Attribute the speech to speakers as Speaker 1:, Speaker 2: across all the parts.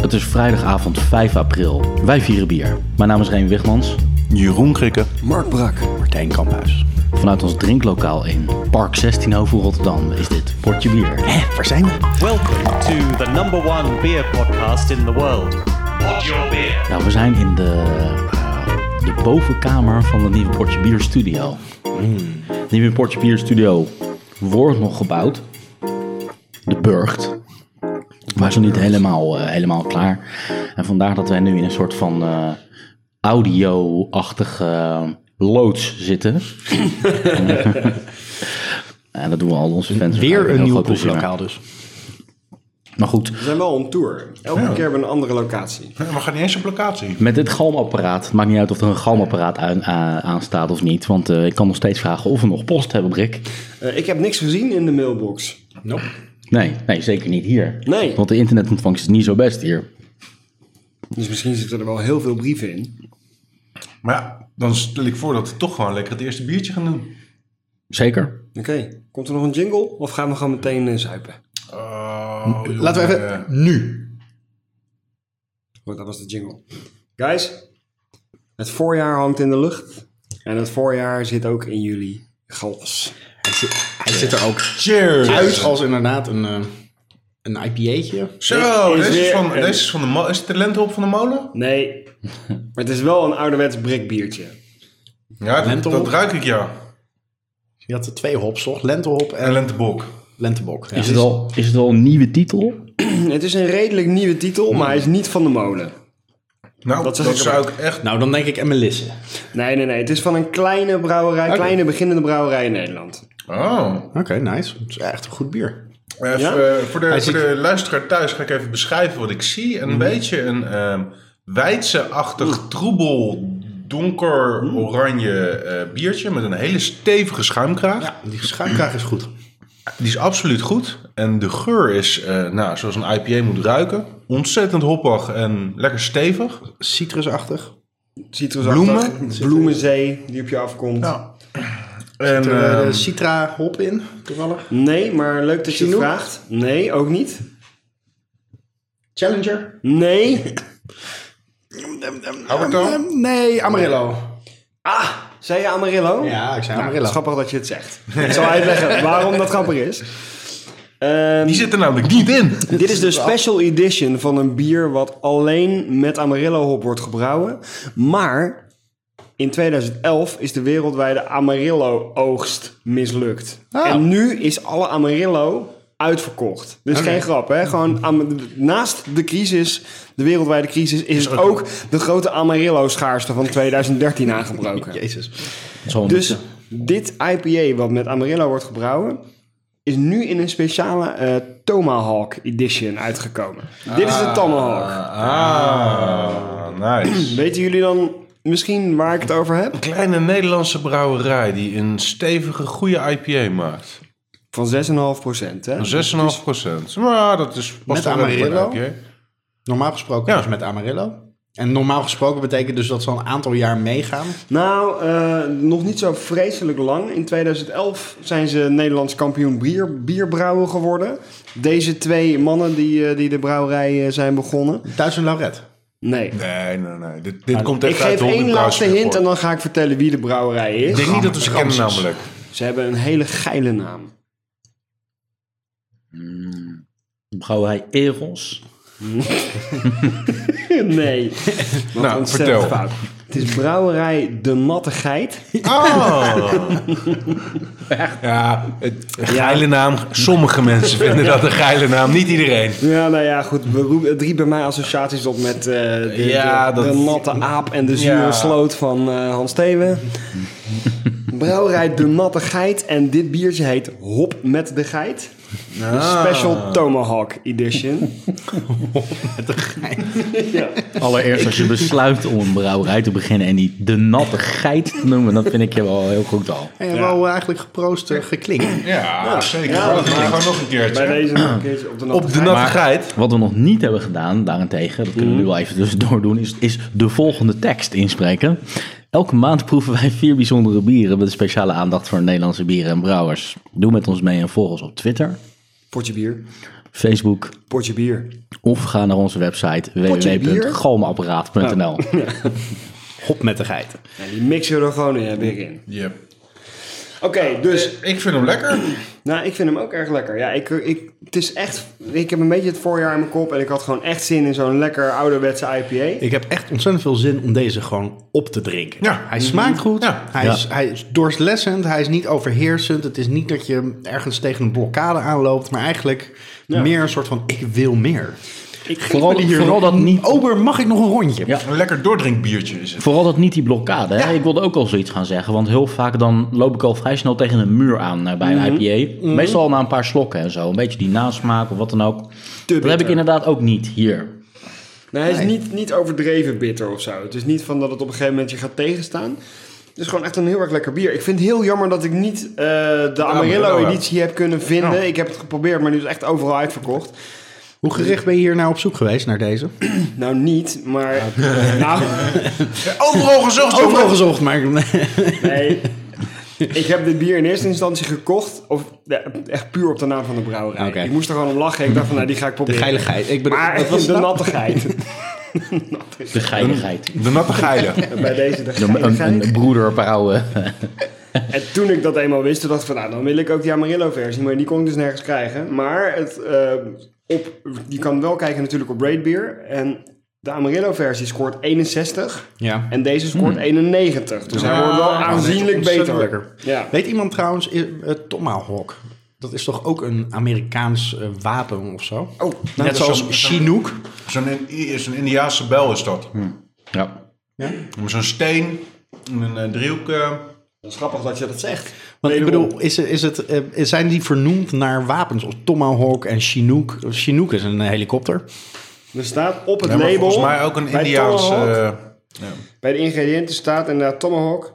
Speaker 1: Het is vrijdagavond 5 april. Wij vieren bier. Mijn naam is Reen Wigmans.
Speaker 2: Jeroen Krikke,
Speaker 3: Mark Brak.
Speaker 2: Martijn Kamphuis.
Speaker 1: Vanuit ons drinklokaal in Park 16 Hoven Rotterdam is dit Portje Bier.
Speaker 2: Hé, Eh, waar zijn we?
Speaker 4: Welcome to the number one beer podcast in the world. What your beer?
Speaker 1: Nou, we zijn in de, eh, de bovenkamer van de nieuwe Portje Bier Studio. De nieuwe Portje Bier Studio wordt nog gebouwd. De Burgt. Maar zo niet helemaal, eh, helemaal klaar. En vandaar dat wij nu in een soort van eh, audio-achtige eh, loods zitten. eh, en dat doen we al onze fans.
Speaker 2: Weer een
Speaker 1: Heel
Speaker 2: nieuw
Speaker 1: groot plezier.
Speaker 2: proeflokaal dus.
Speaker 1: Maar goed,
Speaker 3: We zijn wel on tour. Elke keer hebben we een andere locatie.
Speaker 5: Ja, we gaan niet eens op locatie.
Speaker 1: Met dit galmapparaat. Het maakt niet uit of er een galmapparaat aan, a- aan staat of niet. Want eh, ik kan nog steeds vragen of we nog post hebben, Brik.
Speaker 3: Eh, ik heb niks gezien in de mailbox.
Speaker 1: Nee, nee, zeker niet hier.
Speaker 3: Nee.
Speaker 1: Want de internetontvangst is niet zo best hier.
Speaker 3: Dus misschien zitten er wel heel veel brieven in.
Speaker 5: Maar ja, dan stel ik voor dat we toch gewoon lekker het eerste biertje gaan doen.
Speaker 1: Zeker.
Speaker 3: Oké, komt er nog een jingle? Of gaan we gewoon meteen eh, zuipen?
Speaker 5: Oh,
Speaker 2: Laten we
Speaker 5: jongen.
Speaker 2: even nu.
Speaker 3: Oh, dat was de jingle. Guys, het voorjaar hangt in de lucht. En het voorjaar zit ook in jullie glas.
Speaker 2: Hij zit, hij zit er ook
Speaker 5: Cheers!
Speaker 2: uit als inderdaad een, eh, een IPA'tje.
Speaker 5: Zo,
Speaker 3: Is
Speaker 5: deze
Speaker 3: weer
Speaker 5: is, van,
Speaker 3: een-
Speaker 5: deze is van de mo- Is het de lentehop van de molen?
Speaker 3: Nee, maar het is wel een ouderwets brikbiertje.
Speaker 5: Ja, dat,
Speaker 2: Lentehop?
Speaker 5: dat ruik ik ja.
Speaker 2: Je had er twee hops, toch? Lentehop en
Speaker 5: En lentebok.
Speaker 2: lentebok. Ja.
Speaker 1: Is het, al, is het al een nieuwe titel?
Speaker 3: Het is een redelijk nieuwe titel, maar hij is niet van de molen.
Speaker 5: Nou,
Speaker 3: Dat
Speaker 5: dat,
Speaker 3: zeg ik
Speaker 5: zou ik echt...
Speaker 2: Nou, dan denk ik en Melisse.
Speaker 3: Nee, nee, nee. Het is van een kleine brouwerij, kleine beginnende brouwerij in Nederland.
Speaker 5: Oh.
Speaker 2: Oké, nice. Het is echt een goed bier.
Speaker 5: Even,
Speaker 3: Ja?
Speaker 5: eh, voor de,
Speaker 2: Hij
Speaker 5: voor
Speaker 2: ziet- Mhm.
Speaker 5: de luisteraar thuis ga ik even beschrijven wat ik zie. Een beetje een ehm weidse-achtig troebel donker oranje eh, biertje met een hele stevige schuimkraag.
Speaker 2: Ja, die schuimkraag is goed.
Speaker 5: Die is absoluut goed. En de geur is, eh, nou, zoals een IPA moet ruiken, ontzettend hoppig en lekker stevig.
Speaker 2: Citrusachtig.
Speaker 3: Citrusachtig, bloemenzee die op je afkomt.
Speaker 5: En,
Speaker 2: Er eh,
Speaker 5: ehm,
Speaker 2: citra hop in, toevallig.
Speaker 3: Nee, maar leuk dat je het
Speaker 2: Chinook?
Speaker 3: vraagt. Nee, ook niet.
Speaker 2: Challenger.
Speaker 3: Nee.
Speaker 5: Alberto?
Speaker 2: Eh, Nee, Nou, Amarillo.
Speaker 3: Ah, zei je Amarillo?
Speaker 2: Ja, ik zei
Speaker 3: Het is
Speaker 2: Amarillo.
Speaker 3: grappig dat je het zegt. Ik zal uitleggen waarom dat grappig is. Ehm,
Speaker 5: die zit er namelijk niet in.
Speaker 3: dit is de special edition van een bier wat alleen met Amarillo hop wordt gebrouwen. Maar in 2011 is de wereldwijde Amarillo oogst mislukt.
Speaker 2: Ah.
Speaker 3: En nu is alle Amarillo uitverkocht. Dus geen grap, hè? Gewoon am- naast de crisis, de wereldwijde crisis, is het ook de grote Amarillo schaarste van 2013 aangebroken.
Speaker 2: Jezus.
Speaker 1: Het zal
Speaker 3: Dus
Speaker 1: niet-
Speaker 3: dit IPA wat met Amarillo wordt gebrouwen, is nu in een speciale eh, Tomahawk Edition uitgekomen. Dit is de Tomahawk.
Speaker 5: Ah, nice.
Speaker 3: Weten jullie dan misschien waar ik het over heb?
Speaker 5: Kleine Nederlandse brouwerij die een stevige, goede IPA maakt.
Speaker 3: Van 6,5 hè?
Speaker 5: Van 6,5 procent. Maar dat is
Speaker 2: Met
Speaker 5: past wel redelijk bij een
Speaker 2: Amarillo?
Speaker 5: IPA.
Speaker 2: Normaal gesproken
Speaker 5: Ja.
Speaker 2: dus met Amarillo. En normaal gesproken betekent dus dat ze al een aantal jaar meegaan.
Speaker 3: Nou, eh, nog niet zo vreselijk lang. In 2011 zijn ze Nederlands kampioen bier, bierbrouwen geworden. Deze twee mannen die, eh, die de brouwerij eh, zijn begonnen.
Speaker 2: Duits en Lauret.
Speaker 3: Nee.
Speaker 5: Nee, nee, nee. Dit, dit komt echt
Speaker 3: Ah, Ik
Speaker 5: uit
Speaker 3: geef
Speaker 5: de
Speaker 3: één
Speaker 5: Hobbybrouwers
Speaker 3: laatste hint en
Speaker 5: report.
Speaker 3: dan ga ik vertellen wie de brouwerij is.
Speaker 5: Ik denk niet dat we ze kennen
Speaker 2: Ramses.
Speaker 5: namelijk.
Speaker 3: Ze hebben een hele geile naam.
Speaker 1: Brouwerij Eros.
Speaker 3: Nee. Wat
Speaker 5: Nou,
Speaker 3: ontzettend
Speaker 5: vertel.
Speaker 3: fout. Het is brouwerij De Natte Geit.
Speaker 5: Oh. ja, het, een geile naam. Sommige mensen vinden dat een geile naam. Niet iedereen.
Speaker 3: Ja, nou ja, goed. we roepen- Het riep bij mij associaties op met eh, de,
Speaker 5: Ja,
Speaker 3: de,
Speaker 5: dat-
Speaker 3: de natte aap en de zure
Speaker 5: Ja.
Speaker 3: sloot van eh, Hans Thewe. Brouwerij De Natte Geit. En dit biertje heet Hop met de Geit.
Speaker 5: Ah.
Speaker 3: Een special Tomahawk edition.
Speaker 1: Allereerst als je besluit om een brouwerij te beginnen en die de natte geit te noemen, dat vind ik je wel heel goed al.
Speaker 2: En wel eigenlijk geproost eh, geklinkt.
Speaker 5: Ja, zeker.
Speaker 3: ja,
Speaker 5: dat
Speaker 3: maar-
Speaker 5: doen we gewoon nog een keertje.
Speaker 3: Bij deze nog een keertje op de Natte
Speaker 5: Op de
Speaker 3: Geit.
Speaker 5: natte geit.
Speaker 1: Wat we nog niet hebben gedaan, daarentegen, dat kunnen we
Speaker 3: Mm.
Speaker 1: nu wel even tussendoor doen, is, is de volgende tekst inspreken. Elke maand proeven wij vier bijzondere bieren met speciale aandacht voor Nederlandse bieren en brouwers. Doe met ons mee en volg ons op Twitter,
Speaker 3: Potje bier.
Speaker 1: Facebook
Speaker 3: Potje bier.
Speaker 1: of ga naar onze website
Speaker 3: Potje bier? Nou,
Speaker 1: www.galmapparaat.nl.
Speaker 2: Hop met de geit.
Speaker 3: Ja, die mixen we er gewoon eh, weer in.
Speaker 5: Yep.
Speaker 3: Oké, dus
Speaker 5: Ik vind hem lekker.
Speaker 3: Nou, ik vind hem ook erg lekker. Ja, ik, ik, het is echt, ik heb een beetje het voorjaar in mijn kop en ik had gewoon echt zin in zo'n lekker ouderwetse IPA.
Speaker 2: Ik heb echt ontzettend veel zin om deze gewoon op te drinken.
Speaker 5: Ja.
Speaker 2: Hij smaakt goed.
Speaker 5: Ja.
Speaker 2: Hij,
Speaker 1: Ja.
Speaker 2: Is, hij is doorslessend. Hij is niet overheersend. Het is niet dat je ergens tegen een blokkade aanloopt. Maar eigenlijk meer een soort van ik wil meer.
Speaker 3: Ik,
Speaker 1: Vooral, vooral dat niet
Speaker 2: Ober, mag ik nog een rondje?
Speaker 1: Ja.
Speaker 5: Een lekker doordrinkbiertje is het.
Speaker 1: Vooral dat niet die blokkade. Hè? Ik wilde ook al zoiets gaan zeggen. Want heel vaak dan loop ik al vrij snel tegen een muur aan eh, bij een IPA. Meestal al na een paar slokken en zo. Een beetje die nasmaak of wat dan ook. dat heb ik inderdaad ook niet hier.
Speaker 3: nee, hij is niet, niet overdreven bitter of zo. Het is niet van dat het op een gegeven moment je gaat tegenstaan. Het is gewoon echt een heel erg lekker bier. Ik vind het heel jammer dat ik niet eh, de
Speaker 5: Amarillo, ja.
Speaker 3: Amarillo-editie heb kunnen vinden. Ik heb het geprobeerd, maar nu is het echt overal uitverkocht.
Speaker 2: Hoe gericht ben je hier nou op zoek geweest naar deze?
Speaker 3: Nou, niet, maar... Nou,
Speaker 5: Overal gezocht,
Speaker 2: Overal
Speaker 5: jongen.
Speaker 2: gezocht, maar
Speaker 3: nee. Ik heb dit bier in eerste instantie gekocht, of ja, echt puur op de naam van de brouwerij.
Speaker 2: Oké.
Speaker 3: Ik moest er gewoon om lachen. Ik dacht van, nou, die ga ik
Speaker 2: de
Speaker 3: proberen.
Speaker 2: geiligheid. Ik ben,
Speaker 3: Maar
Speaker 2: wat
Speaker 3: het
Speaker 2: was
Speaker 3: was
Speaker 2: het
Speaker 3: de
Speaker 2: nou?
Speaker 3: nattigheid.
Speaker 1: De geiligheid.
Speaker 5: De natte geile.
Speaker 3: Bij deze de
Speaker 5: eh,
Speaker 1: Een, een,
Speaker 3: geiligheid.
Speaker 1: een broederbrouwen.
Speaker 3: En toen ik dat eenmaal wist, toen dacht ik van... Nou, dan wil ik ook die Amarillo-versie. Maar die kon ik dus nergens krijgen. Maar het, eh, op, je kan wel kijken natuurlijk op Braid Beer. En de Amarillo-versie scoort 61.
Speaker 2: Ja.
Speaker 3: En deze scoort
Speaker 5: Hmm.
Speaker 3: 91. Dus hij wordt wel
Speaker 5: Ah,
Speaker 3: aanzienlijk
Speaker 2: dit is
Speaker 3: beter.
Speaker 2: ontzettend lekker.
Speaker 3: Ja.
Speaker 2: Weet iemand trouwens, eh, eh, Tomahawk, dat is toch ook een Amerikaans eh, wapen of zo?
Speaker 3: Oh, nou,
Speaker 2: Net
Speaker 3: dat is
Speaker 2: zoals Chinook.
Speaker 5: Zo'n in- zo'n Indiaanse bel is dat.
Speaker 3: Hm.
Speaker 1: Ja.
Speaker 5: Met Zo'n steen in een eh, driehoek. eh,
Speaker 3: dat is grappig dat je dat zegt.
Speaker 2: Want ik
Speaker 3: Wederom.
Speaker 2: bedoel, is, is het, eh, zijn die vernoemd naar wapens als Tomahawk en Chinook? Chinook is een helikopter.
Speaker 3: Er staat op het
Speaker 5: ja, maar
Speaker 3: label...
Speaker 5: volgens mij ook een
Speaker 3: bij
Speaker 5: Indiaanse...
Speaker 3: Tomahawk-
Speaker 5: eh,
Speaker 3: Bij de ingrediënten staat inderdaad tomahawk.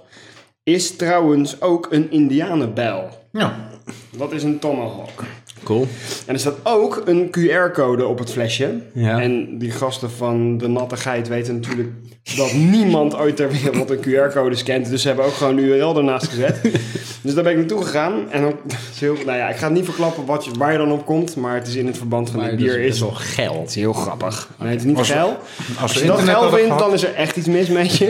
Speaker 3: Is trouwens ook een indianenbijl.
Speaker 5: ja.
Speaker 3: Wat is een tomahawk?
Speaker 2: Cool.
Speaker 3: En er staat ook een QR-code op het flesje.
Speaker 2: Ja.
Speaker 3: En die gasten van de nattigheid weten natuurlijk dat niemand ooit ter wereld een QR-code scant. Dus ze hebben ook gewoon een URL ernaast gezet. dus daar ben ik naartoe gegaan. En dan, het is heel, nou ja, ik ga het niet verklappen wat je, waar je dan op komt. Maar het is in het verband van dit bier. is,
Speaker 2: wel geld.
Speaker 3: het is heel grappig. Nee, het is niet
Speaker 5: Als we-
Speaker 3: geil.
Speaker 5: Als
Speaker 3: Als
Speaker 5: we
Speaker 3: je dat
Speaker 5: internet
Speaker 3: geil
Speaker 5: hadden
Speaker 3: vindt,
Speaker 5: gehad-
Speaker 3: dan is er echt iets mis met je.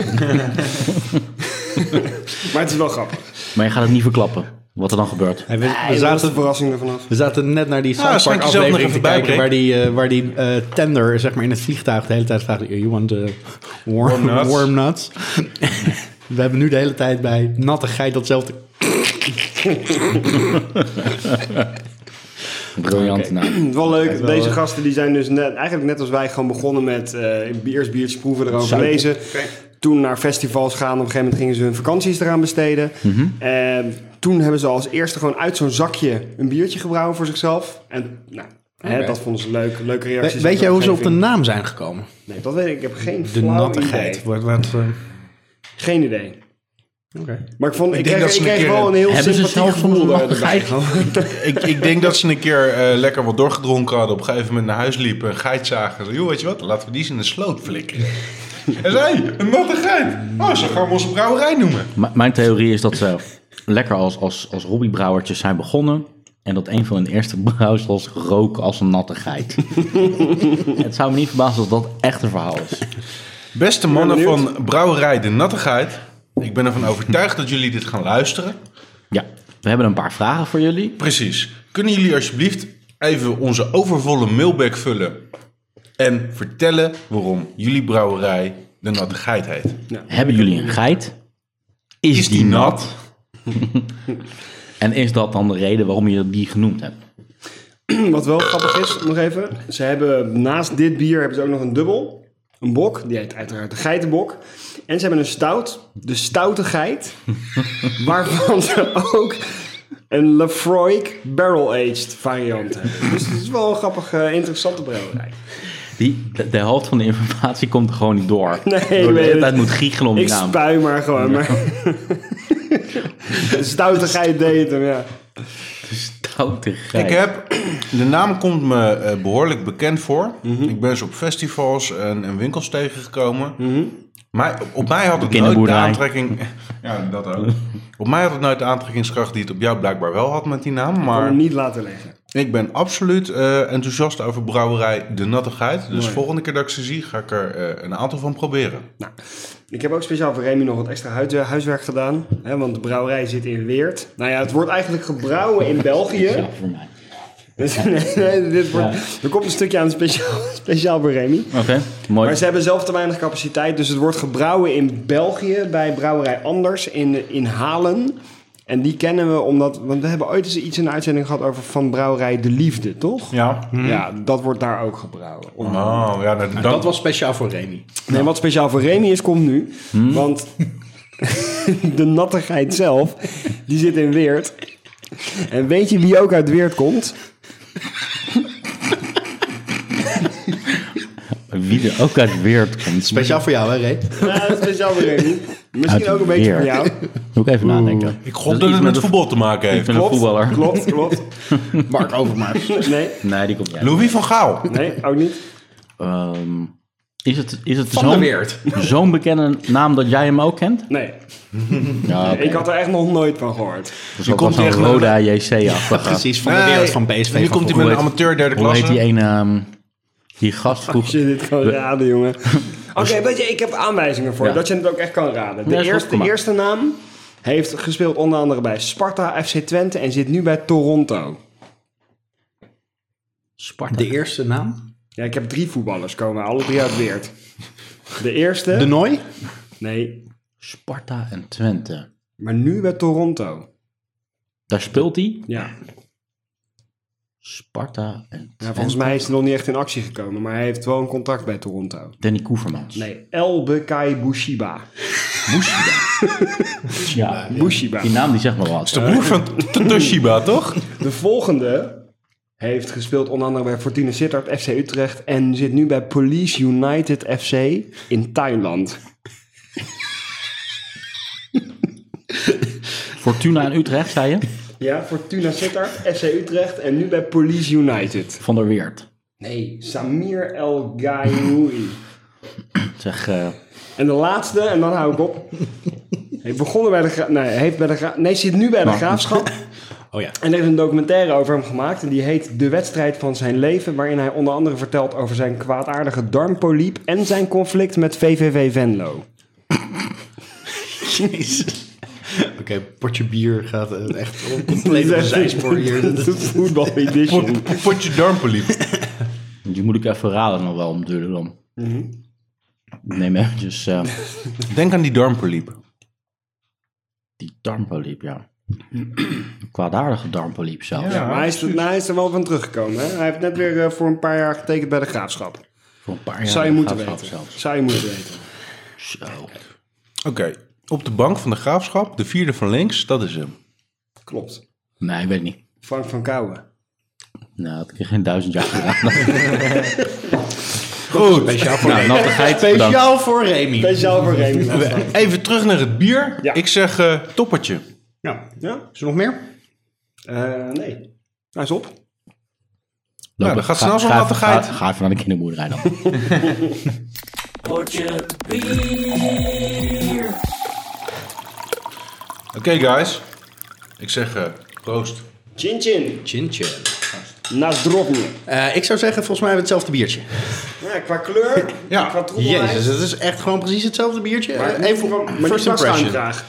Speaker 3: maar het is wel grappig.
Speaker 1: Maar je gaat het niet verklappen. Wat er dan gebeurt.
Speaker 2: We, we
Speaker 3: We zaten de
Speaker 2: zaten,
Speaker 3: verrassing ervan af.
Speaker 2: we zaten net naar die
Speaker 5: Ah,
Speaker 2: South
Speaker 5: schenk
Speaker 2: Park
Speaker 5: jezelf nog
Speaker 2: aflevering te
Speaker 5: even bij,
Speaker 2: kijken...
Speaker 5: Rick.
Speaker 2: waar die, eh, waar die eh, tender zeg maar, in het vliegtuig de hele tijd vraagt... You want eh, warm, warm
Speaker 5: Warm
Speaker 2: nuts?
Speaker 5: nuts.
Speaker 2: we hebben nu de hele tijd bij nattigheid datzelfde...
Speaker 1: Briljant nou. naam.
Speaker 3: Hm, Wel leuk, deze gasten die zijn dus net, eigenlijk net als wij gewoon begonnen met eh biers, biertjes proeven, erover lezen. Toen naar festivals gaan, op een gegeven moment gingen ze hun vakanties eraan besteden. En toen hebben ze als eerste gewoon uit zo'n zakje een biertje gebrouwen voor zichzelf. En nou, hè, dat vonden ze leuk, leuke
Speaker 2: We-
Speaker 3: reacties.
Speaker 2: weet jij hoe ze op de
Speaker 3: omgeving.
Speaker 2: naam zijn gekomen?
Speaker 3: Nee, dat weet ik, ik heb geen
Speaker 2: De
Speaker 3: flauw
Speaker 2: nattigheid.
Speaker 3: idee.
Speaker 2: Wat, wat, eh,
Speaker 3: Geen idee.
Speaker 2: oké.
Speaker 3: Maar ik vond, ik,
Speaker 5: denk
Speaker 3: kreeg,
Speaker 5: dat
Speaker 3: ik
Speaker 5: ze een
Speaker 3: kreeg
Speaker 5: keer
Speaker 3: wel een heel
Speaker 1: Hebben ze
Speaker 3: sympathiek
Speaker 1: zelf van de
Speaker 3: gevoel eh, erbij.
Speaker 1: nattigheid?
Speaker 5: ik, ik denk dat ze een keer eh, lekker wat doorgedronken hadden. Op een gegeven moment naar huis liepen. Een geit zagen. Zo, Joh, weet je wat? Laten we die eens in de sloot flikkeren. en zei, hey, een natte geit. Oh, zo gaan we onze brouwerij noemen.
Speaker 1: M- mijn theorie is dat ze lekker als, als, als hobbybrouwertjes zijn begonnen. En dat een van hun eerste brouwsels rook als een natte geit. het zou me niet verbazen als dat echt een verhaal is.
Speaker 5: Beste mannen
Speaker 3: Ben benieuwd.
Speaker 5: van Brouwerij de Nattigheid. Ik ben ervan overtuigd dat jullie dit gaan luisteren.
Speaker 1: Ja, we hebben een paar vragen voor jullie.
Speaker 5: Precies. Kunnen jullie alsjeblieft even onze overvolle mailbag vullen? En vertellen waarom jullie brouwerij de Nattigheid heet.
Speaker 1: Hebben jullie een geit? Is, die, nat? En is dat dan de reden waarom je die genoemd hebt?
Speaker 3: Wat wel grappig is, nog even. Ze hebben naast dit bier hebben ze ook nog een dubbel. Een bok, die heet uiteraard de geitenbok. En ze hebben een stout, de stoute geit. waarvan ze ook een Lefroy barrel-aged variant hebben. Dus het is wel een grappige, eh, interessante brouwerij.
Speaker 1: Die, de, de helft van de informatie komt er gewoon niet door.
Speaker 3: ik
Speaker 1: Door de
Speaker 3: weet
Speaker 1: hele
Speaker 3: het.
Speaker 1: tijd moet giechelen om die
Speaker 3: Ik
Speaker 1: naam.
Speaker 3: spui maar gewoon. Maar de stoute geit deed hem, ja.
Speaker 1: Stoute geit.
Speaker 5: Ik heb, de naam komt me eh, behoorlijk bekend voor. Ik ben ze op festivals en, en winkels tegengekomen. Maar op- op mij had het nooit de
Speaker 1: kinderboerderij.
Speaker 5: aantrekking... Ja, dat ook. op mij had het nooit de aantrekkingskracht die het op jou blijkbaar wel had met die naam.
Speaker 3: Maar
Speaker 5: Maar
Speaker 3: hem niet laten liggen.
Speaker 5: Ik ben absoluut eh, enthousiast over brouwerij De Nattigheid. Dus volgende keer dat ik ze zie, ga ik er eh, een aantal van proberen.
Speaker 3: Nou, ik heb ook speciaal voor Remy nog wat extra huid- eh, huiswerk gedaan. Hè, want de brouwerij zit in Weert. Nou ja, het wordt eigenlijk gebrouwen in België.
Speaker 1: Ja, voor mij.
Speaker 3: Dus, nee, nee, dit wordt, Er komt een stukje aan speciaal, speciaal voor Remy.
Speaker 1: Oké, mooi.
Speaker 3: Maar ze hebben zelf te weinig capaciteit. Dus het wordt gebrouwen in België bij Brouwerij Anders in, in Halen. En die kennen we omdat... Want we hebben ooit eens iets in de uitzending gehad over van Brouwerij De Liefde, toch?
Speaker 5: Ja.
Speaker 3: Ja, dat wordt daar ook gebrouwen.
Speaker 5: Oh, ja, nou, dan-
Speaker 2: Dat was speciaal voor
Speaker 1: Nou.
Speaker 2: Remy.
Speaker 3: Nee, wat speciaal voor Remy is, komt nu.
Speaker 1: Hmm?
Speaker 3: Want de nattigheid zelf, die zit in Weert. En weet je wie ook uit Weert komt?
Speaker 1: Wie er ook uit Weert komt.
Speaker 2: Speciaal voor jou, hè, Ray?
Speaker 3: Nou, speciaal voor Remy. Misschien
Speaker 1: Uit
Speaker 3: ook een beetje voor
Speaker 1: Weert.
Speaker 3: jou.
Speaker 1: Moet ik even nadenken.
Speaker 5: ik
Speaker 1: Dat
Speaker 5: gok
Speaker 1: is
Speaker 5: dat
Speaker 1: iets
Speaker 5: het met
Speaker 1: een-
Speaker 5: voetbal te maken heeft.
Speaker 1: Met een voetballer.
Speaker 3: Klopt, klopt.
Speaker 2: Mark Overmars.
Speaker 3: Nee,
Speaker 1: Nee, die komt niet uit.
Speaker 5: Louis van Gaal.
Speaker 3: nee, ook niet.
Speaker 1: Ehm, is het, is het
Speaker 2: Van de
Speaker 1: zo'n
Speaker 2: Weert.
Speaker 1: zo'n bekende naam dat jij hem ook kent?
Speaker 3: Nee,
Speaker 1: Ja,
Speaker 3: ik had er echt nog nooit van gehoord.
Speaker 1: die komt
Speaker 5: tegen
Speaker 1: tegen
Speaker 5: een-
Speaker 1: Roda JC-achtige.
Speaker 2: Precies, van de wereld van PSV.
Speaker 5: Nu
Speaker 2: van
Speaker 5: komt hij
Speaker 2: vroeger.
Speaker 5: met een amateur derde
Speaker 1: Hoe
Speaker 5: klasse.
Speaker 1: heet die ene... ehm, die gast vroeg...
Speaker 3: Als je dit kan raden, jongen. Oké, weet je, ik heb aanwijzingen voor
Speaker 1: Ja.
Speaker 3: dat je het ook echt kan raden.
Speaker 1: Ja, is
Speaker 3: De,
Speaker 1: goed,
Speaker 3: eerste,
Speaker 1: kom
Speaker 3: de
Speaker 1: maar.
Speaker 3: eerste naam heeft gespeeld onder andere bij Sparta, FC Twente en zit nu bij Toronto.
Speaker 2: De eerste naam?
Speaker 3: Ja, ik heb drie voetballers komen, alle drie uit Weert. De eerste?
Speaker 2: De Nooi?
Speaker 3: Nee,
Speaker 1: Sparta en Twente.
Speaker 3: maar nu bij Toronto.
Speaker 1: Daar speelt hij.
Speaker 3: Ja.
Speaker 1: Sparta en
Speaker 3: ja,
Speaker 1: Twente.
Speaker 3: volgens mij is hij nog niet echt in actie gekomen, maar hij heeft wel een contract bij Toronto.
Speaker 1: Danny Koevermans.
Speaker 3: Nee, Elbe Kai Bushiba.
Speaker 1: Ja,
Speaker 3: Bushiba.
Speaker 1: die naam die zegt maar wat.
Speaker 5: De broer van T- T- Toshiba, toch?
Speaker 3: De volgende heeft gespeeld onder andere bij Fortuna Sittard, FC Utrecht en zit nu bij Police United FC in Thailand.
Speaker 1: Eh, Fortuna en Utrecht, zei je?
Speaker 3: Ja, Fortuna Sittard, FC Utrecht en nu bij Police United.
Speaker 1: Van der Weert.
Speaker 3: Nee, Samir El Gaiouri.
Speaker 1: Zeg, eh,
Speaker 3: En de laatste, en dan hou ik op. Hij begonnen bij de Gra- nee, hij heeft bij de Gra- nee, zit nu bij de graafschap.
Speaker 2: Oh ja.
Speaker 3: En er is een documentaire over hem gemaakt. En die heet De wedstrijd van zijn leven. Waarin hij onder andere vertelt over zijn kwaadaardige darmpoliep. En zijn conflict met VVV Venlo.
Speaker 2: Oké, potje bier gaat eh, echt compleet op een zijspoor hier.
Speaker 3: De voetbal edition.
Speaker 5: Pot- Potje darmpoliep.
Speaker 1: die moet ik even raden nog wel om de dan.
Speaker 3: Mhm.
Speaker 1: Neem eventjes eh,
Speaker 5: Denk aan die darmpoliep.
Speaker 1: die darmpoliep, ja. Een kwaadaardige darmpoliep zelf.
Speaker 3: Maar hij is, er- nou, hij is er wel van teruggekomen. Hè? Hij heeft net weer eh, voor een paar jaar getekend bij de graafschap.
Speaker 1: Voor een paar jaar.
Speaker 3: Zou je moeten
Speaker 1: gaat het
Speaker 3: weten.
Speaker 1: zelfs.
Speaker 3: Zou je moeten weten.
Speaker 1: Zo.
Speaker 5: Oké, op de bank van de graafschap, de vierde van links, dat is hem.
Speaker 3: Klopt.
Speaker 1: Nee, ik weet niet.
Speaker 3: Frank van Kouwen.
Speaker 1: Nou, dat heb ik geen duizend jaar gedaan.
Speaker 5: Goed,
Speaker 2: Speciaal voor
Speaker 1: nou,
Speaker 2: Remy.
Speaker 1: nattigheid. bedankt.
Speaker 2: Speciaal voor Remy.
Speaker 3: Speciaal voor Remy. was dat.
Speaker 5: even terug naar het bier.
Speaker 3: Ja.
Speaker 5: Ik zeg eh, toppertje.
Speaker 2: Ja.
Speaker 3: Ja?
Speaker 2: Is er nog meer?
Speaker 3: Eh, nee. Hij is op.
Speaker 1: Loop,
Speaker 5: Nou, dat gaat
Speaker 1: ga-
Speaker 5: snel zo'n
Speaker 1: ga-
Speaker 5: nattigheid.
Speaker 1: Ga, ga even naar de kinderboerderij dan.
Speaker 5: Oké guys, ik zeg eh, proost.
Speaker 3: Chin chin.
Speaker 2: Chin chin.
Speaker 3: Naast Drobny.
Speaker 2: Eh, ik zou zeggen, volgens mij hebben we hetzelfde biertje.
Speaker 3: Ja, qua kleur.
Speaker 5: Ja.
Speaker 3: Qua troebelheid.
Speaker 2: Jezus, het is echt gewoon precies hetzelfde biertje.
Speaker 3: Maar
Speaker 2: Eh, Even
Speaker 3: maar niet
Speaker 2: first
Speaker 3: qua
Speaker 2: impression.
Speaker 3: schuimkraag.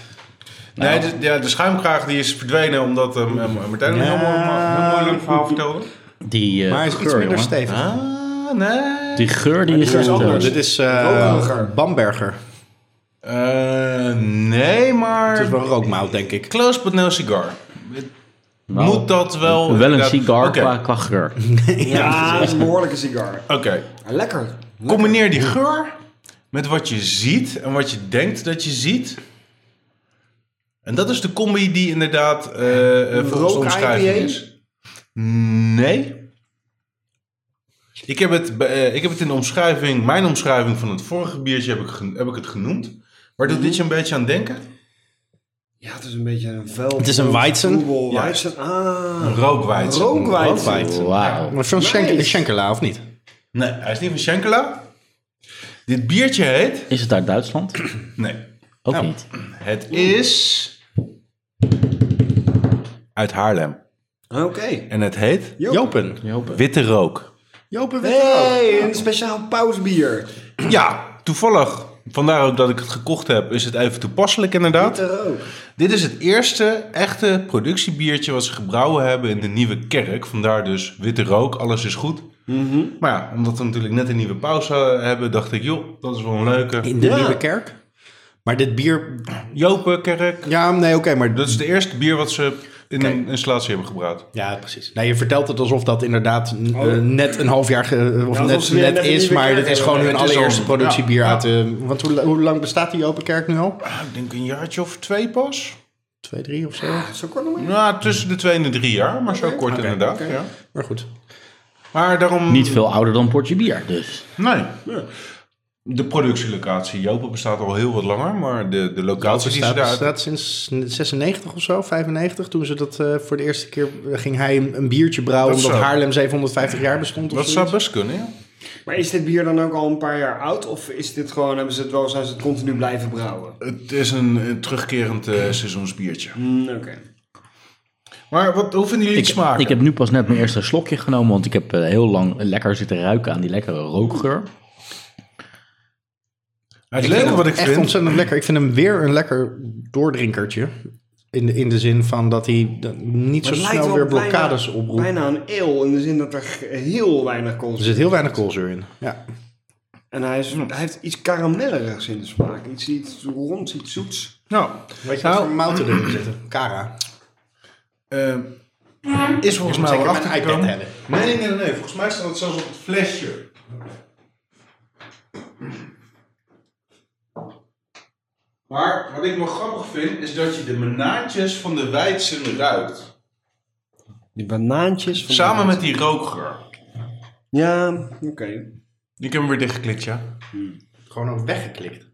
Speaker 5: Nee, de, ja, de schuimkraag die is verdwenen omdat eh, M- Martijn een heel mooi- heel mooi lang verhaal vertelde.
Speaker 1: Die, eh,
Speaker 2: Maar hij is
Speaker 1: geur,
Speaker 2: iets minder
Speaker 1: jongen.
Speaker 2: stevig.
Speaker 5: Ah, nee.
Speaker 1: Die geur die is...
Speaker 3: geur is
Speaker 1: eh,
Speaker 3: anders.
Speaker 2: Dit is eh,
Speaker 3: Rokiger.
Speaker 2: Bamberger.
Speaker 5: Eh, nee, maar...
Speaker 2: Het is wel rookmout, denk ik.
Speaker 5: Close but no cigar.
Speaker 1: nou,
Speaker 5: Moet dat wel...
Speaker 1: Wel een
Speaker 5: inderdaad-
Speaker 1: sigaar
Speaker 5: Oké,
Speaker 1: qua, qua geur.
Speaker 3: Ja, dat is een behoorlijke sigaar.
Speaker 5: oké.
Speaker 3: Lekker.
Speaker 5: Combineer die geur met wat je ziet en wat je denkt dat je ziet. En dat is de combi die inderdaad eh eh, volgens de
Speaker 3: Rook
Speaker 5: omschrijving
Speaker 3: IPA?
Speaker 5: is. Nee. Ik heb, het, bij- eh, ik heb het in de omschrijving, mijn omschrijving van het vorige biertje heb ik, gen- heb ik het genoemd. Waar doet dit je een
Speaker 3: Mhm.
Speaker 5: beetje aan denken?
Speaker 3: Ja, het is een beetje een vuil.
Speaker 2: Het is een Weizen.
Speaker 3: troebel
Speaker 5: Ja.
Speaker 3: Weizen. Ah.
Speaker 5: Rookwijd.
Speaker 3: Rookwijd.
Speaker 1: Wauw.
Speaker 2: Maar van Schenk- Schenkelaar, of niet?
Speaker 5: Nee, hij is niet van Schenkela. Dit biertje heet...
Speaker 1: Is het uit Duitsland?
Speaker 5: Nee.
Speaker 1: Ook niet.
Speaker 5: Het is... Uit Haarlem.
Speaker 3: Oké.
Speaker 5: En het heet
Speaker 2: Jopen.
Speaker 5: Witte Rook.
Speaker 2: Jopen weet
Speaker 3: Hey, een speciaal pausbier.
Speaker 5: Ja, toevallig. Vandaar ook dat ik het gekocht heb. Is het even toepasselijk inderdaad.
Speaker 3: Ter ook.
Speaker 5: Dit is het eerste echte productiebiertje wat ze gebrouwen hebben in de Nieuwe Kerk. Vandaar dus witte rook, alles is goed. Maar ja, omdat we natuurlijk net een nieuwe pauze hebben, dacht ik, joh, dat is wel een leuke.
Speaker 2: In de
Speaker 3: Ja.
Speaker 2: Nieuwe Kerk. Maar dit bier...
Speaker 5: Jopenkerk.
Speaker 2: Ja, nee, oké, maar...
Speaker 5: Dat is het eerste bier wat ze in een installatie hebben gebrouwd.
Speaker 2: Ja, precies. Nee, je vertelt het alsof dat inderdaad eh, net een half jaar ge- of
Speaker 3: Oh. Ja, alsof
Speaker 2: net,
Speaker 3: ze weer
Speaker 2: net
Speaker 3: net een
Speaker 2: is,
Speaker 3: nieuwe
Speaker 2: maar
Speaker 3: kerk
Speaker 2: dit is
Speaker 3: hebben.
Speaker 2: gewoon hun
Speaker 5: Het is
Speaker 2: allereerste
Speaker 5: al-
Speaker 2: productiebier
Speaker 5: ja,
Speaker 2: uit de... Want hoe, hoe lang bestaat die Open Kerk nu al?
Speaker 5: Ah, Ik denk een jaartje of twee pas.
Speaker 2: Twee, drie of zo?
Speaker 3: Zo kort nog maar.
Speaker 5: Nou, tussen de twee en de drie jaar, maar zo kort inderdaad. Ja.
Speaker 2: Maar goed.
Speaker 5: Maar daarom...
Speaker 1: Niet veel ouder dan Portje Bier, dus.
Speaker 5: Nee. De productielocatie Jopen bestaat al heel wat langer, maar de, de locatie die ze
Speaker 2: staat,
Speaker 5: daar...
Speaker 2: staat sinds 96 of zo, 95. Toen ze dat eh, voor de eerste keer eh, ging hij een, een biertje brouwen.
Speaker 5: Dat
Speaker 2: omdat
Speaker 5: zo.
Speaker 2: Haarlem 750 jaar bestond. Of
Speaker 5: Dat zou
Speaker 2: zoiets.
Speaker 5: best kunnen, ja.
Speaker 3: Maar is dit bier dan ook al een paar jaar oud? Of is dit gewoon, hebben ze het wel, zijn ze het continu blijven brouwen?
Speaker 5: Het is een, eh, terugkerend eh, seizoensbiertje.
Speaker 3: Mm, Oké.
Speaker 5: Maar wat, hoe vinden jullie
Speaker 1: Ik,
Speaker 5: het smaken?
Speaker 1: ik heb nu pas net mijn eerste slokje genomen, want ik heb eh, heel lang lekker zitten ruiken aan die lekkere rookgeur.
Speaker 5: het
Speaker 2: Ik vind
Speaker 5: leuke
Speaker 2: hem
Speaker 5: wat ik
Speaker 2: echt
Speaker 5: vind...
Speaker 2: ontzettend lekker. Ik vind hem weer een lekker doordrinkertje. In de, in de zin van dat hij dan niet zo
Speaker 3: Het lijkt
Speaker 2: snel
Speaker 3: wel
Speaker 2: weer
Speaker 3: bijna-
Speaker 2: blokkades oproept.
Speaker 3: Bijna een eeuw, in de zin dat er g- heel weinig kool
Speaker 2: Er
Speaker 3: zit.
Speaker 2: zit heel weinig koolzuur in. Ja.
Speaker 3: En hij, is, hij heeft iets karamellerigs in de smaak. Iets, iets ronds, iets zoets.
Speaker 5: Nou,
Speaker 2: Weet je
Speaker 5: Nou,
Speaker 2: wat voor mouten erin zitten? Cara.
Speaker 5: eh, is volgens mij
Speaker 2: zeker
Speaker 5: wel
Speaker 2: mijn iPad
Speaker 5: achtergekomen.
Speaker 2: hebben.
Speaker 5: Nee, nee, nee, nee. Volgens mij staat het zelfs op het flesje. Maar wat ik wel grappig vind, is dat je de menaatjes van de wijdsen ruikt.
Speaker 3: Die banaantjes. Van
Speaker 5: Samen met die rookgeur.
Speaker 3: Ja, oké.
Speaker 5: Ik heb hem weer dichtgeklikt, ja.
Speaker 2: Hmm. Gewoon ook weggeklikt.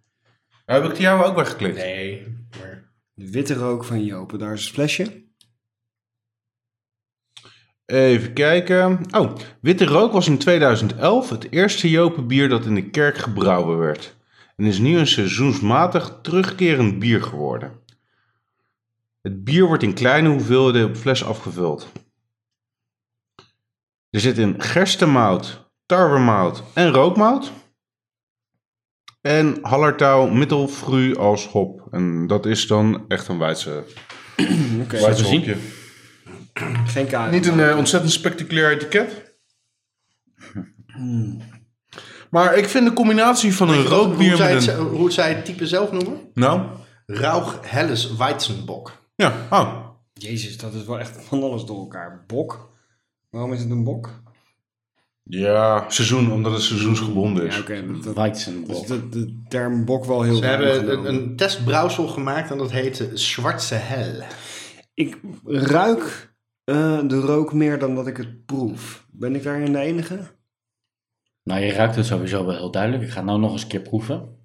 Speaker 5: Heb ik die jou ook weggeklikt?
Speaker 2: Nee. maar-
Speaker 3: De witte rook van Jopen, daar is het flesje.
Speaker 5: Even kijken. Oh, Witte Rook was in 2011 het eerste Jopenbier dat in de kerk gebrouwen werd. En is nu een seizoensmatig terugkerend bier geworden. Het bier wordt in kleine hoeveelheden op fles afgevuld. Er zit in gerstemout, tarwemout en rookmout. En hallertauw, middelfru als hop. En dat is dan echt een Weidse,
Speaker 3: Oké.
Speaker 5: Weidse
Speaker 1: zien.
Speaker 5: hopje.
Speaker 3: Geen kaart.
Speaker 5: Niet een eh, ontzettend spectaculair etiket. Hmm. Maar ik vind de combinatie van een rookbier
Speaker 2: Hoe zij,
Speaker 5: met
Speaker 2: het,
Speaker 5: een...
Speaker 2: hoe zij het type zelf noemen?
Speaker 5: Nou?
Speaker 2: Rauch Helles Weizenbok.
Speaker 5: Ja, oh.
Speaker 3: Jezus, dat is wel echt van alles door elkaar. Bok. Waarom is het een bok?
Speaker 5: Ja, seizoen, omdat het seizoensgebonden is.
Speaker 3: Ja, oké. dat- dat-
Speaker 1: Weizenbok.
Speaker 3: Dus de, de term bok wel heel
Speaker 2: Ze hebben een, een testbrouwsel gemaakt en dat heette Zwarte Hel.
Speaker 3: Ik ruik eh, de rook meer dan dat ik het proef. Ben ik daarin de enige?
Speaker 1: Nou, je ruikt het sowieso wel heel duidelijk. Ik ga het nou nog eens een keer proeven.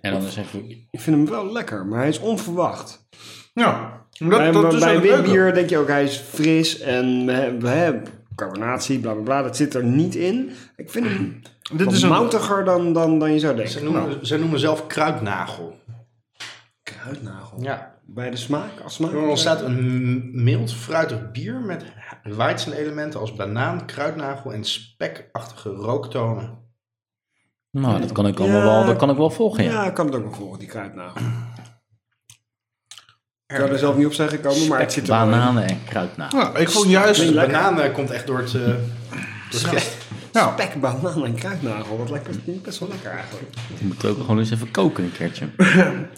Speaker 1: En dan is even...
Speaker 3: Ik vind hem wel lekker, maar hij is onverwacht.
Speaker 5: Ja, dat,
Speaker 3: bij
Speaker 5: dat is
Speaker 3: bij
Speaker 5: ook
Speaker 3: wit
Speaker 5: leuk.
Speaker 3: bier denk je ook, hij is fris en we hebben, we hebben carbonatie, bla bla bla. Dat zit er niet in. Ik vind hem
Speaker 5: Dit
Speaker 3: wat
Speaker 5: is een...
Speaker 3: moutiger dan, dan, dan je zou
Speaker 2: Ze
Speaker 3: denken. Nou,
Speaker 2: noemen, ze noemen zelf kruidnagel.
Speaker 3: Kruidnagel.
Speaker 2: Ja.
Speaker 3: Bij de smaak, als smaak.
Speaker 2: Er ontstaat een mild fruitig bier met Weizen-elementen als banaan, kruidnagel en spekachtige rooktonen.
Speaker 1: Nou, dat kan ik allemaal wel, dat kan ik wel volgen, ja.
Speaker 3: Ja, ik kan het ook wel volgen, die kruidnagel. Ik zou er zelf niet op zijn gekomen, maar het zit er wel in.
Speaker 1: Bananen en kruidnagel.
Speaker 5: Ja, ik vond juist...
Speaker 2: Dus de
Speaker 3: lekker.
Speaker 2: banaan eh, komt echt door het... eh, door het gist.
Speaker 5: Ja.
Speaker 3: Spek, banaan en kruidnagel. Dat lijkt best wel lekker eigenlijk.
Speaker 1: Je moet ook gewoon eens even koken een keertje.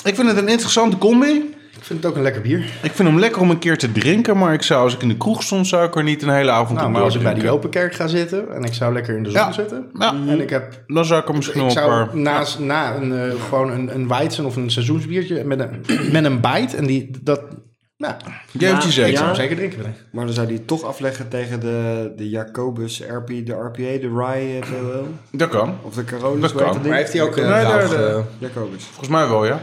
Speaker 5: Ik vind het een interessante combi.
Speaker 2: Ik vind het ook een lekker bier.
Speaker 5: Ik vind hem lekker om een keer te drinken, maar ik zou, als ik in de kroeg stond, zou ik er niet een hele avond
Speaker 2: Nou,
Speaker 5: op
Speaker 2: maar als ik bij
Speaker 5: blijven
Speaker 2: die
Speaker 5: drinken.
Speaker 2: open kerk ga zitten en ik zou lekker in de zon
Speaker 5: Ja.
Speaker 2: zitten.
Speaker 5: Ja,
Speaker 2: En ik heb
Speaker 5: dan zou ik er misschien wel
Speaker 2: Ik
Speaker 5: een paar...
Speaker 2: zou naast, na een, eh, gewoon een, een Weizen of een seizoensbiertje met een, met een bite. En die, dat, nou,
Speaker 5: Jeugdje
Speaker 3: Ja,
Speaker 5: zeker.
Speaker 3: ja.
Speaker 2: zou zeker drinken. willen.
Speaker 3: Maar dan zou die het toch afleggen tegen de, de Jacobus RP, de RPA, de Rye eh, VOL.
Speaker 5: Dat kan.
Speaker 3: Of de Carolus,
Speaker 5: Dat
Speaker 3: hoe heet
Speaker 5: kan.
Speaker 3: dat
Speaker 5: Maar
Speaker 3: ding?
Speaker 2: hij ook eh,
Speaker 5: Nee, daar, daar.
Speaker 3: Jacobus.
Speaker 5: Volgens mij wel, ja.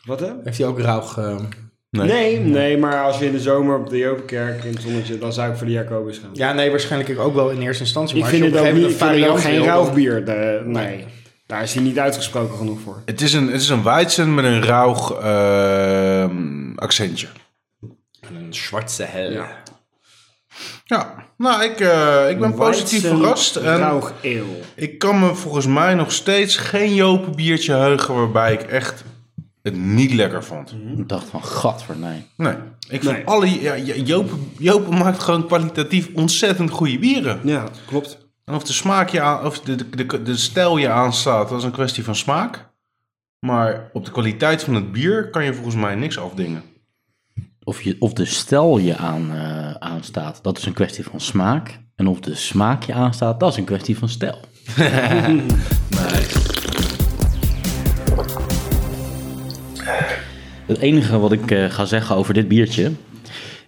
Speaker 3: Wat hè?
Speaker 2: Heeft hij ook rauw...
Speaker 5: Nee.
Speaker 3: Nee. nee, maar als je in de zomer op de Jopenkerk in het zonnetje, dan zou ik voor de Jacobus gaan.
Speaker 2: Ja, nee, waarschijnlijk ook wel in eerste instantie.
Speaker 3: ik
Speaker 2: Maar
Speaker 3: vind
Speaker 2: als
Speaker 3: het
Speaker 2: je
Speaker 3: ook,
Speaker 2: op een
Speaker 3: niet,
Speaker 2: gegeven
Speaker 3: ik vind
Speaker 2: moment
Speaker 3: het
Speaker 2: een
Speaker 3: ook geen
Speaker 2: variant wil,
Speaker 3: rauwbier. de- nee, daar is hij niet uitgesproken genoeg voor.
Speaker 5: Het is een, het is een Weizen met een rauw ehm, accentje.
Speaker 3: Eh,
Speaker 2: dan- Een zwarte hel.
Speaker 3: Ja.
Speaker 5: Ja, nou, ik, eh, ik ben positief
Speaker 3: Weizen
Speaker 5: verrast. En
Speaker 3: Rauw ale.
Speaker 5: ik kan me volgens mij nog steeds geen Jopen biertje heugen waarbij ik echt het niet lekker vond.
Speaker 1: Ik dacht van, gadver, nee.
Speaker 5: Nee, ik vind
Speaker 3: Mhm. Nee.
Speaker 5: alle... Ja, ja, Jopen, Jopen maakt gewoon kwalitatief ontzettend goede bieren.
Speaker 3: Ja, klopt.
Speaker 5: En of de smaak je aan, of de, de, de, de stijl je aanstaat, dat is een kwestie van smaak. Maar op de kwaliteit van het bier kan je volgens mij niks afdingen.
Speaker 1: Of, je, of de stijl je aan, eh, aanstaat, dat is een kwestie van smaak. En of de smaak je aanstaat, dat is een kwestie van stijl. Het enige wat ik eh, ga zeggen over dit biertje...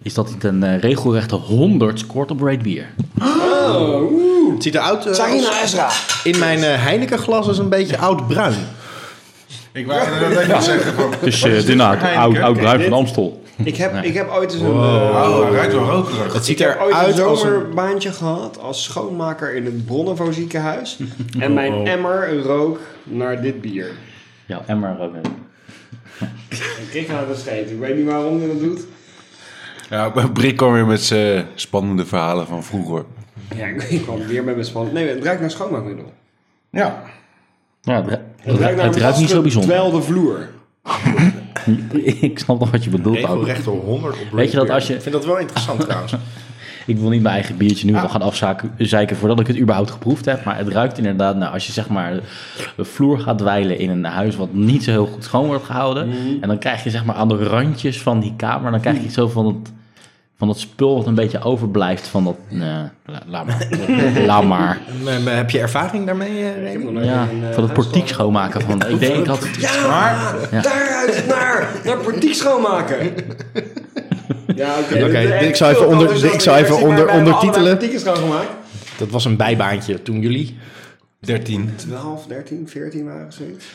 Speaker 1: is dat het een eh, regelrechte 100 quarter breed bier.
Speaker 2: Het ziet eruit eh,
Speaker 3: Sarina
Speaker 2: als-
Speaker 3: Ezra.
Speaker 2: in mijn eh Heineken glas is een beetje oud-bruin.
Speaker 5: Ik wou inderdaad even zeggen van...
Speaker 1: Dus
Speaker 5: is
Speaker 1: uh,
Speaker 5: dit voor Heineken?
Speaker 1: oud, oud bruin
Speaker 3: dit-
Speaker 1: van Amstel.
Speaker 3: Ik heb, ik heb ooit eens een... eh,
Speaker 5: Oh, hij ruikt wel rokerig.
Speaker 2: Het ziet
Speaker 3: Ik heb ooit een
Speaker 2: eruit als een...
Speaker 3: zomerbaantje gehad als schoonmaker in het Bronnevo ziekenhuis. En mijn emmer rook naar dit bier.
Speaker 1: Ja, Emmer ook. eh.
Speaker 3: Ik kreeg aan de scheet. Ik weet niet waarom hij dat doet.
Speaker 5: Ja, Brik kwam weer met zijn spannende verhalen van vroeger.
Speaker 3: Ja, ik, ik kwam weer bij mijn span. Nee, het ruikt naar schoonmaakmiddel.
Speaker 5: Ja.
Speaker 1: Ja, het, ru- het ru- het ruikt niet zo bijzonder.
Speaker 3: Terwijl de vloer.
Speaker 1: ik snap nog wat je bedoelt. ook.
Speaker 2: Regelrecht door 100 op
Speaker 1: Weet je dat als je...
Speaker 2: Ik vind dat wel interessant trouwens.
Speaker 1: Ik wil niet mijn eigen biertje
Speaker 3: Ah.
Speaker 1: nu al gaan afzeiken voordat ik het überhaupt geproefd heb. Maar het ruikt inderdaad, nou, als je zeg maar de vloer gaat dweilen in een huis wat niet zo heel goed schoon wordt gehouden.
Speaker 3: Mhm.
Speaker 1: En dan krijg je zeg maar aan de randjes van die kamer, dan krijg je zo van het, van dat spul wat een beetje overblijft van dat... Nee, la- laat maar. laat maar.
Speaker 2: Maar- maar Heb je ervaring daarmee, eh,
Speaker 3: Ik
Speaker 2: Remy?
Speaker 3: heb nog nooit
Speaker 1: Ja,
Speaker 3: een, eh,
Speaker 1: van het portiek
Speaker 3: huisstad.
Speaker 1: schoonmaken. Van, ik denk, ik had...
Speaker 3: Ja, daar ruikt het naar. Naar portiek schoonmaken. Ja, oké.
Speaker 2: Oké,
Speaker 3: Dit-
Speaker 2: ik zou even
Speaker 3: veel
Speaker 2: onder-
Speaker 3: anders
Speaker 2: ik
Speaker 3: dan
Speaker 2: zou
Speaker 3: de
Speaker 2: even
Speaker 3: versie waarbij
Speaker 2: onder-
Speaker 3: we allebei
Speaker 2: ondertitelen.
Speaker 3: portieken schoongemaakt.
Speaker 2: Dat was een bijbaantje toen jullie...
Speaker 5: 13.
Speaker 3: 12, 13, 14 waren zoiets.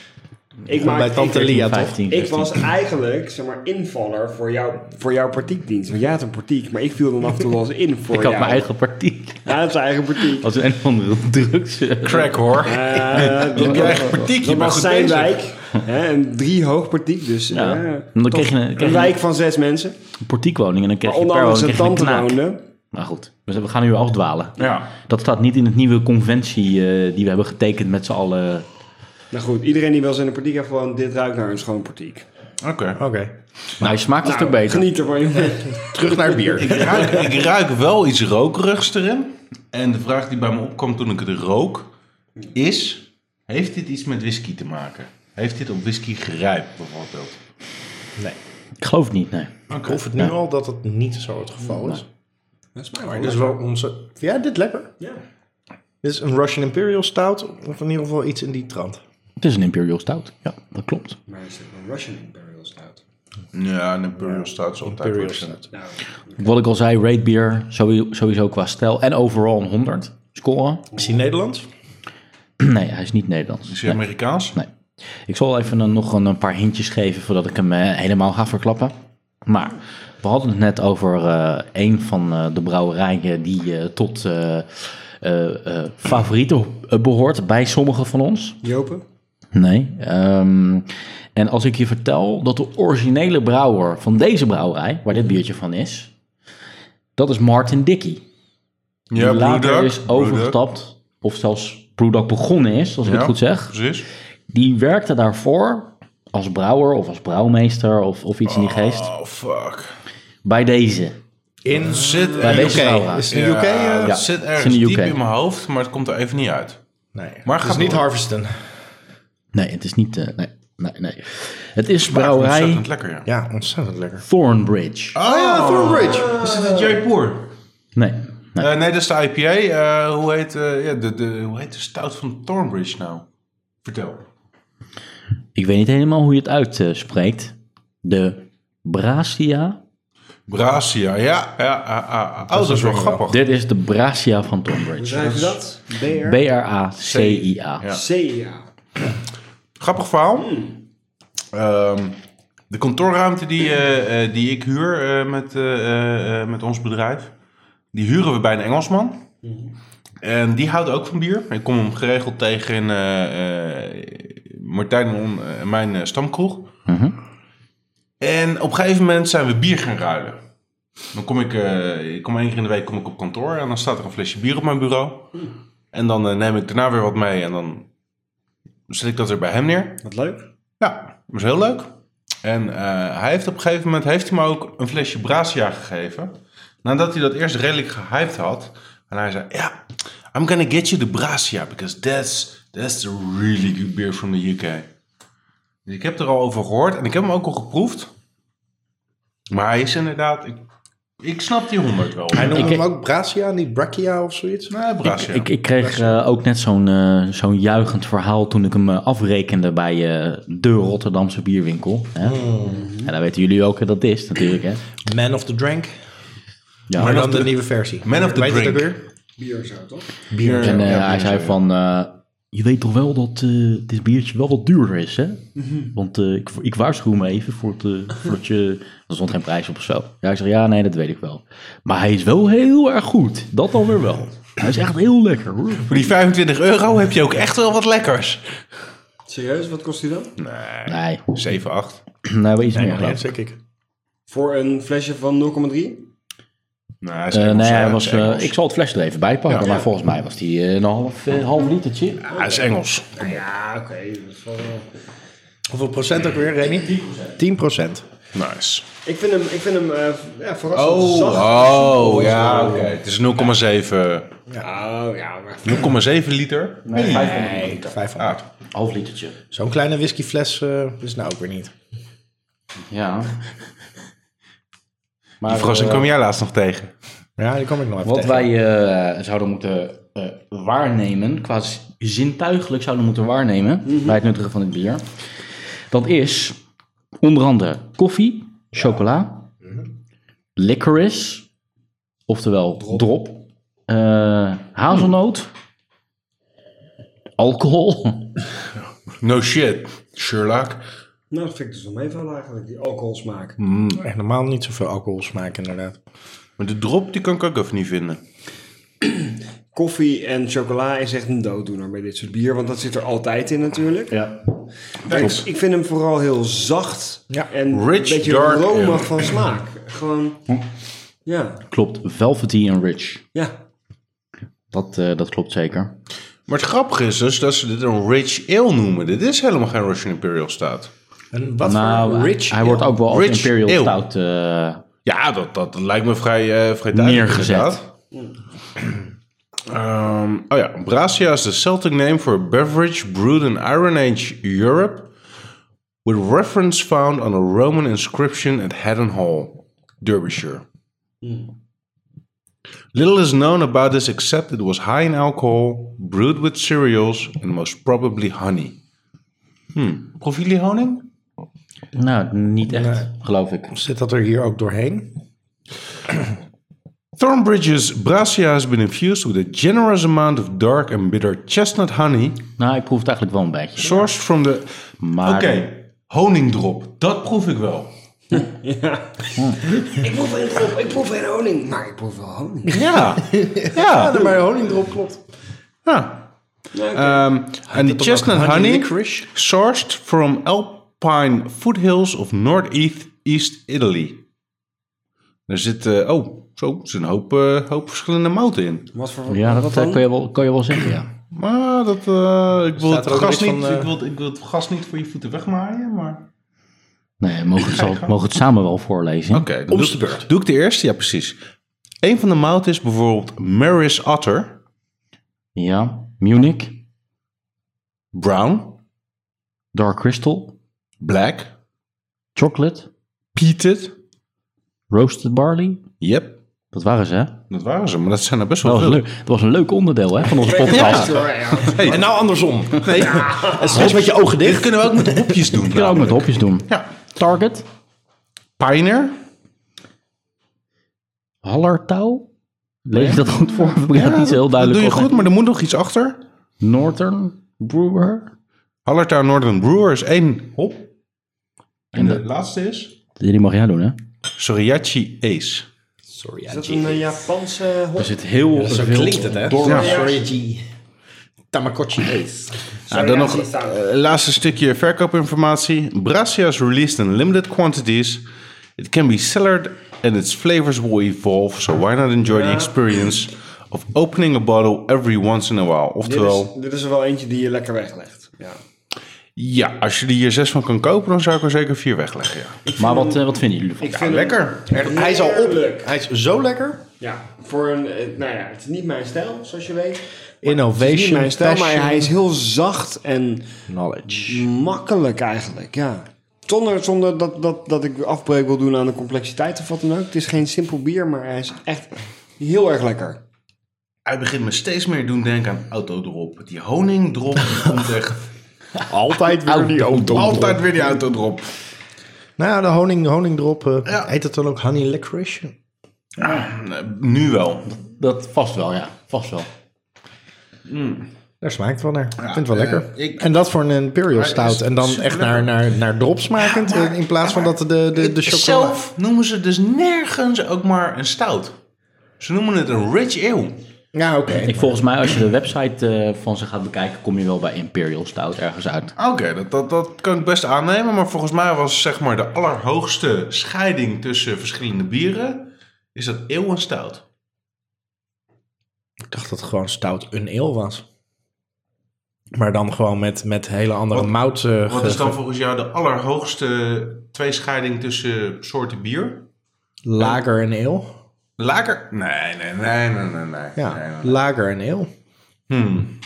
Speaker 3: Ik
Speaker 2: bij Tante
Speaker 3: ik-
Speaker 2: Lia, toch?
Speaker 1: 15,
Speaker 3: Ik
Speaker 1: 16.
Speaker 3: was eigenlijk zeg maar, invaller voor, jou, voor jouw partiekdienst. Want jij had een partiek, maar ik viel dan af en toe wel eens in voor
Speaker 1: Ik
Speaker 3: jou.
Speaker 1: had mijn eigen partiek.
Speaker 3: Ja, hij had zijn eigen partiek.
Speaker 1: Als een of andere drugs... eh,
Speaker 5: Crack hoor.
Speaker 3: Eh, dat-
Speaker 5: je eigen partiek,
Speaker 3: dat
Speaker 5: je bent
Speaker 3: was
Speaker 5: goed
Speaker 3: zijn
Speaker 5: bezig.
Speaker 3: wijk. Hè, een driehoog partiek, dus
Speaker 1: Ja,
Speaker 3: eh,
Speaker 1: dan kreeg je een- kreeg je een-
Speaker 3: wijk van zes mensen.
Speaker 1: een portiekwoning en dan
Speaker 3: Maar
Speaker 1: krijg je
Speaker 3: onder
Speaker 1: per
Speaker 3: andere
Speaker 1: woning
Speaker 3: zijn
Speaker 1: krijg je een
Speaker 3: tante
Speaker 1: knaak.
Speaker 3: woonde.
Speaker 1: Maar goed, dus we we gaan nu afdwalen.
Speaker 5: Ja.
Speaker 1: Dat staat niet in het nieuwe conventie eh, die we hebben getekend met z'n allen.
Speaker 3: Nou goed, iedereen die wel eens in een partiek heeft gewoon dit ruikt naar een schoon partiek.
Speaker 5: Oké.
Speaker 2: Oké.
Speaker 1: Nou, je smaakt een
Speaker 3: Nou,
Speaker 1: stuk beter.
Speaker 3: Geniet ervan, jongen.
Speaker 2: Terug naar het bier.
Speaker 5: Ik ruik, ik ruik wel iets rokerigs erin. En de vraag die bij me opkwam toen ik het rook is: heeft dit iets met whisky te maken? Heeft dit op whisky gerijpt bijvoorbeeld?
Speaker 2: Nee.
Speaker 1: Ik geloof het niet, nee.
Speaker 2: Ik hoef het nu al dat het niet zo het geval is.
Speaker 3: Dat is
Speaker 2: Maar dit is wel onze... Vind jij dit lekker?
Speaker 3: Ja.
Speaker 2: Dit is een Russian Imperial Stout. Of in ieder geval iets in die trant.
Speaker 1: Het is een Imperial Stout. Ja, dat klopt.
Speaker 3: Maar is het een Russian Imperial Stout?
Speaker 5: Ja, een Imperial Stout is altijd
Speaker 2: Imperial
Speaker 5: Russian.
Speaker 2: Stout.
Speaker 3: Nou,
Speaker 1: Wat ik al zei, Raid Beer sowieso, sowieso qua stijl en overal een 100 scoren.
Speaker 2: Is die Nederlands?
Speaker 1: Nee, hij is niet Nederlands.
Speaker 5: Is hij Amerikaans?
Speaker 1: Nee. Ik zal even een- nog een, een paar hintjes geven voordat ik hem eh, helemaal ga verklappen. Maar we hadden het net over eh, een van eh, de brouwerijen die eh, tot eh, eh, eh, favorieten eh, behoort bij sommigen van ons.
Speaker 3: Jopen?
Speaker 1: Nee. ehm, en als ik je vertel dat de originele brouwer van deze brouwerij, waar dit
Speaker 5: Mhm.
Speaker 1: biertje van is, dat is Martin Dickey. Die
Speaker 5: Ja,
Speaker 1: later
Speaker 5: Brewdog.
Speaker 1: is overgestapt, of zelfs Brewdog begonnen is, als ik
Speaker 5: Ja,
Speaker 1: het goed zeg.
Speaker 5: Precies.
Speaker 1: Die werkte daarvoor als brouwer of als brouwmeester of, of iets in die geest.
Speaker 5: Oh fuck.
Speaker 1: Bij deze.
Speaker 2: In
Speaker 5: Zit
Speaker 1: Bij
Speaker 5: ergens-
Speaker 1: deze brouwerij.
Speaker 2: Is het in de UK? eh?
Speaker 5: Ja,
Speaker 1: Ja,
Speaker 5: dat zit
Speaker 1: het is
Speaker 5: ergens
Speaker 1: in de
Speaker 5: diep
Speaker 1: UK.
Speaker 5: in mijn hoofd, maar het komt er even niet uit.
Speaker 2: Nee.
Speaker 5: Maar
Speaker 2: Maar
Speaker 5: gaat
Speaker 2: gaat niet
Speaker 5: door.
Speaker 2: Harvesten.
Speaker 1: Nee, het is niet... eh, nee, nee, nee. Het is
Speaker 5: Maar
Speaker 1: brouwerij
Speaker 5: Ontzettend lekker, ja.
Speaker 2: Ja, ontzettend lekker.
Speaker 5: Ah.
Speaker 1: Thornbridge.
Speaker 2: Oh ja, Thornbridge.
Speaker 5: Is dit het Jaipur?
Speaker 1: Nee, nee.
Speaker 5: Eh, nee, dat is de IPA. Eh, hoe, heet, eh, ja, de, de, hoe heet de stout van Thornbridge nou? Vertel.
Speaker 1: Ik weet niet helemaal hoe je het uitspreekt. De Bracia.
Speaker 5: Bracia, ja. ja ah, ah, ah. Oh, dat is wel grappig.
Speaker 1: Dit is de Bracia van
Speaker 3: Hoe
Speaker 1: Tonbridge.
Speaker 3: schrijf je dat? BR?
Speaker 1: B-R-A-C-I-A.
Speaker 5: Ja.
Speaker 3: CA.
Speaker 5: Grappig verhaal. Ehm, de kantoorruimte die, eh, eh, die ik huur eh, met, eh, eh, eh, met ons bedrijf, die huren we bij een Engelsman. En die houdt ook van bier. Ik kom hem geregeld tegen in eh, eh, Martijn en On- eh, mijn eh, stamkroeg.
Speaker 1: Mhm.
Speaker 5: En op een gegeven moment zijn we bier gaan ruilen. Dan kom ik, eh, ik kom één keer in de week kom ik op kantoor en dan staat er een flesje bier op mijn bureau. En dan eh, neem ik daarna weer wat mee en dan zet ik dat er bij hem neer.
Speaker 3: Wat leuk.
Speaker 5: Ja, was heel leuk. En eh, hij heeft op een gegeven moment heeft hij me ook een flesje Bracia gegeven. Nadat hij dat eerst redelijk gehyped had. En hij zei, ja, I'm gonna get you the Bracia. Because that's, that's the really good beer from the UK. Dus ik heb er al over gehoord. En ik heb hem ook al geproefd. Maar hij is inderdaad... Ik, ik snap die 100 wel.
Speaker 2: Hij noemde
Speaker 1: Ik-
Speaker 2: hem Ehm, ook Bracia, niet Brachia of zoiets.
Speaker 5: Nee, Bracia.
Speaker 1: Ik, ik kreeg eh, ook net zo'n eh, zo'n juichend verhaal toen ik hem eh, afrekende bij eh, de Rotterdamse bierwinkel. Hè? En dan weten jullie ook dat dat is natuurlijk. Hè?
Speaker 2: Man of the Drank.
Speaker 1: Ja.
Speaker 2: Maar
Speaker 5: Man
Speaker 2: dan
Speaker 5: of
Speaker 2: de
Speaker 5: the-
Speaker 2: nieuwe versie.
Speaker 5: Man of the
Speaker 2: Weet je het
Speaker 5: Drink.
Speaker 2: ook weer?
Speaker 3: Bier zo, toch?
Speaker 5: bier.
Speaker 1: En eh,
Speaker 5: Ja,
Speaker 1: hij
Speaker 5: bier,
Speaker 1: zei
Speaker 5: ja.
Speaker 1: van, eh, je weet toch wel dat eh, dit biertje wel wat duurder is, hè? Want eh, ik, ik waarschuw me even voor het, eh, voordat je... Er stond geen prijs op of zo. Ja, ik zeg, ja, nee, dat weet ik wel. Maar hij is wel heel erg goed. Dat dan weer wel. Hij is echt heel lekker, hoor.
Speaker 5: Voor die 25 euro heb je ook echt wel wat lekkers.
Speaker 3: Serieus, wat kost die dan?
Speaker 1: Nee,
Speaker 5: 7, 8.
Speaker 1: nee wel iets meer.
Speaker 2: Ja,
Speaker 1: geloof
Speaker 2: dat
Speaker 1: ik.
Speaker 2: zeg ik.
Speaker 3: Voor een flesje van 0,3?
Speaker 5: Nee, Nou, hij is
Speaker 1: Eh,
Speaker 5: Engels,
Speaker 1: nee,
Speaker 5: hè,
Speaker 1: hij
Speaker 5: het
Speaker 1: was,
Speaker 5: is
Speaker 1: eh,
Speaker 5: Engels.
Speaker 1: ik zal het flesje er even bij pakken, maar volgens mij was die eh, een half, eh, half litertje.
Speaker 5: Hij is Engels.
Speaker 3: Ja, oké. dat is wel-
Speaker 2: Hoeveel procent ook weer, Remy? 10 procent.
Speaker 5: Nice.
Speaker 3: Ik vind hem, ik vind hem eh, ja, verrassend
Speaker 5: Oh,
Speaker 3: zacht.
Speaker 5: oh ja, oké. Het is 0,7
Speaker 3: Oh, ja, maar...
Speaker 5: 0,7 liter. Nee,
Speaker 2: Nee, 500.
Speaker 5: Ah,
Speaker 1: Half litertje.
Speaker 2: Zo'n kleine whiskyfles eh, is nou ook weer niet.
Speaker 1: Ja. Maar,
Speaker 5: die verrassing
Speaker 1: eh,
Speaker 5: kwam jij laatst nog tegen.
Speaker 2: Ja, die kom ik nog even
Speaker 1: Wat
Speaker 2: tegen.
Speaker 1: wij eh, zouden moeten eh, waarnemen, qua z- zintuigelijk zouden moeten waarnemen bij het nuttigen van dit bier, dat is onder andere koffie, chocola, licorice, oftewel drop, eh, hazelnoot, alcohol.
Speaker 5: No shit, Sherlock.
Speaker 3: Nou, dat vind ik dus wel meevallen eigenlijk, die alcoholsmaak.
Speaker 2: Echt normaal niet zoveel alcohol smaken, inderdaad.
Speaker 5: Maar de drop die kan ik ook even niet vinden.
Speaker 3: Koffie en chocola is echt een dooddoener bij dit soort bier, want dat zit er altijd in natuurlijk.
Speaker 1: Ja.
Speaker 3: Ik, ik vind hem vooral heel zacht
Speaker 2: Ja.
Speaker 3: en
Speaker 5: Rich,
Speaker 3: een beetje
Speaker 5: dark Hm.
Speaker 3: romig
Speaker 5: en-
Speaker 3: van smaak. Gewoon, ja,
Speaker 1: Klopt, velvety en rich.
Speaker 3: ja.
Speaker 1: Dat, eh, dat klopt zeker.
Speaker 5: Maar het grappige is dus dat ze dit een rich ale noemen. Dit is helemaal geen Russian Imperial Stout.
Speaker 2: En wat
Speaker 1: nou,
Speaker 2: voor rich...
Speaker 1: hij, hij wordt ook wel als
Speaker 5: Rich
Speaker 1: Imperial
Speaker 5: ale.
Speaker 1: Stout eh,
Speaker 5: Ja, dat, dat lijkt me vrij, eh vrij duidelijk.
Speaker 1: neergezet.
Speaker 5: inderdaad. Ehm, oh ja, Bracia is de Celtic name for a beverage brewed in Iron Age Europe. With reference found on a Roman inscription at Haddon Hall, Derbyshire. Little is known about this except it was high in alcohol, brewed with cereals and most probably honey. Hmm. Proef jullie honing?
Speaker 1: Nou, niet echt, geloof ik.
Speaker 2: Zit dat er hier ook doorheen?
Speaker 5: Thornbridge's Bracia has been infused with a generous amount of dark and bitter chestnut honey
Speaker 1: Nou, ik proef het eigenlijk wel een beetje.
Speaker 5: sourced from the...
Speaker 1: Maar
Speaker 5: honingdrop, dat proef ik wel.
Speaker 3: Ik proef geen drop, ik proef geen honing, maar ik proef wel honing.
Speaker 5: Ja, ja.
Speaker 2: Maar honingdrop klopt.
Speaker 5: ja. Ehm, En die chestnut honey
Speaker 2: licorice?
Speaker 5: sourced from alpine foothills of northeast East Italy. Er zit, eh, oh, zo, er zit een hoop, eh, hoop verschillende mouten in.
Speaker 3: Wat voor
Speaker 1: ja, dat
Speaker 3: wat
Speaker 1: eh,
Speaker 3: dan?
Speaker 1: kan, je wel, kan je wel zeggen, ja.
Speaker 5: Maar dat, eh, ik, wil
Speaker 2: Staat
Speaker 5: het
Speaker 2: er ook
Speaker 5: gas
Speaker 2: iets
Speaker 5: niet,
Speaker 2: van, eh,
Speaker 5: ik, wil, ik wil het gas niet voor je voeten wegmaaien, maar...
Speaker 1: Nee, mogen we het, zal- mogen we het samen wel voorlezen.
Speaker 5: Oké, dan doe, ik- doe ik de eerste? Ja, precies. Een van de mouten is bijvoorbeeld Maris Otter,
Speaker 1: Ja, Munich,
Speaker 5: Brown,
Speaker 1: Dark Crystal,
Speaker 5: Black,
Speaker 1: Chocolate,
Speaker 5: Peated.
Speaker 1: Roasted Barley.
Speaker 5: Yep,
Speaker 1: Dat waren ze, hè?
Speaker 5: dat waren ze, maar dat zijn er best wel
Speaker 1: Dat was,
Speaker 5: veel.
Speaker 1: Oh, leuk, dat was een leuk onderdeel, hè, van onze podcast.
Speaker 3: Ja, ja.
Speaker 2: En nou andersom. Nee. En steeds met je ogen
Speaker 5: Dit
Speaker 2: dicht.
Speaker 5: kunnen we ook met hopjes doen.
Speaker 1: Dat kunnen we ook met hopjes doen.
Speaker 5: Ja.
Speaker 1: Target,
Speaker 5: Pioneer,
Speaker 1: Hallertau. Lees je dat goed voor? Ik heb het niet zo heel
Speaker 5: dat
Speaker 1: duidelijk
Speaker 5: doe je
Speaker 1: op, hè?
Speaker 5: goed, maar er moet nog iets achter.
Speaker 1: Northern Brewer.
Speaker 5: Hallertau Northern Brewer is één hop. En
Speaker 1: de-
Speaker 5: de laatste is?
Speaker 1: Die mag jij doen, hè?
Speaker 5: Soriachi Ace.
Speaker 2: Sorry,
Speaker 3: Is dat een eh, Japanse hop?
Speaker 1: Er zit heel
Speaker 2: Zo
Speaker 1: veel
Speaker 2: klinkt het,
Speaker 5: Oh,
Speaker 2: hè?
Speaker 1: dorp.
Speaker 2: Sorry, G. Tamagotchi Ace.
Speaker 5: Ja, dan nog eh, laatste stukje verkoopinformatie. Bracia is released in limited quantities. It can be cellared and its flavors will evolve, so why not enjoy the experience of opening a bottle every once in a while?
Speaker 3: Dit
Speaker 5: Oftewel,
Speaker 3: is, dit is er wel eentje die je lekker weglegt. Ja.
Speaker 5: ja, als je er hier zes van kan kopen, dan zou ik er zeker vier wegleggen. Ja,
Speaker 1: Maar wat, eh, wat vinden jullie ervan?
Speaker 5: ja lekker.
Speaker 2: Hij is al op.
Speaker 3: Heerlijk.
Speaker 2: Hij is zo lekker.
Speaker 3: Ja, voor een, eh, nou ja, het is niet mijn stijl, zoals je weet. Het is niet
Speaker 2: Innovation,
Speaker 3: mijn stijl, maar
Speaker 2: passion,
Speaker 3: hij is heel zacht en
Speaker 2: knowledge.
Speaker 3: makkelijk eigenlijk, ja. Zonder, zonder dat, dat, dat ik afbreuk wil doen aan de complexiteit of wat dan ook. Het is geen simpel bier, maar hij is echt heel erg lekker.
Speaker 5: Hij begint me steeds meer doen denken aan autodrop. Die honingdrop die komt echt
Speaker 2: Altijd weer die
Speaker 5: altijd weer die autodrop.
Speaker 2: Nou ja, de honing, honingdrop. eh,
Speaker 5: Ja.
Speaker 2: Heet dat dan ook honey licorice?
Speaker 5: Nee, Nu wel.
Speaker 1: Dat vast wel, ja. Vast wel.
Speaker 2: Daar smaakt wel naar. ik vind het wel
Speaker 5: eh,
Speaker 2: lekker.
Speaker 5: ik-
Speaker 2: en dat voor een Imperial
Speaker 5: Maar het is
Speaker 2: Stout. En dan echt naar,
Speaker 5: superlekker.
Speaker 2: naar, naar drop smakend. eh, in plaats van dat de, de, de chocola...
Speaker 5: Zelf noemen ze dus nergens ook maar een stout. Ze noemen het een rich ale.
Speaker 2: Ja, oké.
Speaker 1: Ik, volgens mij, als je de website eh, van ze gaat bekijken, kom je wel bij Imperial Stout ergens uit.
Speaker 5: Oké, dat, dat, dat kan ik best aannemen. Maar volgens mij was zeg maar de allerhoogste scheiding tussen verschillende bieren... is dat eeuw en stout.
Speaker 2: Ik dacht dat gewoon stout een ale was. Maar dan gewoon met, met hele andere
Speaker 5: Wat-
Speaker 2: mout. eh,
Speaker 5: Wat is
Speaker 2: ge-
Speaker 5: dan volgens jou de allerhoogste tweescheiding tussen soorten bier?
Speaker 2: lager en ale.
Speaker 5: Laker? Nee, nee, nee, nee, nee. nee.
Speaker 2: Ja,
Speaker 5: Nee, nee, nee.
Speaker 2: lager en ale.
Speaker 5: Hmm.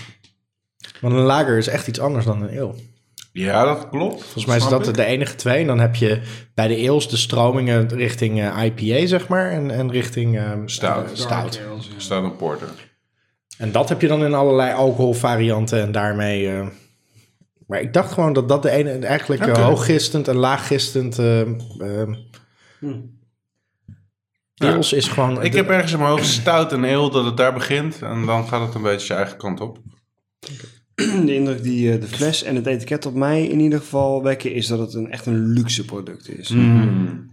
Speaker 2: Want een lager is echt iets anders dan een ale.
Speaker 5: Ja, dat klopt.
Speaker 2: Volgens mij is dat
Speaker 5: het.
Speaker 2: de enige twee. En dan heb je bij de ales de stromingen richting eh, IPA, zeg maar. En, en richting ehm,
Speaker 5: Stout.
Speaker 2: eh, stout.
Speaker 5: Staat een porter.
Speaker 2: En dat heb je dan in allerlei alcoholvarianten en daarmee... eh, maar ik dacht gewoon dat dat de ene eigenlijk eh,
Speaker 5: Oké.
Speaker 2: hooggistend en laaggistend... eh ehm, Ales is gewoon...
Speaker 5: Ik
Speaker 2: de-
Speaker 5: heb ergens in mijn hoofd stout en eel dat het daar begint. En dan gaat het een beetje zijn eigen kant op.
Speaker 3: De indruk die eh, de fles en het etiket op mij in ieder geval wekken... is dat het een, echt een luxe product is.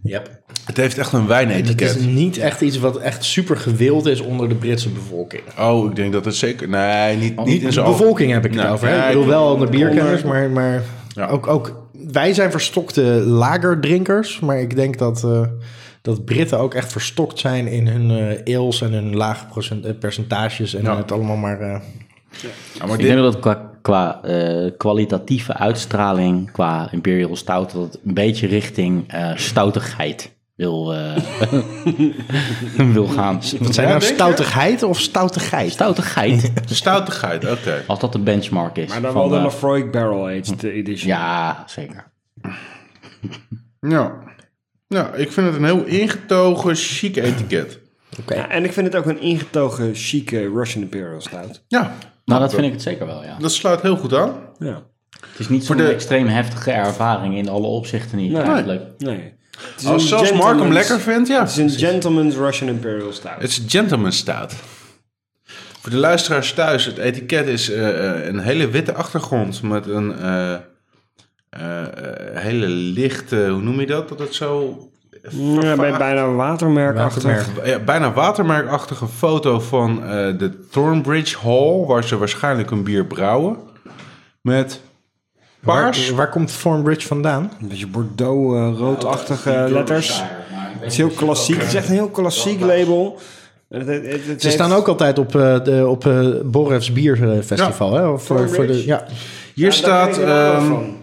Speaker 2: Yep.
Speaker 5: Het heeft echt een
Speaker 2: Het
Speaker 5: wijnetiket.
Speaker 2: is niet echt iets wat echt super gewild is onder de Britse bevolking.
Speaker 5: Oh, ik denk dat het zeker... Nee, niet, Oh, niet in
Speaker 2: de
Speaker 5: zijn
Speaker 2: bevolking heb ik het
Speaker 5: Nou,
Speaker 2: over. Hè?
Speaker 5: ja,
Speaker 2: Ik bedoel
Speaker 5: ik-
Speaker 2: wel onder bierkenners,
Speaker 3: onder-
Speaker 2: maar, maar
Speaker 5: Ja.
Speaker 2: ook, ook wij zijn verstokte lagerdrinkers. Maar ik denk dat, eh, dat Britten ook echt verstokt zijn in hun eh ales en hun lage procent, eh, percentages. En
Speaker 5: Ja.
Speaker 2: het allemaal maar... eh,
Speaker 5: Ja, maar
Speaker 1: Ik denk
Speaker 5: dit,
Speaker 1: dat het qua, qua eh, kwalitatieve uitstraling, qua Imperial Stout, dat het een beetje richting eh, stoutigheid wil, eh, wil gaan.
Speaker 2: wat zijn
Speaker 5: Ja,
Speaker 2: nou
Speaker 5: denk je?
Speaker 2: stoutigheid of stoutigheid?
Speaker 1: Stoutigheid,
Speaker 5: stoutigheid, oké.
Speaker 1: als dat de benchmark is.
Speaker 3: Maar dan
Speaker 1: van,
Speaker 3: wel de
Speaker 1: eh,
Speaker 3: Lafroy Barrel Aged Edition.
Speaker 1: Ja, zeker.
Speaker 5: Ja. ja, ik vind het een heel ingetogen, chic etiket.
Speaker 3: Ja, en ik vind het ook een ingetogen, chique Russian Imperial Stout.
Speaker 5: Ja,
Speaker 1: Nou, dat vind ik het zeker wel, ja.
Speaker 5: dat sluit heel goed aan.
Speaker 3: Ja.
Speaker 1: Het is niet zo'n
Speaker 5: Voor de-
Speaker 1: extreem heftige ervaring in alle opzichten niet, eigenlijk.
Speaker 3: Nee. Het is een
Speaker 5: Als zelfs Mark hem
Speaker 3: gentleman's-
Speaker 5: lekker vindt, ja.
Speaker 3: Het is een gentleman's Russian Imperial Stout.
Speaker 5: Het is gentleman stout. Voor de luisteraars thuis, het etiket is eh, eh, een hele witte achtergrond met een eh, eh, eh, hele lichte, hoe noem je dat? Dat het zo
Speaker 3: Ja, bij, bijna watermerkachtig.
Speaker 2: Watermerk.
Speaker 5: ja, bijna watermerkachtige foto van eh, de Thornbridge Hall, waar ze waarschijnlijk een bier brouwen. Met paars.
Speaker 2: Waar, waar komt Thornbridge vandaan?
Speaker 3: Een beetje Bordeaux-roodachtige letters. Het is heel klassiek. Het is echt een heel klassiek label. Het- het- het- het
Speaker 2: Ze
Speaker 3: heeft-
Speaker 2: staan ook altijd op, eh de, op eh Borrefs Bierfestival. Hè? eh, Voor, voor de,
Speaker 3: Thornbridge.
Speaker 2: ja.
Speaker 5: Hier
Speaker 3: Ja, daar
Speaker 5: staat.
Speaker 3: weet ik wel
Speaker 5: ehm,
Speaker 3: van.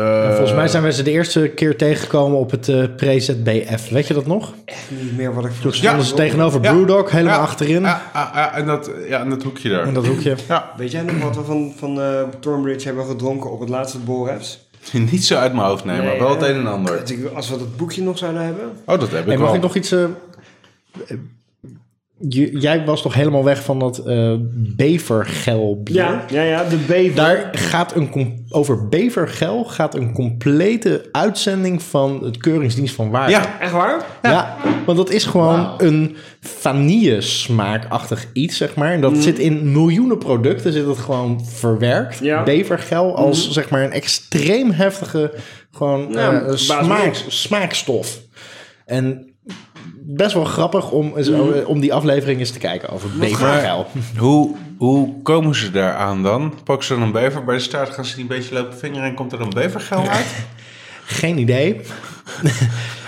Speaker 5: eh,
Speaker 2: Volgens mij zijn we ze de eerste keer tegengekomen op het eh pre-ZBF. Weet je dat nog?
Speaker 3: Niet meer wat ik
Speaker 2: Toen
Speaker 3: vroeg.
Speaker 2: stonden ze tegenover Brewdog, helemaal
Speaker 5: ja,
Speaker 2: achterin.
Speaker 5: Ja, ah, ah, en dat, ja, en dat hoekje daar.
Speaker 2: In dat hoekje.
Speaker 5: Ja,
Speaker 3: Weet jij nog wat we van, van eh, Thornbridge hebben gedronken op het laatste Borrefs?
Speaker 5: niet zo uit mijn hoofd nemen, maar wel het een en ander.
Speaker 3: Dat ik- Als we dat boekje nog zouden hebben.
Speaker 5: Oh, dat heb ik
Speaker 2: Hey, mag
Speaker 5: al.
Speaker 2: ik nog iets... eh, eh, j- jij was toch helemaal weg van dat eh bevergel bier?
Speaker 3: Ja, ja, ja. De bever.
Speaker 2: Daar gaat een... com- Over bevergel gaat een complete uitzending van het Keuringsdienst van Waarde.
Speaker 5: Ja,
Speaker 3: Echt waar?
Speaker 2: Ja. want dat is gewoon een vanille smaakachtig iets, zeg maar. En dat
Speaker 3: Mm.
Speaker 2: zit in miljoenen producten, zit dat gewoon verwerkt.
Speaker 3: Ja. Mm.
Speaker 2: Bevergel als, zeg maar, een extreem heftige gewoon,
Speaker 3: Ja,
Speaker 2: eh,
Speaker 3: baas
Speaker 2: smaak,
Speaker 3: niks.
Speaker 2: smaakstof. En best wel grappig om, eens-
Speaker 3: Mm.
Speaker 2: om die aflevering eens te kijken over bevergel.
Speaker 5: Hoe, hoe komen ze daar aan dan? Pakken ze dan een bever bij de staart? Gaan ze die een beetje lopen vingeren en komt er een bevergel uit?
Speaker 2: Geen idee.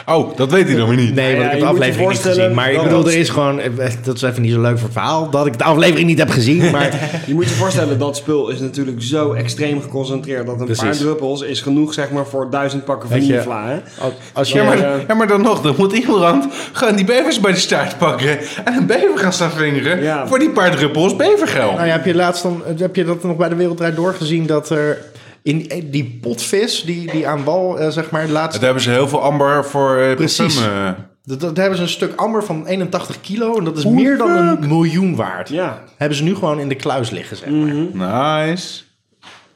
Speaker 5: Oh, dat weet hij dan weer niet.
Speaker 2: Nee, want
Speaker 3: ja,
Speaker 2: ik heb
Speaker 3: je moet
Speaker 2: de
Speaker 3: je
Speaker 2: aflevering niet
Speaker 3: voorstellen
Speaker 2: gezien. Maar ik
Speaker 3: dat-
Speaker 2: bedoel, er is gewoon... eh, Dat is even niet zo'n leuk verhaal, dat ik de aflevering niet heb gezien. Maar
Speaker 3: Je moet je voorstellen, dat spul is natuurlijk zo extreem geconcentreerd... dat een
Speaker 2: Precies.
Speaker 3: paar druppels is genoeg zeg maar, voor duizend pakken
Speaker 2: Weet je-
Speaker 3: vanilla. hè?
Speaker 2: als, als je...
Speaker 5: Ja maar,
Speaker 3: Ja.
Speaker 5: ja, maar dan nog, dan moet iemand gewoon die bevers bij de staart pakken en een bever gaan staan vingeren
Speaker 3: Ja.
Speaker 5: voor die paar druppels bevergel.
Speaker 2: Nou ja, heb je laatst dan, heb je dat nog bij de Wereldrijd doorgezien dat er in eh, die potvis die, die aan wal, eh, zeg maar, laatst,
Speaker 5: Daar hebben ze heel veel amber voor eh
Speaker 2: Precies.
Speaker 5: parfum, eh.
Speaker 2: dat, dat hebben ze een stuk amber van 81 kilo en dat is meer dan een miljoen waard.
Speaker 3: Ja,
Speaker 2: Hebben ze nu gewoon in de kluis liggen, zeg maar.
Speaker 5: Nice.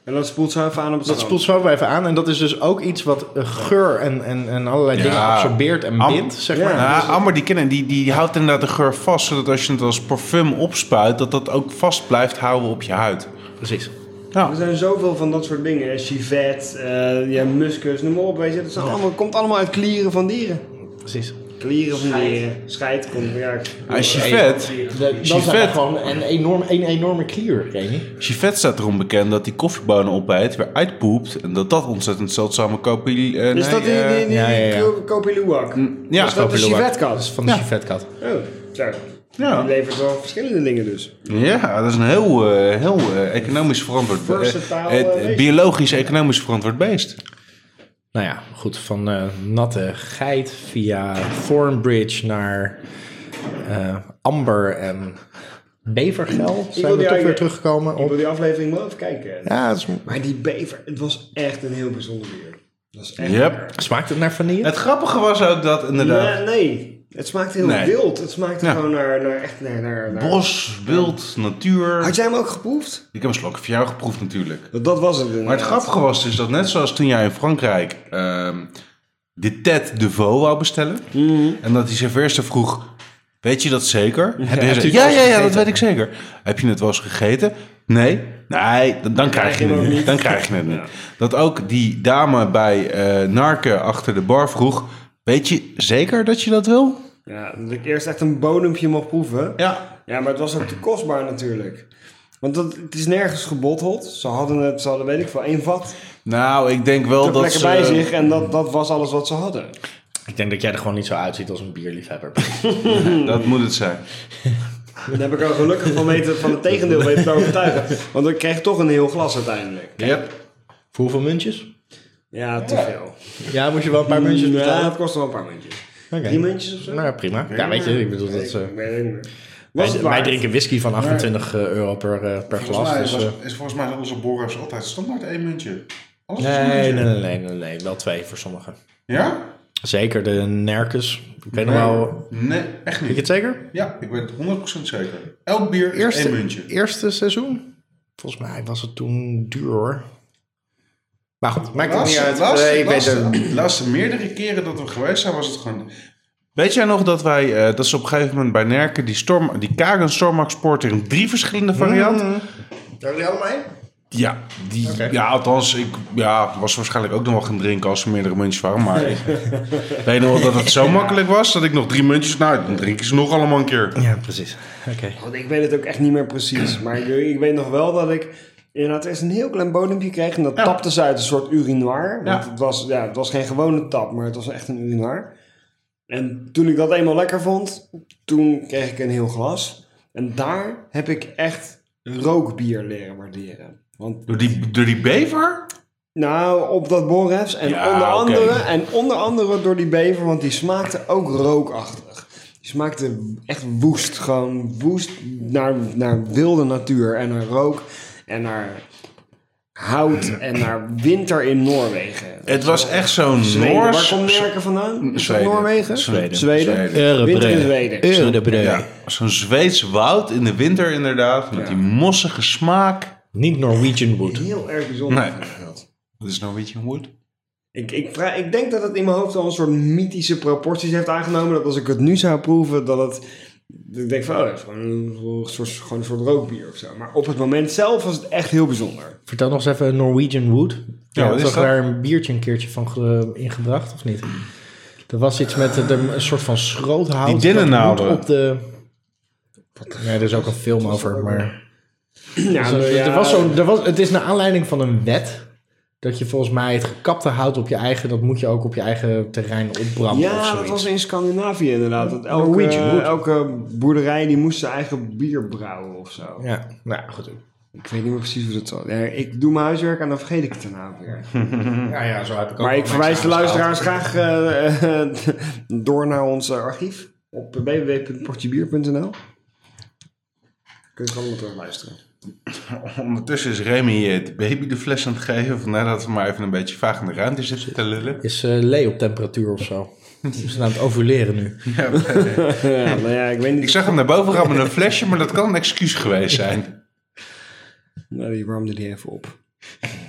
Speaker 3: en dat spoelt zo even aan op het
Speaker 2: Dat
Speaker 3: strand.
Speaker 2: spoelt zo wel even aan en dat is dus ook iets wat eh, geur en, en, en allerlei
Speaker 5: Ja.
Speaker 2: dingen absorbeert en
Speaker 5: Am-
Speaker 2: bindt, zeg
Speaker 3: Ja.
Speaker 2: maar.
Speaker 5: Nou, amber die kennen, die, die houdt inderdaad de geur vast, zodat als je het als parfum opspuit, dat dat ook vast blijft houden op je huid.
Speaker 2: Precies.
Speaker 5: Nou,
Speaker 3: Er zijn zoveel van dat soort dingen. hè. Civet, eh ja, muskus, noem maar op. Weet je. Dat zijn allemaal, komt allemaal uit klieren van dieren.
Speaker 2: Precies.
Speaker 3: Klieren van dieren. Scheid komt ja.
Speaker 5: Nou, als je vet,
Speaker 2: dat
Speaker 5: Civet.
Speaker 2: is gewoon een, enorm, een enorme klier, Remy.
Speaker 5: Chivet staat erom bekend dat hij koffiebonen opeet, weer uitpoept en dat dat ontzettend zeldzame kopie... eh,
Speaker 3: Is
Speaker 5: nee,
Speaker 3: Dus dat die, die,
Speaker 5: eh,
Speaker 3: die, die
Speaker 2: ja, ja, ja.
Speaker 3: ko- kopiluwak?
Speaker 5: Mm, ja,
Speaker 3: Is dat de
Speaker 5: kopiluwak.
Speaker 2: Dat is
Speaker 3: civetkas?
Speaker 2: van de civetkat.
Speaker 3: Oh, zo.
Speaker 5: Ja.
Speaker 3: Die levert wel verschillende dingen dus.
Speaker 5: Ja, dat is een heel, eh, heel eh, economisch verantwoord beest.
Speaker 3: Versatile, eh, beest.
Speaker 5: biologisch economisch verantwoord beest.
Speaker 2: Nou ja, goed, van eh, natte geit via Thornbridge naar eh, amber en bevergel zijn we
Speaker 3: die
Speaker 2: toch weer
Speaker 3: eigen-
Speaker 2: teruggekomen
Speaker 3: Ik
Speaker 2: op...
Speaker 3: wil die aflevering wel even kijken.
Speaker 2: Ja, het is-
Speaker 3: Maar die bever, het was echt een heel bijzonder dier. Dat is echt
Speaker 5: Yep.
Speaker 2: smaakt het naar vanille?
Speaker 5: Het grappige was ook dat
Speaker 3: Nee,
Speaker 5: inderdaad
Speaker 3: nee, het smaakt heel
Speaker 5: Nee.
Speaker 3: wild. Het smaakt
Speaker 5: Ja.
Speaker 3: gewoon naar, naar echt naar, naar, naar-
Speaker 5: bos, wild, natuur.
Speaker 3: Had jij hem ook geproefd?
Speaker 5: Ik heb een slokje voor jou geproefd natuurlijk.
Speaker 3: Dat, dat was het.
Speaker 5: Maar het grappige was dus dat net zoals toen jij in Frankrijk ehm de Tête de Vaux wou bestellen. En dat die serveerster vroeg, weet je dat zeker? En hij
Speaker 2: hebt u
Speaker 5: zei,
Speaker 2: het
Speaker 5: ja,
Speaker 2: wel eens
Speaker 5: ja, ja, dat
Speaker 2: gegeten?
Speaker 5: weet ik zeker. Heb je het wel eens gegeten? Nee. Nee, dan, dan krijg je
Speaker 3: hem
Speaker 5: het
Speaker 3: ook
Speaker 5: niet.
Speaker 3: niet.
Speaker 5: Dan krijg je het niet. Dat ook die dame bij eh Narken achter de bar vroeg, weet je zeker dat je dat wil?
Speaker 3: Ja, dat ik eerst echt een bodempje mocht proeven.
Speaker 5: Ja.
Speaker 3: Ja, maar het was ook te kostbaar natuurlijk. Want dat, het is nergens gebotteld. Ze hadden het, ze hadden weet ik veel, één vat
Speaker 5: Nou, ik denk wel
Speaker 3: ter
Speaker 5: dat
Speaker 3: plekke
Speaker 5: ze...
Speaker 3: bij zich. En dat, dat was alles wat ze hadden.
Speaker 2: Ik denk dat jij er gewoon niet zo uitziet als een bierliefhebber.
Speaker 5: Dat moet het zijn.
Speaker 3: Daar heb ik al gelukkig van, weten, van het tegendeel weten te overtuigen. Want ik kreeg toch een heel glas uiteindelijk.
Speaker 5: Yep.
Speaker 2: Voor hoeveel muntjes?
Speaker 3: Ja, te veel.
Speaker 2: Ja, moest je wel een paar muntjes
Speaker 3: Ja,
Speaker 2: betalen?
Speaker 3: dat kostte wel een paar muntjes.
Speaker 2: Oké.
Speaker 3: Mm, Drie muntjes of zo?
Speaker 2: Nou, prima. Ja, weet je, ik bedoel, dat is... eh,
Speaker 3: Ik weet het niet meer. Was
Speaker 2: wij,
Speaker 3: het
Speaker 2: wij
Speaker 3: waard?
Speaker 2: drinken whisky van 28 euro per, eh, per glas. Dus, eh,
Speaker 5: is volgens mij onze borrels altijd standaard één muntje.
Speaker 2: nee, nee, nee, nee, nee, nee, wel twee voor sommigen.
Speaker 5: Ja?
Speaker 2: Zeker de Nerkes. Ik weet nog wel... Weet
Speaker 5: Nee, echt
Speaker 2: je het zeker?
Speaker 5: Ja, ik weet het 100% zeker. Elk bier is
Speaker 2: eerste,
Speaker 5: één muntje.
Speaker 2: eerste seizoen. Volgens mij was het toen duur hoor. Maar goed, maakt het niet uit.
Speaker 5: laatste,
Speaker 2: Nee, ik weet
Speaker 5: laatste,
Speaker 2: het.
Speaker 5: laatste meerdere keren dat we geweest zijn, was het gewoon... Weet jij nog dat wij, eh, dat ze op een gegeven moment bij Nerken die, storm, die Kagen Stormax Porter in drie verschillende varianten...
Speaker 2: Mm. Daar jullie allemaal heen?
Speaker 5: Ja, die, ja, althans, ik ja, was waarschijnlijk ook nog wel gaan drinken als er meerdere muntjes waren. Maar ik weet nog wel dat het zo makkelijk was dat ik nog drie muntjes... Nou, dan drink ik ze nog allemaal een keer.
Speaker 2: Ja, precies. Oké.
Speaker 3: Want ik weet het ook echt niet meer precies. Maar ik, ik weet nog wel dat ik inderdaad eerst een heel klein bodempje kreeg. En dat tapte ze uit een soort urinoir. Want
Speaker 5: Ja.
Speaker 3: het, was, ja, het was geen gewone tap, maar het was echt een urinoir. En toen ik dat eenmaal lekker vond, toen kreeg ik een heel glas. En daar heb ik echt rookbier leren waarderen. Want
Speaker 5: Door die, door die bever?
Speaker 3: Nou, op dat Borrefs. En,
Speaker 5: Ja,
Speaker 3: onder
Speaker 5: oké.
Speaker 3: andere, en onder andere door die bever, want die smaakte ook rookachtig. Die smaakte echt woest. Gewoon woest naar, naar wilde natuur en naar rook en naar hout en naar winter in Noorwegen.
Speaker 5: Het was echt zo'n
Speaker 3: Zweden. Waar
Speaker 5: Noors...
Speaker 3: komt Nerken vandaan? Is dat
Speaker 5: Zweden.
Speaker 3: Noorwegen?
Speaker 5: Zweden.
Speaker 3: Zweden.
Speaker 5: Zweden.
Speaker 3: Winter in Zweden.
Speaker 5: Ja, zo'n Zweeds woud in de winter inderdaad. Met die mossige smaak.
Speaker 2: Niet Norwegian Wood.
Speaker 3: Heel erg bijzonder.
Speaker 5: Nee.
Speaker 3: vind ik dat.
Speaker 5: Dat is nou Norwegian Wood.
Speaker 3: Ik, ik, vraag, ik denk dat het in mijn hoofd al een soort mythische proporties heeft aangenomen. Dat als ik het nu zou proeven, dat het. dat Ik denk van, oh, dat is gewoon een soort, gewoon een soort rookbier of zo. Maar op het moment zelf was het echt heel bijzonder.
Speaker 2: Vertel nog eens even Norwegian Wood. Ja,
Speaker 5: wat
Speaker 2: had
Speaker 5: is
Speaker 2: toch
Speaker 5: dat?
Speaker 2: daar een biertje een keertje van ge- ingebracht, of niet? Er was iets met eh, de- een soort van schroothout.
Speaker 5: Die dennennaalden.
Speaker 2: dat moet Op de... Ja, er is ook een film over, maar...
Speaker 3: Ja,
Speaker 2: eh, Dus er, er was zo'n, er was, het is naar aanleiding van een wet. Dat je volgens mij het gekapte hout op je eigen, dat moet je ook op je eigen terrein opbranden of
Speaker 3: Ja, dat
Speaker 2: zoiets.
Speaker 3: was in Scandinavië inderdaad. Dat elke,
Speaker 2: Norwegian wood.
Speaker 3: elke boerderij die moest zijn eigen bier brouwen of zo.
Speaker 2: Ja, nou ja, goed.
Speaker 3: Ik weet niet meer precies hoe dat zat. Ja, ik doe mijn huiswerk en dan vergeet ik het daarna weer.
Speaker 2: Ja, ja, zo heb ik ook
Speaker 3: Maar
Speaker 2: wel
Speaker 3: ik
Speaker 2: mensen
Speaker 3: verwijs de
Speaker 2: aangehaald.
Speaker 3: luisteraars graag eh, eh, door naar ons eh, archief op www.portjebier.nl. Kun je het allemaal terug luisteren.
Speaker 5: Ondertussen is Remy eh, de baby de fles aan het geven. Vandaar dat we maar even een beetje vaag in de ruimte zitten te lullen.
Speaker 2: Is eh Lee op temperatuur of zo? Ze zijn aan het ovuleren nu.
Speaker 3: Ja, nou ja, ik weet
Speaker 5: Ik
Speaker 3: niet.
Speaker 5: zag hem naar boven gaan met een flesje, maar dat kan een excuus geweest zijn.
Speaker 3: Nou, die warmde die even op.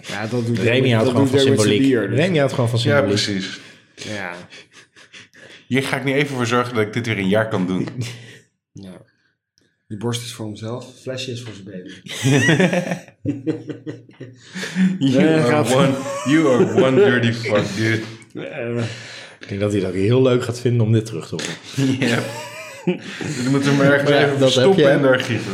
Speaker 3: Ja, dat doet
Speaker 2: Remy houdt
Speaker 3: dat
Speaker 2: gewoon
Speaker 3: doet
Speaker 2: van
Speaker 3: hij met zijn
Speaker 2: symboliek.
Speaker 3: bier, dus-
Speaker 2: Remy houdt gewoon van
Speaker 5: Ja,
Speaker 2: symboliek.
Speaker 5: precies.
Speaker 3: Ja.
Speaker 5: Hier ga ik nu even voor zorgen dat ik dit weer een jaar kan doen.
Speaker 3: ja. Die borst is voor hemzelf, het flesje is voor zijn baby.
Speaker 5: You,
Speaker 3: Nee,
Speaker 5: are,
Speaker 3: gaat-
Speaker 5: one, you are one dirty fuck, dude.
Speaker 3: Eh,
Speaker 2: ik denk dat hij dat heel leuk gaat vinden om dit terug te horen.
Speaker 5: Ja. We moeten hem ergens
Speaker 2: Maar ja,
Speaker 5: even
Speaker 2: dat
Speaker 5: verstoppen
Speaker 2: heb je,
Speaker 5: in de
Speaker 2: hè?
Speaker 5: archieven.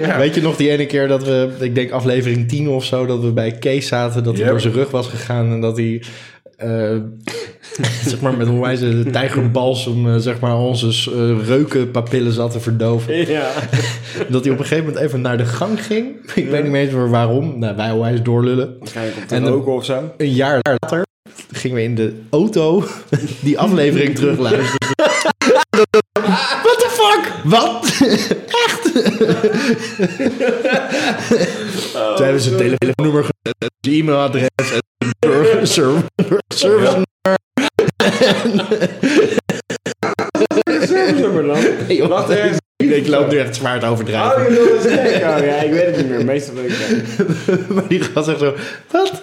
Speaker 5: Ja.
Speaker 2: Weet je nog die ene keer dat we, ik denk aflevering 10 of zo, dat we bij Kees zaten, dat hij
Speaker 5: Yep.
Speaker 2: door zijn rug was gegaan en dat hij, eh, zeg maar, met een wijze tijgerbalsem, eh, zeg maar, onze eh, reukenpapillen zat te verdoven.
Speaker 3: ja.
Speaker 2: Dat hij op een gegeven moment even naar de gang ging. Ik weet niet meer eens meer waarom. Nou, wij onwijs doorlullen.
Speaker 3: Waarschijnlijk op de
Speaker 2: En de-
Speaker 3: roken of zo.
Speaker 2: Een jaar later gingen we in de auto die aflevering terugluisteren. What the fuck? Wat? Echt? Toen hebben ze een telefoonnummer gezet, een e-mailadres en een burger- serv- service
Speaker 3: Nummer dan.
Speaker 2: nummer.
Speaker 3: Wacht even.
Speaker 2: Ik loop nu echt zwaar te overdrijven.
Speaker 3: Oh, je bedoelt dat is gek. Oh, ja, ik weet het niet meer. Meestal weet ik het.
Speaker 2: Maar die gast zegt zo, wat?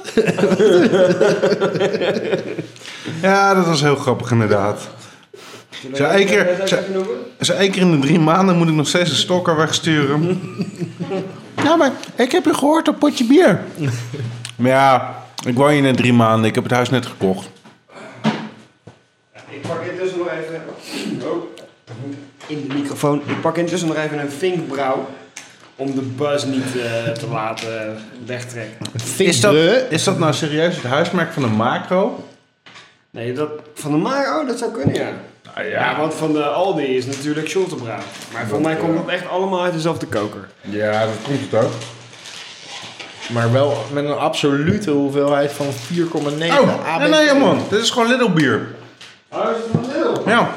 Speaker 5: Ja, dat was heel grappig inderdaad. Zo één keer, zo, zo één keer in de drie maanden moet ik nog steeds een stokker wegsturen. Ja, maar ik heb je gehoord op potje bier. Maar ja, ik woon hier net drie maanden. Ik heb het huis net gekocht.
Speaker 3: Ik pak intussen nog even. Oh, dat moet in de microfoon. Ik pak intussen nog even een vinkbrouw. Om de buzz niet eh, te laten wegtrekken.
Speaker 5: Is dat, is dat nou serieus het huismerk van de
Speaker 3: Oh,
Speaker 5: macro?
Speaker 3: Nee, dat van de Maro, dat zou kunnen, ja.
Speaker 2: Ah,
Speaker 5: Nou
Speaker 3: Ja, want van de Aldi is natuurlijk Schultebrouw. Maar voor mij komt dat echt allemaal uit dezelfde koker.
Speaker 5: ja, dat komt het ook.
Speaker 2: Maar wel met een absolute hoeveelheid van 4,9
Speaker 5: Oh, nee, nee man. Dit is gewoon Lidl bier.
Speaker 3: Oh, is het van Lidl?
Speaker 5: Ja.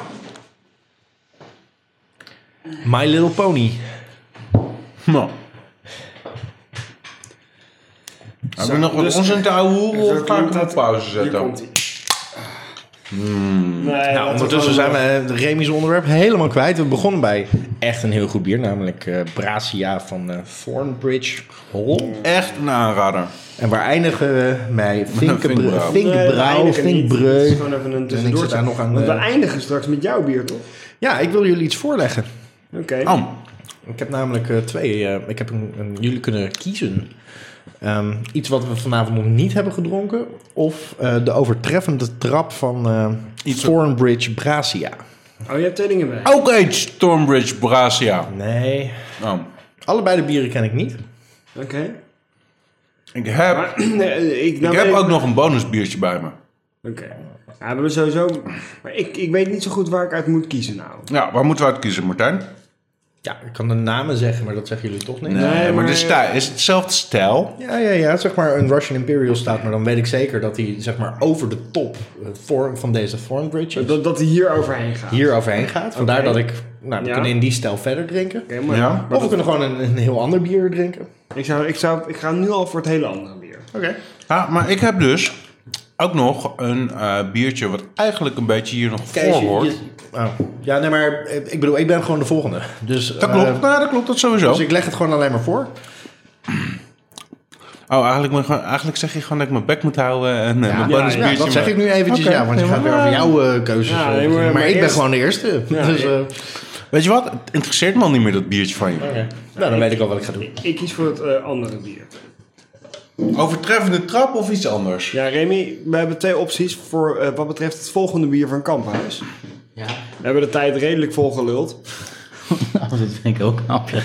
Speaker 2: My Little Pony.
Speaker 5: Nou. Hebben we nog wat onzin te ouwehoeren
Speaker 3: dus- Zo
Speaker 5: of gaan
Speaker 3: klinkt
Speaker 5: we
Speaker 3: dat.
Speaker 5: op pauze
Speaker 3: Hier
Speaker 5: zetten?
Speaker 3: komt ie. Nee,
Speaker 2: Nou, ondertussen zijn we eh, Remy's onderwerp helemaal kwijt. We begonnen bij echt een heel goed bier, namelijk eh Bracia van eh Thornbridge Hall.
Speaker 5: Echt een aanrader.
Speaker 2: En waar eindigen we bij
Speaker 5: Vinkbrouw.
Speaker 2: Vinkebrouw, Vinkbrouw,
Speaker 3: Het is
Speaker 2: Vinkbreu.
Speaker 3: gewoon even een
Speaker 2: En ik zit
Speaker 3: tussendoortje.
Speaker 2: daar nog aan...
Speaker 3: Want we
Speaker 2: eh,
Speaker 3: eindigen straks met jouw bier, toch?
Speaker 2: ja, ik wil jullie iets voorleggen.
Speaker 3: Oké.
Speaker 5: Oh,
Speaker 2: Ik heb namelijk eh, twee... eh, ik heb een, een- jullie kunnen kiezen. Ehm, iets wat we vanavond nog niet hebben gedronken. Of eh, de overtreffende trap van eh,
Speaker 5: Iets-
Speaker 2: Thornbridge Bracia.
Speaker 3: Oh, je hebt twee dingen bij.
Speaker 5: ook eens Stormbridge Bracia.
Speaker 2: Nee,
Speaker 5: Oh.
Speaker 2: allebei de bieren ken ik niet.
Speaker 3: Oké.
Speaker 5: Ik heb,
Speaker 3: Maar nee, ik,
Speaker 5: ik
Speaker 3: nou
Speaker 5: heb
Speaker 3: weet-
Speaker 5: ook nog een bonusbiertje bij me.
Speaker 3: Oké. Ja, we hebben sowieso... Maar ik, ik weet niet zo goed waar ik uit moet kiezen nou.
Speaker 5: Ja, waar moeten we uit kiezen, Martijn?
Speaker 2: Ja, ik kan de namen zeggen, maar dat zeggen jullie toch niet.
Speaker 5: maar,
Speaker 3: maar-
Speaker 5: de stijl, is hetzelfde stijl?
Speaker 2: Ja, ja, ja, zeg maar een Russian Imperial staat, maar dan weet ik zeker dat hij zeg maar over de top eh, vorm van deze Thornbridge is.
Speaker 3: Dat, dat hij hier overheen gaat.
Speaker 2: hier overheen gaat. Vandaar
Speaker 3: Oké.
Speaker 2: dat ik, nou, we
Speaker 3: Ja.
Speaker 2: kunnen in die stijl verder drinken.
Speaker 3: Oké, maar,
Speaker 5: Ja.
Speaker 3: maar
Speaker 2: Of we
Speaker 3: dat-
Speaker 2: kunnen gewoon een, een heel ander bier drinken.
Speaker 3: ik, zou, ik, zou, ik ga nu al voor het hele andere bier.
Speaker 2: Oké.
Speaker 5: Ja, maar ik heb dus ook nog een eh, biertje wat eigenlijk een beetje hier nog voor hoort.
Speaker 2: oh. Ja, nee, maar eh, ik bedoel, ik ben gewoon de volgende. Dus,
Speaker 5: Dat
Speaker 2: eh,
Speaker 5: klopt, nou, dat klopt, dat sowieso.
Speaker 2: dus ik leg het gewoon alleen maar voor.
Speaker 5: Oh, eigenlijk, moet ik gewoon- eigenlijk zeg je gewoon dat ik mijn bek moet houden en eh, mijn
Speaker 3: Ah, ja,
Speaker 5: bonusbiertje...
Speaker 2: Dus Ja, dat zeg
Speaker 5: maar-
Speaker 2: ik nu eventjes,
Speaker 5: Oké,
Speaker 2: ja, want je
Speaker 5: nee,
Speaker 2: gaat
Speaker 5: maar-
Speaker 2: weer over jouw eh, keuzes.
Speaker 3: Ja,
Speaker 2: eh,
Speaker 3: nee, maar-
Speaker 2: maar,
Speaker 3: maar
Speaker 2: ik ben
Speaker 3: eerst-
Speaker 2: gewoon de eerste. dus, eh,
Speaker 5: Weet je wat? Het interesseert me al niet meer dat biertje van
Speaker 3: Oh,
Speaker 5: je.
Speaker 2: Nou, dan weet ik al wat ik ga doen.
Speaker 3: Ik kies voor het eh, andere bier.
Speaker 5: Overtreffende trap of iets anders?
Speaker 3: Ja, Remy, we hebben twee opties voor eh, wat betreft het volgende bier van Kamphuis. We hebben de tijd redelijk vol geluld.
Speaker 1: Nou, dat vind ik ook knap, ja.
Speaker 5: Eh,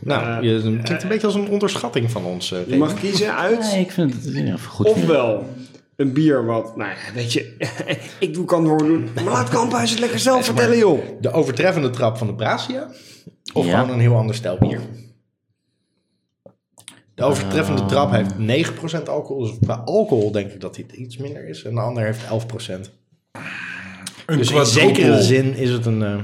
Speaker 2: Nou, je, het klinkt een beetje als een onderschatting van ons. eh,
Speaker 3: Je
Speaker 2: Remy.
Speaker 3: mag kiezen uit
Speaker 1: Nee, ik vind het ja, goed.
Speaker 3: Ofwel een bier wat, nou ja, weet je, ik doe kan doen. Maar laat Kamphuis het lekker zelf vertellen, joh.
Speaker 2: De overtreffende trap van de Brasia? Of
Speaker 1: Ja.
Speaker 2: gewoon een heel ander stijl bier? De overtreffende trap heeft 9% alcohol. Dus qua alcohol denk ik dat dit iets minder is. En de ander heeft 11%.
Speaker 5: Een
Speaker 2: Dus in
Speaker 5: quadruple.
Speaker 2: zekere zin is het een... eh,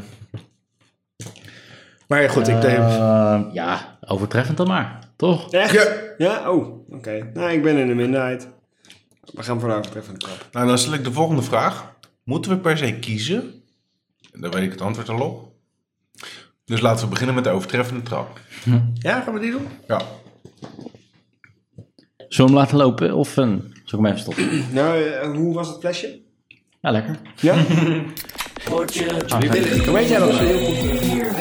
Speaker 2: Maar ja, goed, ik denk...
Speaker 1: Eh, ja, overtreffend dan maar, toch?
Speaker 3: Echt?
Speaker 5: Ja.
Speaker 3: Ja? Oh, oké. Nou, ik ben in de minderheid. We gaan voor de overtreffende trap.
Speaker 5: Nou, dan stel ik de volgende vraag. Moeten we per se kiezen? En Dan weet ik het antwoord al op. Dus laten we beginnen met de overtreffende trap.
Speaker 2: Ja, gaan we die doen?
Speaker 5: Ja.
Speaker 1: Zullen we hem laten lopen of een... Zullen ik hem even stoppen?
Speaker 3: Nou, eh, hoe was het flesje?
Speaker 1: Ja, lekker.
Speaker 3: Ja?
Speaker 1: Ah,
Speaker 3: Hoe weet jij dat?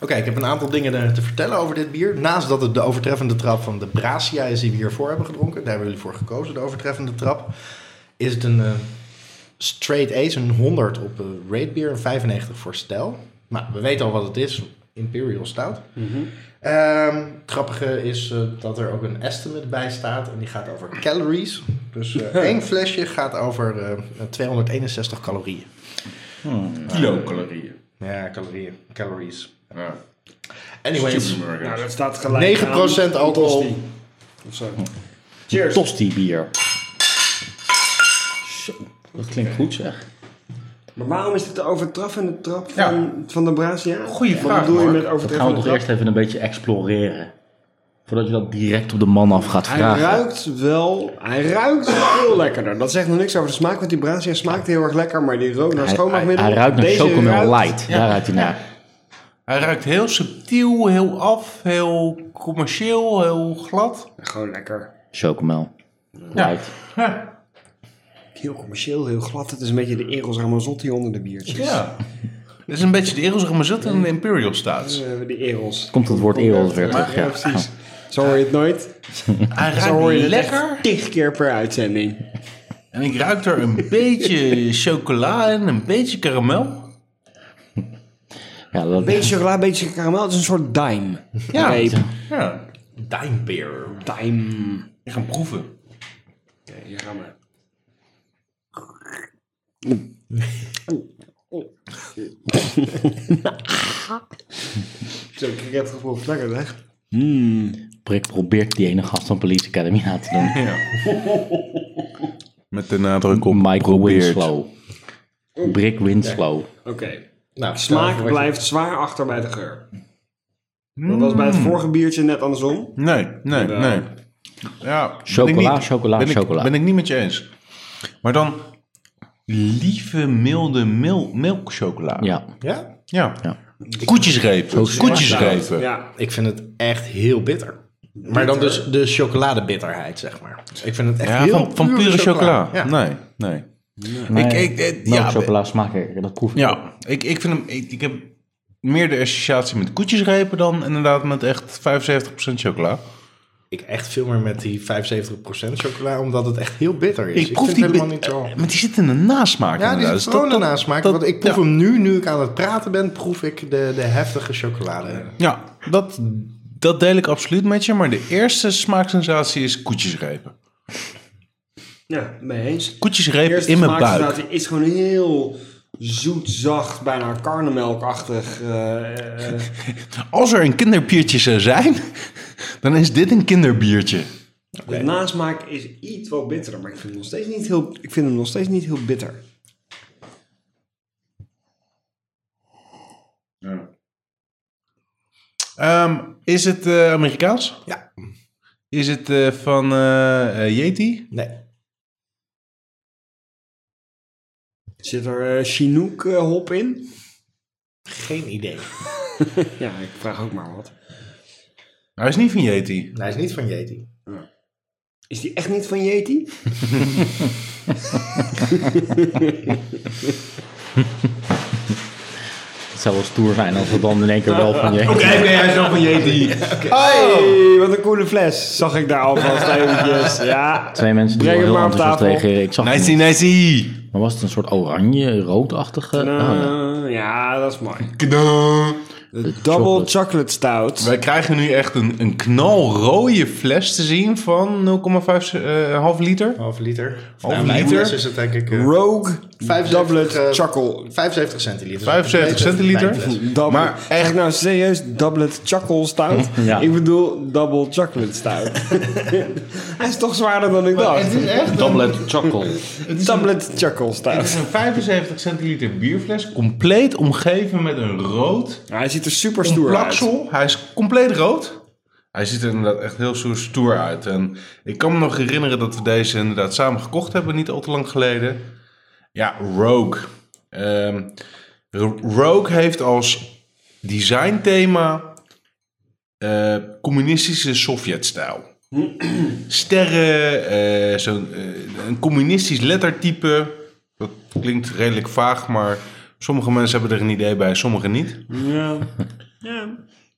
Speaker 2: Oké, ik heb een aantal dingen eh, te vertellen over dit bier. Naast dat het de overtreffende trap van de Bracia is die we hiervoor hebben gedronken. Daar hebben jullie voor gekozen, de overtreffende trap. Is het een eh, straight ace, een 100 op eh rate beer, een 95 voor stijl. Maar we weten al wat het is, Imperial Stout. Ehm, het grappige is eh, dat er ook een estimate bij staat en die gaat over calories. Dus eh, één flesje gaat over eh, 261 calorieën.
Speaker 5: Kilocalorieën.
Speaker 2: Ja, calorieën, calories.
Speaker 5: Ja.
Speaker 2: Anyways,
Speaker 5: Superburger.
Speaker 3: Nou, dat staat gelijk
Speaker 2: 9%
Speaker 3: aan
Speaker 2: alcohol.
Speaker 3: Tosti. Of zo.
Speaker 1: Cheers. Tosti bier. Zo, dat klinkt goed zeg.
Speaker 3: Maar waarom is dit de overtreffende trap van,
Speaker 5: Ja.
Speaker 3: van de Brasia?
Speaker 5: Goeie
Speaker 3: Wat
Speaker 5: vraag,
Speaker 3: bedoel je
Speaker 5: Mark.
Speaker 3: met
Speaker 1: Dat gaan we
Speaker 3: overtreffende
Speaker 1: toch
Speaker 3: trap?
Speaker 1: eerst even een beetje exploreren. Voordat je dat direct op de man af gaat
Speaker 3: Hij
Speaker 1: vragen.
Speaker 3: ruikt wel, hij ruikt veel lekkerder. Dat zegt nog niks over de smaak, want die Brasia smaakt heel erg lekker, maar die rook naar
Speaker 1: Hij- hij,
Speaker 3: schoonmaakmiddel.
Speaker 1: hij ruikt naar
Speaker 3: Deze
Speaker 1: Chocomel
Speaker 3: ruikt-
Speaker 1: Light. Daar ruikt hij naar.
Speaker 5: Nou, Hij ruikt heel subtiel, heel af, heel commercieel, heel glad.
Speaker 3: Gewoon lekker.
Speaker 1: Chocomel. Light.
Speaker 5: Ja.
Speaker 3: Heel commercieel, heel glad. Het is een beetje de Eros Ramazzotti onder de biertjes.
Speaker 5: ja. Dat is een beetje de Eros Ramazzotti en de Imperial Stout.
Speaker 3: Eh, die Eros.
Speaker 1: Komt het woord eeuwig weer terug. Ja.
Speaker 3: precies. Zo hoor je het nooit.
Speaker 5: Hij
Speaker 3: Zo hoor je
Speaker 5: ruikt
Speaker 3: het
Speaker 5: lekker.
Speaker 3: echt tig keer per uitzending.
Speaker 5: En ik ruik er een beetje chocola en een beetje karamel.
Speaker 1: Ja, dat,
Speaker 3: Beetje chocola, beetje karamel. Het is een soort dime.
Speaker 5: Ja.
Speaker 3: Reep.
Speaker 5: Ja.
Speaker 2: Dime Beer.
Speaker 3: Dime.
Speaker 5: Ik ga hem proeven.
Speaker 3: Ja, hier gaan we. Zo, ik heb het gevoel. Lekker, hè?
Speaker 1: Rick probeert die ene gast van Police Academy na te doen.
Speaker 5: Met de nadruk
Speaker 1: Michael Winslow. Brick Winslow.
Speaker 3: Oké.
Speaker 2: Nou,
Speaker 3: Smaak
Speaker 2: eh,
Speaker 3: blijft zwaar achter bij de geur.
Speaker 5: Mm.
Speaker 3: Dat was bij het vorige biertje net andersom.
Speaker 5: Nee, nee,
Speaker 2: eh,
Speaker 5: nee. Ja,
Speaker 1: Chocola,
Speaker 5: ben ik
Speaker 1: chocola,
Speaker 5: ben ik,
Speaker 1: chocola.
Speaker 5: Ben ik niet met je eens. Maar dan lieve, milde mil, milkchocola.
Speaker 1: Ja.
Speaker 2: Ja?
Speaker 5: ja.
Speaker 1: Ja.
Speaker 5: Koetjesrepen. Koetjesrepen.
Speaker 3: Ja.
Speaker 2: Ik vind het echt heel bitter. Maar dan dus de chocoladebitterheid, zeg maar. Ik vind het echt
Speaker 5: Ja,
Speaker 2: heel
Speaker 5: van, van pure chocola.
Speaker 2: Ja.
Speaker 5: Nee, nee.
Speaker 1: Nee,
Speaker 5: ik- eh,
Speaker 1: melk
Speaker 5: ja,
Speaker 1: chocola smaakt lekker, dat proef ik.
Speaker 5: Ja, ik, ik vind hem... Ik, ik heb meer de associatie met koetjesrepen dan inderdaad met echt 75% chocola.
Speaker 2: Ik echt veel meer met die 75% chocola, omdat het echt heel bitter is.
Speaker 5: Ik, proef
Speaker 2: vind
Speaker 5: die...
Speaker 2: het
Speaker 5: bit-
Speaker 2: helemaal niet zo...
Speaker 5: eh, Maar die zit in de nasmaak
Speaker 2: Ja, die
Speaker 5: inderdaad. Dus
Speaker 2: is
Speaker 5: dat-
Speaker 2: gewoon een
Speaker 5: dat-
Speaker 2: nasmaak.
Speaker 5: dat-
Speaker 2: Want ik proef
Speaker 5: ja.
Speaker 2: hem nu, nu ik aan het praten ben, proef ik de, de heftige chocolade.
Speaker 5: Ja, dat, dat deel ik absoluut met je. Maar de eerste smaaksensatie is koetjesrepen.
Speaker 3: Ja, mee eens.
Speaker 5: Koetjesrepen
Speaker 3: Eerste
Speaker 5: in mijn buik.
Speaker 3: smaaksensatie is gewoon heel zoet, zacht, bijna karnemelkachtig. eh, eh,
Speaker 5: Als er een kinderbiertje zou zijn, dan is dit een kinderbiertje.
Speaker 3: De nasmaak is iets wat bitterder, maar ik vind hem nog steeds niet heel, ik vind hem nog steeds niet heel bitter.
Speaker 5: Ehm, is het eh, Amerikaans?
Speaker 2: Ja.
Speaker 5: Is het eh, van eh, eh, Yeti?
Speaker 2: Nee.
Speaker 3: Zit er eh, Chinook eh, hop in?
Speaker 2: Geen idee.
Speaker 3: Ja, ik vraag ook maar wat.
Speaker 5: Hij is niet van Yeti.
Speaker 2: Hij is niet van Yeti.
Speaker 3: Is die echt niet van Yeti?
Speaker 1: Het zou wel stoer zijn als we dan in één keer wel van je...
Speaker 5: nee, hij is wel van Yeti.
Speaker 1: Oh!
Speaker 3: Hey, wat een coole fles. Zag ik daar alvast eventjes. Ja.
Speaker 1: Twee mensen die
Speaker 3: Breng
Speaker 1: wel
Speaker 3: het
Speaker 1: heel
Speaker 3: maar
Speaker 1: enthousiast
Speaker 3: op tafel.
Speaker 1: reageren. Ik zag
Speaker 5: Nicey,
Speaker 1: hem.
Speaker 5: nicey.
Speaker 1: Maar was het een soort oranje, roodachtige... Oh, ja.
Speaker 3: Eh, ja, dat is mooi.
Speaker 5: Kda.
Speaker 3: De double chocolate stout.
Speaker 5: Wij krijgen nu echt een, een knalrode fles te zien van 0,5 eh, half liter.
Speaker 2: Half liter.
Speaker 5: Half
Speaker 2: Nou, mijn
Speaker 5: liter?
Speaker 2: fles is het denk ik... eh,
Speaker 3: Rogue
Speaker 2: 75, eh,
Speaker 3: doublet chocolate.
Speaker 2: 75 centiliter.
Speaker 5: 75
Speaker 2: Mijn
Speaker 5: centiliter?
Speaker 2: fles.
Speaker 3: Double,
Speaker 5: Maar
Speaker 3: maar echt nou serieus, doublet chocolate stout?
Speaker 1: Ja.
Speaker 3: Ik bedoel, double chocolate stout. Hij is toch zwaarder dan ik dacht.
Speaker 5: Het is echt een,
Speaker 1: Doublet chocolate.
Speaker 3: Doublet chocolate stout.
Speaker 5: het is een 75 centiliter bierfles, compleet omgeven met een rood
Speaker 3: Ja, hij ziet er super
Speaker 5: Een
Speaker 3: stoer uit.
Speaker 5: plaksel. Hij is compleet rood. Hij ziet er inderdaad echt heel stoer- stoer uit. En ik kan me nog herinneren dat we deze inderdaad samen gekocht hebben, niet al te lang geleden. Ja, Rogue. Ehm, R- Rogue heeft als designthema eh, communistische Sovjet-stijl. Sterren, eh, zo'n, eh, een communistisch lettertype. Dat klinkt redelijk vaag, maar sommige mensen hebben er een idee bij, sommigen niet.
Speaker 3: Ja. ja.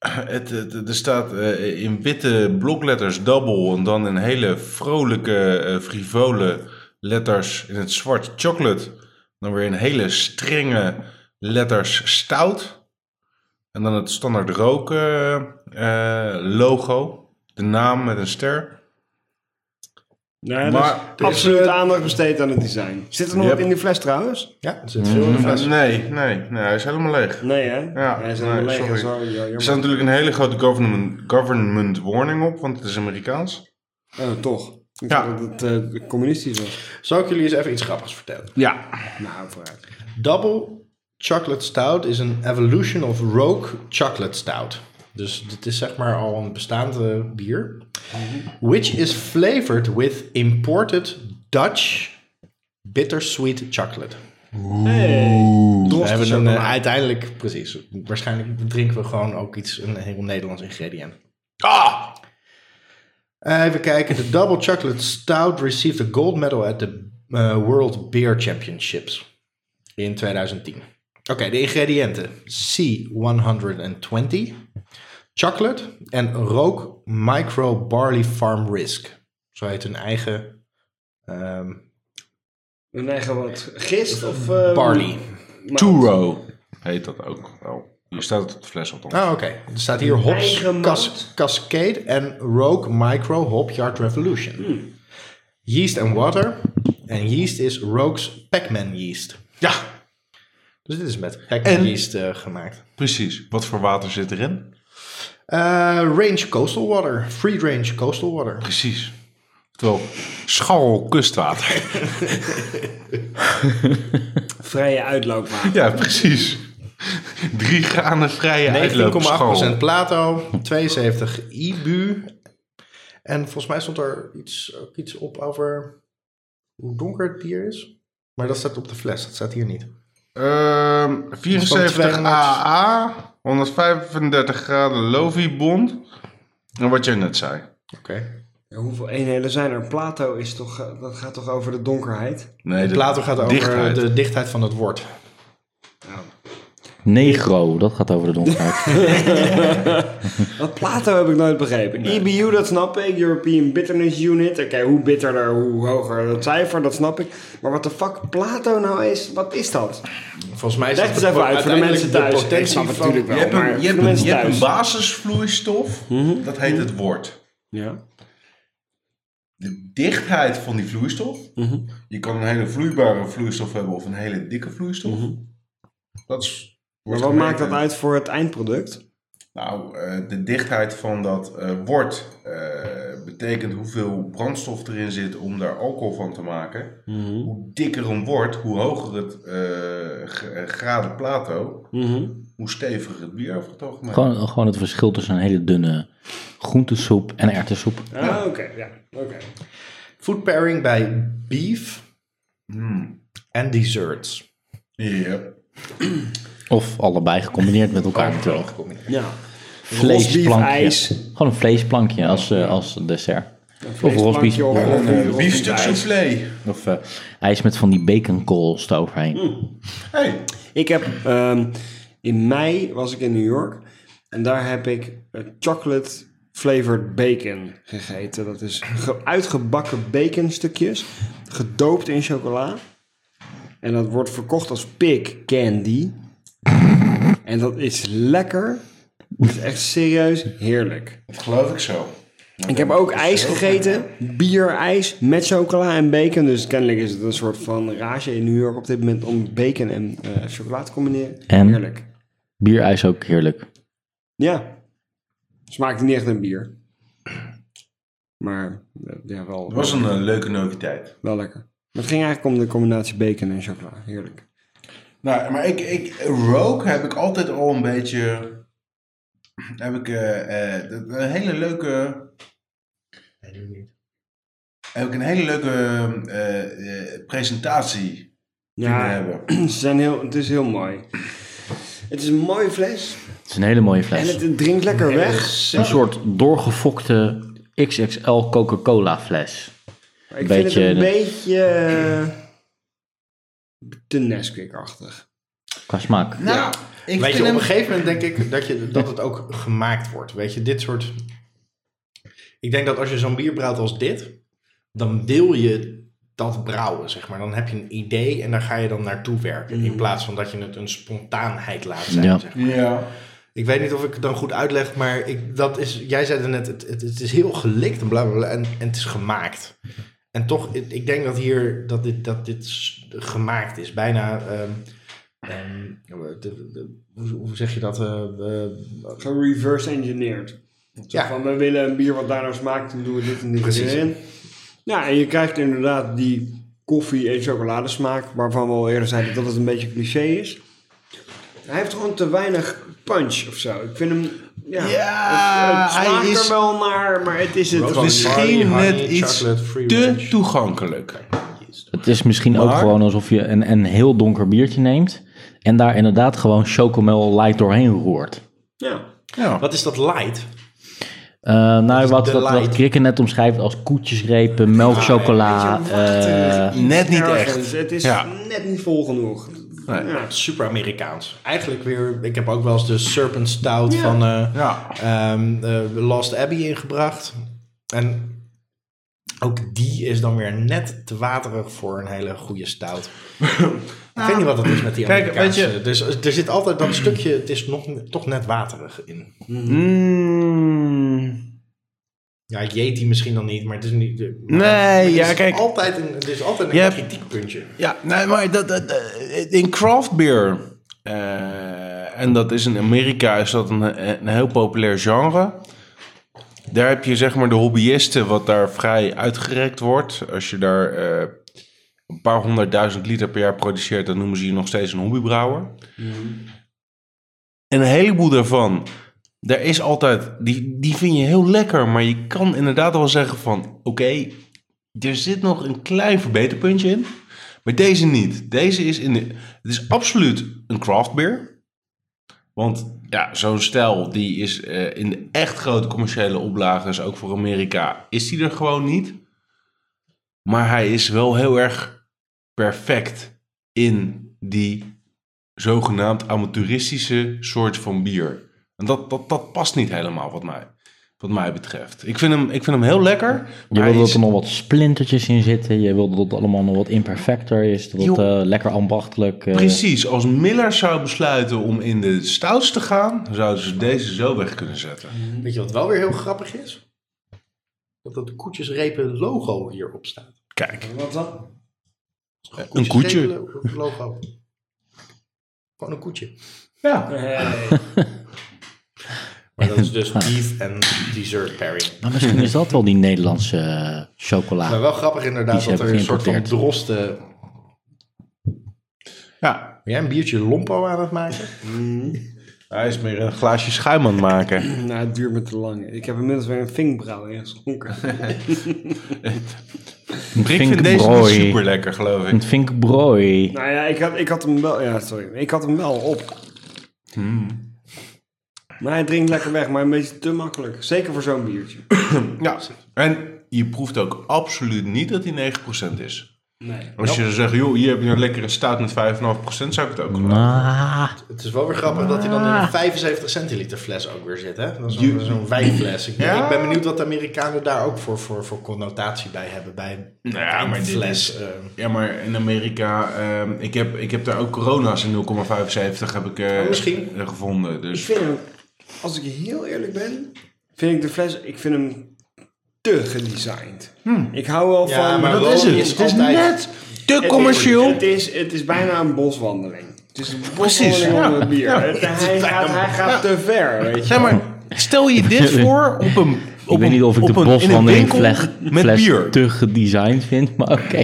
Speaker 5: Het, het- het- er staat eh, in witte blokletters double en dan in hele vrolijke, eh, frivole letters in het zwart chocolate. Dan weer in hele strenge letters stout. En dan het standaard rook eh, eh, logo. De naam met een ster.
Speaker 3: Nee, maar,
Speaker 5: Maar-
Speaker 3: absoluut aandacht besteed aan het design. Zit er nog
Speaker 5: Yep.
Speaker 3: wat in die fles trouwens?
Speaker 2: Ja, er zit veel in de fles.
Speaker 5: Nee, nee, nee, hij is helemaal leeg.
Speaker 3: Nee hè?
Speaker 5: Ja,
Speaker 3: Hij is
Speaker 5: nee,
Speaker 3: helemaal leeg.
Speaker 5: sorry.
Speaker 3: Sorry, ja,
Speaker 5: Er
Speaker 3: jammer.
Speaker 5: staat natuurlijk een hele grote government, government warning op, want het is Amerikaans.
Speaker 3: Oh, toch. Ik
Speaker 5: Ja.
Speaker 3: dacht dat het eh, communistisch was.
Speaker 2: Zal ik jullie eens even iets grappigs vertellen?
Speaker 5: Ja.
Speaker 3: Nou, vooruit.
Speaker 2: Double Chocolate Stout is een evolution of Rogue Chocolate Stout. Dus dit is zeg maar al een bestaand eh, bier. Which is flavored with imported Dutch bittersweet chocolate. We hebben een, eh, uiteindelijk, precies, waarschijnlijk drinken we gewoon ook iets, een heel Nederlands ingrediënt.
Speaker 5: Ah!
Speaker 2: Eh, Even kijken. De Double Chocolate Stout received a gold medal at the eh, World Beer Championships in 2010. Oké, de ingrediënten. C120, chocolate en rook micro barley farm risk. Zo heet hun eigen ehm,
Speaker 3: Een eigen wat gist of... eh,
Speaker 2: barley.
Speaker 5: Turo heet dat ook wel. Hier staat het op de fles althans.
Speaker 2: Ah, oké. Er staat hier hops,
Speaker 3: Eigen
Speaker 2: cas-
Speaker 3: mout.
Speaker 2: cascade en rogue micro hop yard revolution. Yeast and water. En yeast is Rogue's Pac-Man yeast.
Speaker 5: Ja,
Speaker 2: Dus dit is met Pac-Man yeast eh, gemaakt.
Speaker 5: precies. Wat voor water zit erin?
Speaker 2: Eh, range coastal water. Free range coastal water.
Speaker 5: Precies. Terwijl scharrel kustwater.
Speaker 3: Vrije uitloopwater.
Speaker 5: ja, precies. Drie granen vrije
Speaker 2: 19,8%
Speaker 5: uitloopscharrel.
Speaker 2: Plato. 72 IBU. En volgens mij stond er iets, ook iets op over hoe donker het bier is. Maar dat staat op de fles. Dat staat hier niet.
Speaker 5: Ehm, 74
Speaker 2: 200.
Speaker 5: AA, 135 graden Lovibond. En wat jij net zei.
Speaker 2: Oké.
Speaker 3: Ja, hoeveel eenheden zijn er? Plato is toch, eh, dat gaat toch over de donkerheid?
Speaker 5: Nee, de
Speaker 2: Plato gaat over
Speaker 5: dichtheid.
Speaker 2: de dichtheid van het woord.
Speaker 1: Negro, dat gaat over de donkerheid.
Speaker 3: Dat Plato heb ik nooit begrepen. EBU, dat snap ik. European Bitterness Unit. Oké, hoe bitterder, hoe hoger dat cijfer, dat snap ik. Maar wat de fuck Plato nou is, wat is dat?
Speaker 2: Volgens mij is
Speaker 3: Leg
Speaker 2: dat
Speaker 3: het even uit voor de
Speaker 2: uiteindelijk
Speaker 3: mensen thuis. Ik snap
Speaker 2: potentie
Speaker 3: het
Speaker 2: van...
Speaker 3: natuurlijk wel,
Speaker 5: Je hebt
Speaker 3: maar
Speaker 5: een, je hebt
Speaker 3: voor de
Speaker 5: een,
Speaker 3: mensen
Speaker 5: je hebt een
Speaker 3: thuis.
Speaker 5: basisvloeistof. Dat heet het woord.
Speaker 3: Ja.
Speaker 5: de dichtheid van die vloeistof. Je kan een hele vloeibare vloeistof hebben of een hele dikke vloeistof. Dat is,
Speaker 3: Maar
Speaker 5: wordt
Speaker 3: wat
Speaker 5: gemeten.
Speaker 3: maakt dat uit voor het eindproduct?
Speaker 5: Nou, eh, de dichtheid van dat eh wort eh, betekent hoeveel brandstof erin zit om daar alcohol van te maken. Hoe dikker een wort, hoe hoger het eh, g- eh, graden plato, hoe steviger het bier over het algemeen.
Speaker 1: gewoon, gewoon het verschil tussen een hele dunne groentesoep en erwtensoep.
Speaker 3: Ah, oké. ja. oké.
Speaker 2: Food pairing bij beef en desserts.
Speaker 5: Hmm. Ja.
Speaker 1: Of allebei gecombineerd met elkaar natuurlijk.
Speaker 3: ja.
Speaker 1: Vleesplankje.
Speaker 3: ijs.
Speaker 1: Gewoon een vleesplankje als, eh, als dessert. Of
Speaker 3: Vleesplankje
Speaker 1: rosbief.
Speaker 3: of-
Speaker 5: En
Speaker 3: of-
Speaker 5: een
Speaker 3: of-
Speaker 5: biefstuk soufflé.
Speaker 1: Of eh, ijs met van die baconkools eroverheen.
Speaker 3: Mm.
Speaker 5: Hey.
Speaker 3: Ik heb ehm, in mei was ik in New York en daar heb ik eh, chocolate flavored bacon gegeten. Dat is ge- uitgebakken baconstukjes, gedoopt in chocola. En dat wordt verkocht als pig candy. En dat is lekker. Dat is echt serieus heerlijk.
Speaker 5: Dat geloof ik zo.
Speaker 3: Ik heb ook ijs gegeten. Bier, ijs met chocola en bacon. Dus kennelijk is het een soort van rage in New York op dit moment om bacon en eh chocola te combineren.
Speaker 1: En?
Speaker 3: Heerlijk.
Speaker 1: Bierijs ook heerlijk.
Speaker 3: Ja. Smaakt niet echt een bier. Maar eh, ja, wel,
Speaker 5: Het was een eh, leuke noviteit.
Speaker 3: wel lekker. Maar het ging eigenlijk om de combinatie bacon en chocola. Heerlijk.
Speaker 5: Nou, maar ik, ik, rook heb ik altijd al een beetje... Heb ik eh, eh, een hele leuke... Heb ik een hele leuke eh, eh, presentatie kunnen hebben.
Speaker 3: Ze zijn heel, het is heel mooi. Het is een mooie fles.
Speaker 1: Het is een hele mooie
Speaker 3: En
Speaker 1: fles.
Speaker 3: het drinkt lekker weg.
Speaker 1: Een soort doorgefokte XXL Coca-Cola fles.
Speaker 3: Maar ik vind
Speaker 1: beetje-
Speaker 3: het een beetje... eh, te Nesquik-achtig.
Speaker 1: Qua smaak.
Speaker 5: Nou,
Speaker 2: Ja.
Speaker 5: ik
Speaker 2: Weet
Speaker 5: vind
Speaker 2: je, op
Speaker 5: hem-
Speaker 2: een gegeven moment denk ik dat, je, dat het ook gemaakt wordt. Weet je, dit soort... Ik denk dat als je zo'n bier brouwt als dit, dan wil je dat brouwen, zeg maar. Dan heb je een idee en daar ga je dan naartoe werken. In plaats van dat je het een spontaanheid laat zijn,
Speaker 1: Ja.
Speaker 2: zeg maar.
Speaker 5: Ja.
Speaker 2: Ik weet niet of ik het dan goed uitleg, maar ik, dat is, jij zei het net, het, het, het is heel gelikt en bla bla bla en, en het is gemaakt. En toch, ik ik denk dat hier, dat dit, dat dit s- gemaakt is. Bijna, ehm, ehm, de- de- de- hoe, hoe zeg je dat? eh, eh,
Speaker 3: Reverse engineered.
Speaker 2: Ja.
Speaker 3: Van, we willen een bier wat daarnaar smaakt, dan doen we dit en dit
Speaker 2: Precies.
Speaker 3: erin. Ja, en je krijgt inderdaad die koffie- en chocoladesmaak, waarvan we al eerder zeiden dat het een beetje cliché is. Hij heeft gewoon te weinig punch of zo. Ik vind hem... Ja,
Speaker 5: Ja,
Speaker 3: het, het smaakt
Speaker 5: hij is-
Speaker 3: er wel naar, maar het is het
Speaker 2: Roast
Speaker 3: gewoon
Speaker 2: Barley,
Speaker 5: Misschien
Speaker 2: honey,
Speaker 5: net iets
Speaker 2: chocolate, free
Speaker 5: te
Speaker 2: range.
Speaker 5: toegankelijk.
Speaker 1: Het is misschien ook
Speaker 5: Maar-
Speaker 1: gewoon alsof je een, een heel donker biertiertje neemt. En daar inderdaad gewoon chocomel light doorheen roert.
Speaker 3: niet. Ja.
Speaker 5: Ja.
Speaker 2: wat is dat light?
Speaker 1: Eh, nou, wat,
Speaker 2: de
Speaker 1: wat, wat
Speaker 2: light.
Speaker 1: Krikke net omschrijft als koetjesrepen, melkchocola.
Speaker 3: Beetje wachterig,
Speaker 1: eh,
Speaker 3: iets
Speaker 5: net niet
Speaker 3: ergens.
Speaker 5: echt.
Speaker 3: Het is
Speaker 5: Ja.
Speaker 3: net niet vol genoeg.
Speaker 5: Nee.
Speaker 3: Ja.
Speaker 2: Super Amerikaans. Eigenlijk weer, ik heb ook wel eens de Serpent Stout
Speaker 3: Ja.
Speaker 2: van eh,
Speaker 5: Ja.
Speaker 2: ehm, eh, Lost Abbey ingebracht. En ook die is dan weer net te waterig voor een hele goede stout. Ik weet niet wat dat is met die
Speaker 5: Kijk,
Speaker 2: Amerikaanse.
Speaker 5: weet je-
Speaker 2: dus, er zit altijd dat stukje, het is nog, ne- toch net waterig in. Ja, Yeti misschien dan niet, maar het is niet... de- maar-
Speaker 5: Mm. Nee,
Speaker 2: maar het
Speaker 5: ja,
Speaker 2: is
Speaker 5: kijk.
Speaker 2: Altijd een, het is altijd een
Speaker 5: Je hebt-
Speaker 2: kritiekpuntje.
Speaker 5: Ja, nee, maar dat, dat, eh, in craft beer, eh, en dat is in Amerika, is dat een, een heel populair genre. Daar heb je zeg maar de hobbyisten, wat daar vrij uitgerekt wordt. Als je daar eh, een paar honderdduizend liter per jaar produceert, dan noemen ze je nog steeds een hobbybrouwer. En een heleboel daarvan, daar is altijd, die, die vind je heel lekker, maar je kan inderdaad wel zeggen van, oké, er zit nog een klein verbeterpuntje in. Maar deze niet. Deze is in de. Het is absoluut een craft beer. Want ja, zo'n stijl die is eh, in de echt grote commerciële oplages, ook voor Amerika, is die er gewoon niet. Maar hij is wel heel erg perfect in die zogenaamd amateuristische soort van bier. En dat, dat, dat past niet helemaal wat mij, wat mij betreft. Ik vind hem, ik vind hem heel lekker.
Speaker 1: je
Speaker 5: maar
Speaker 1: wilde
Speaker 5: hij
Speaker 1: dat
Speaker 5: is-
Speaker 1: er nog wat splintertjes in zitten. Je wilde dat het allemaal nog wat imperfecter is. Dat het
Speaker 5: Joh.
Speaker 1: eh, lekker ambachtelijk. eh,
Speaker 5: Precies, als Miller zou besluiten om in de stouts te gaan, zouden ze deze zo weg kunnen zetten.
Speaker 2: Weet je wat wel weer heel grappig is? Dat dat koetjesrepen logo hierop staat.
Speaker 5: Kijk,
Speaker 3: Wat dan?
Speaker 5: een koetje.
Speaker 2: Koetjesrepen lo- logo. Gewoon een koetje.
Speaker 5: Ja.
Speaker 2: Maar dat is dus beef en dessert pairing.
Speaker 1: Maar misschien is dat wel die Nederlandse eh, chocola.
Speaker 5: Nou,
Speaker 2: Maar wel grappig inderdaad
Speaker 1: Die ze
Speaker 2: dat er
Speaker 1: hebben
Speaker 2: een soort van
Speaker 1: geïmporteerd.
Speaker 2: droste...
Speaker 5: ja.
Speaker 2: Ben jij een biertje lompo aan het maken?
Speaker 5: Hij is meer een glaasje schuim aan het maken.
Speaker 3: Nou, het duurt me te lang. Ik heb inmiddels weer een vinkbrauw ingeschonken.
Speaker 5: Ik vind deze niet
Speaker 1: Vinkbrooi.
Speaker 5: super lekker, geloof
Speaker 1: Een
Speaker 5: ik.
Speaker 1: vinkbrooi.
Speaker 3: Nou ja, ik had, ik had hem wel. Ja, sorry. Ik had hem wel op. Maar hij drinkt lekker weg, maar een beetje te makkelijk. Zeker voor zo'n biertje.
Speaker 5: Ja. En je proeft ook absoluut niet dat hij 9% is.
Speaker 3: Nee.
Speaker 5: Als je zegt, joh, hier heb je een lekkere stout met 5,5%, zou ik het ook doen.
Speaker 1: Ah,
Speaker 2: Het is wel weer grappig dat hij dan in een 75 centiliter fles ook weer zit. Hè? Dat is zo'n, zo'n wijnfles. Ik ben,
Speaker 5: Ja.
Speaker 2: ik ben benieuwd wat de Amerikanen daar ook voor, voor, voor connotatie bij hebben. Bij een
Speaker 5: Nou ja, maar dit
Speaker 2: fles. eh.
Speaker 5: Ja, maar in Amerika, ehm, ik, heb, ik heb daar ook corona's in 0,75 heb ik eh,
Speaker 2: Oh, misschien.
Speaker 5: eh, gevonden.
Speaker 3: Ik
Speaker 5: Dus
Speaker 3: vind hem, als ik heel eerlijk ben, vind ik de fles, ik vind hem te gedesigned. Ik hou wel
Speaker 2: Ja,
Speaker 3: van...
Speaker 2: maar dat is het. Het is net
Speaker 5: te
Speaker 3: Het Is, het, is, het is bijna een boswandeling. Het is een boswandeling
Speaker 5: ja.
Speaker 3: onder het bier. Het- hij, gaat, hij gaat te ver, weet je.
Speaker 5: Ja, maar stel je dit voor op een... Op
Speaker 1: ik weet
Speaker 5: een-
Speaker 1: niet of ik de
Speaker 5: op een- in een
Speaker 1: boswandeling
Speaker 5: winkel
Speaker 1: fles,
Speaker 5: met
Speaker 1: fles
Speaker 5: bier.
Speaker 1: te gedesigned vind, maar oké.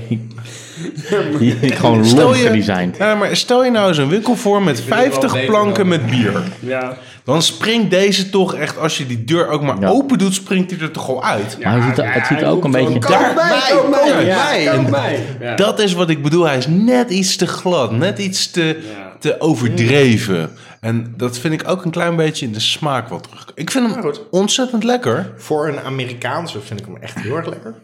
Speaker 1: Die vind ik gewoon
Speaker 5: Stel
Speaker 1: lomp
Speaker 5: je,
Speaker 1: gedesigned.
Speaker 5: Ja, maar stel je nou eens een winkel voor met 50 planken met bier.
Speaker 3: Ja.
Speaker 5: Dan springt deze toch echt, als je die deur ook maar
Speaker 1: Ja.
Speaker 5: open doet, springt hij er toch al uit.
Speaker 1: Maar het ziet er, het ziet er ook een beetje...
Speaker 5: Daar-
Speaker 3: bij, kom bij,
Speaker 5: Ja,
Speaker 3: ja,
Speaker 5: en
Speaker 3: kom bij. Ja.
Speaker 5: Dat is wat ik bedoel. Hij is net iets te glad, net iets te,
Speaker 3: Ja.
Speaker 5: te overdreven. En dat vind ik ook een klein beetje in de smaak wat terug. Ik vind hem ontzettend lekker.
Speaker 2: Voor een Amerikaanse vind ik hem echt heel erg lekker.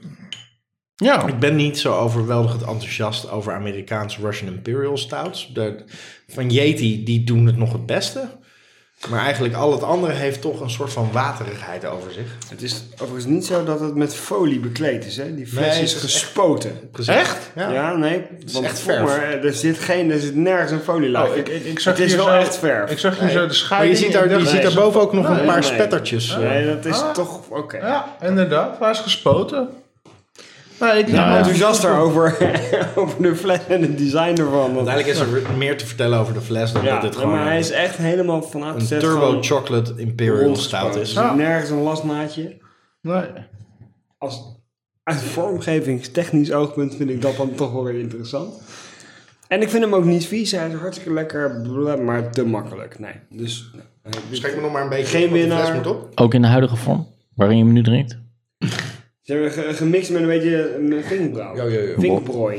Speaker 5: Ja.
Speaker 2: Ik ben niet zo overweldigend enthousiast over Amerikaanse Russian Imperial Stouts. De, van Yeti, die doen het nog het beste. Maar eigenlijk al het andere heeft toch een soort van waterigheid over zich.
Speaker 3: Het is overigens niet zo dat het met folie bekleed is. Hè? Die fles
Speaker 2: Nee,
Speaker 3: is
Speaker 2: het is echt-
Speaker 3: gespoten.
Speaker 2: Echt? Ja.
Speaker 3: Ja, nee. want
Speaker 2: echt Oh,
Speaker 3: vroeger, eh, Er zit, geen, er zit nergens een folielaag. in. het is wel echt verf.
Speaker 5: Ik zag hier zo de
Speaker 2: Maar
Speaker 5: scheiding.
Speaker 2: je ziet, daar,
Speaker 5: en
Speaker 2: je
Speaker 5: ik dacht-
Speaker 2: ziet daarboven ook nog
Speaker 3: Nee,
Speaker 2: een paar
Speaker 3: nee.
Speaker 2: spettertjes. eh.
Speaker 3: nee, dat is
Speaker 5: Ah.
Speaker 3: toch... Oké.
Speaker 5: Ja, inderdaad. Hij is gespoten. Nou, ik
Speaker 1: Nou ja.
Speaker 3: Enthousiaster over, over de fles en het design ervan. want-
Speaker 2: Uiteindelijk is er meer te vertellen over de fles dan
Speaker 3: Ja,
Speaker 2: dat dit
Speaker 3: nee,
Speaker 2: gewoon
Speaker 3: maar hij is echt helemaal van A tot
Speaker 2: een
Speaker 3: Z
Speaker 2: turbo
Speaker 3: gewoon
Speaker 2: chocolate imperial stout
Speaker 3: rondgespoten.
Speaker 2: is.
Speaker 3: Er zit nergens een lastnaadje.
Speaker 5: Nee.
Speaker 3: Als, uit vormgevingstechnisch oogpunt vind ik dat dan toch wel weer interessant. En ik vind hem ook niet vies. Hij is hartstikke lekker, bla, maar te makkelijk. Nee, dus... nee.
Speaker 2: Schrik me nog maar een beetje
Speaker 3: Geen
Speaker 2: op, want die
Speaker 3: winnaar.
Speaker 2: fles moet op.
Speaker 1: Ook in de huidige vorm, waarin je hem nu drinkt.
Speaker 3: Ze hebben ge- gemixt met een beetje eh, vingerbrouw.
Speaker 2: Ja, ja, ja.
Speaker 3: Vingerprooi.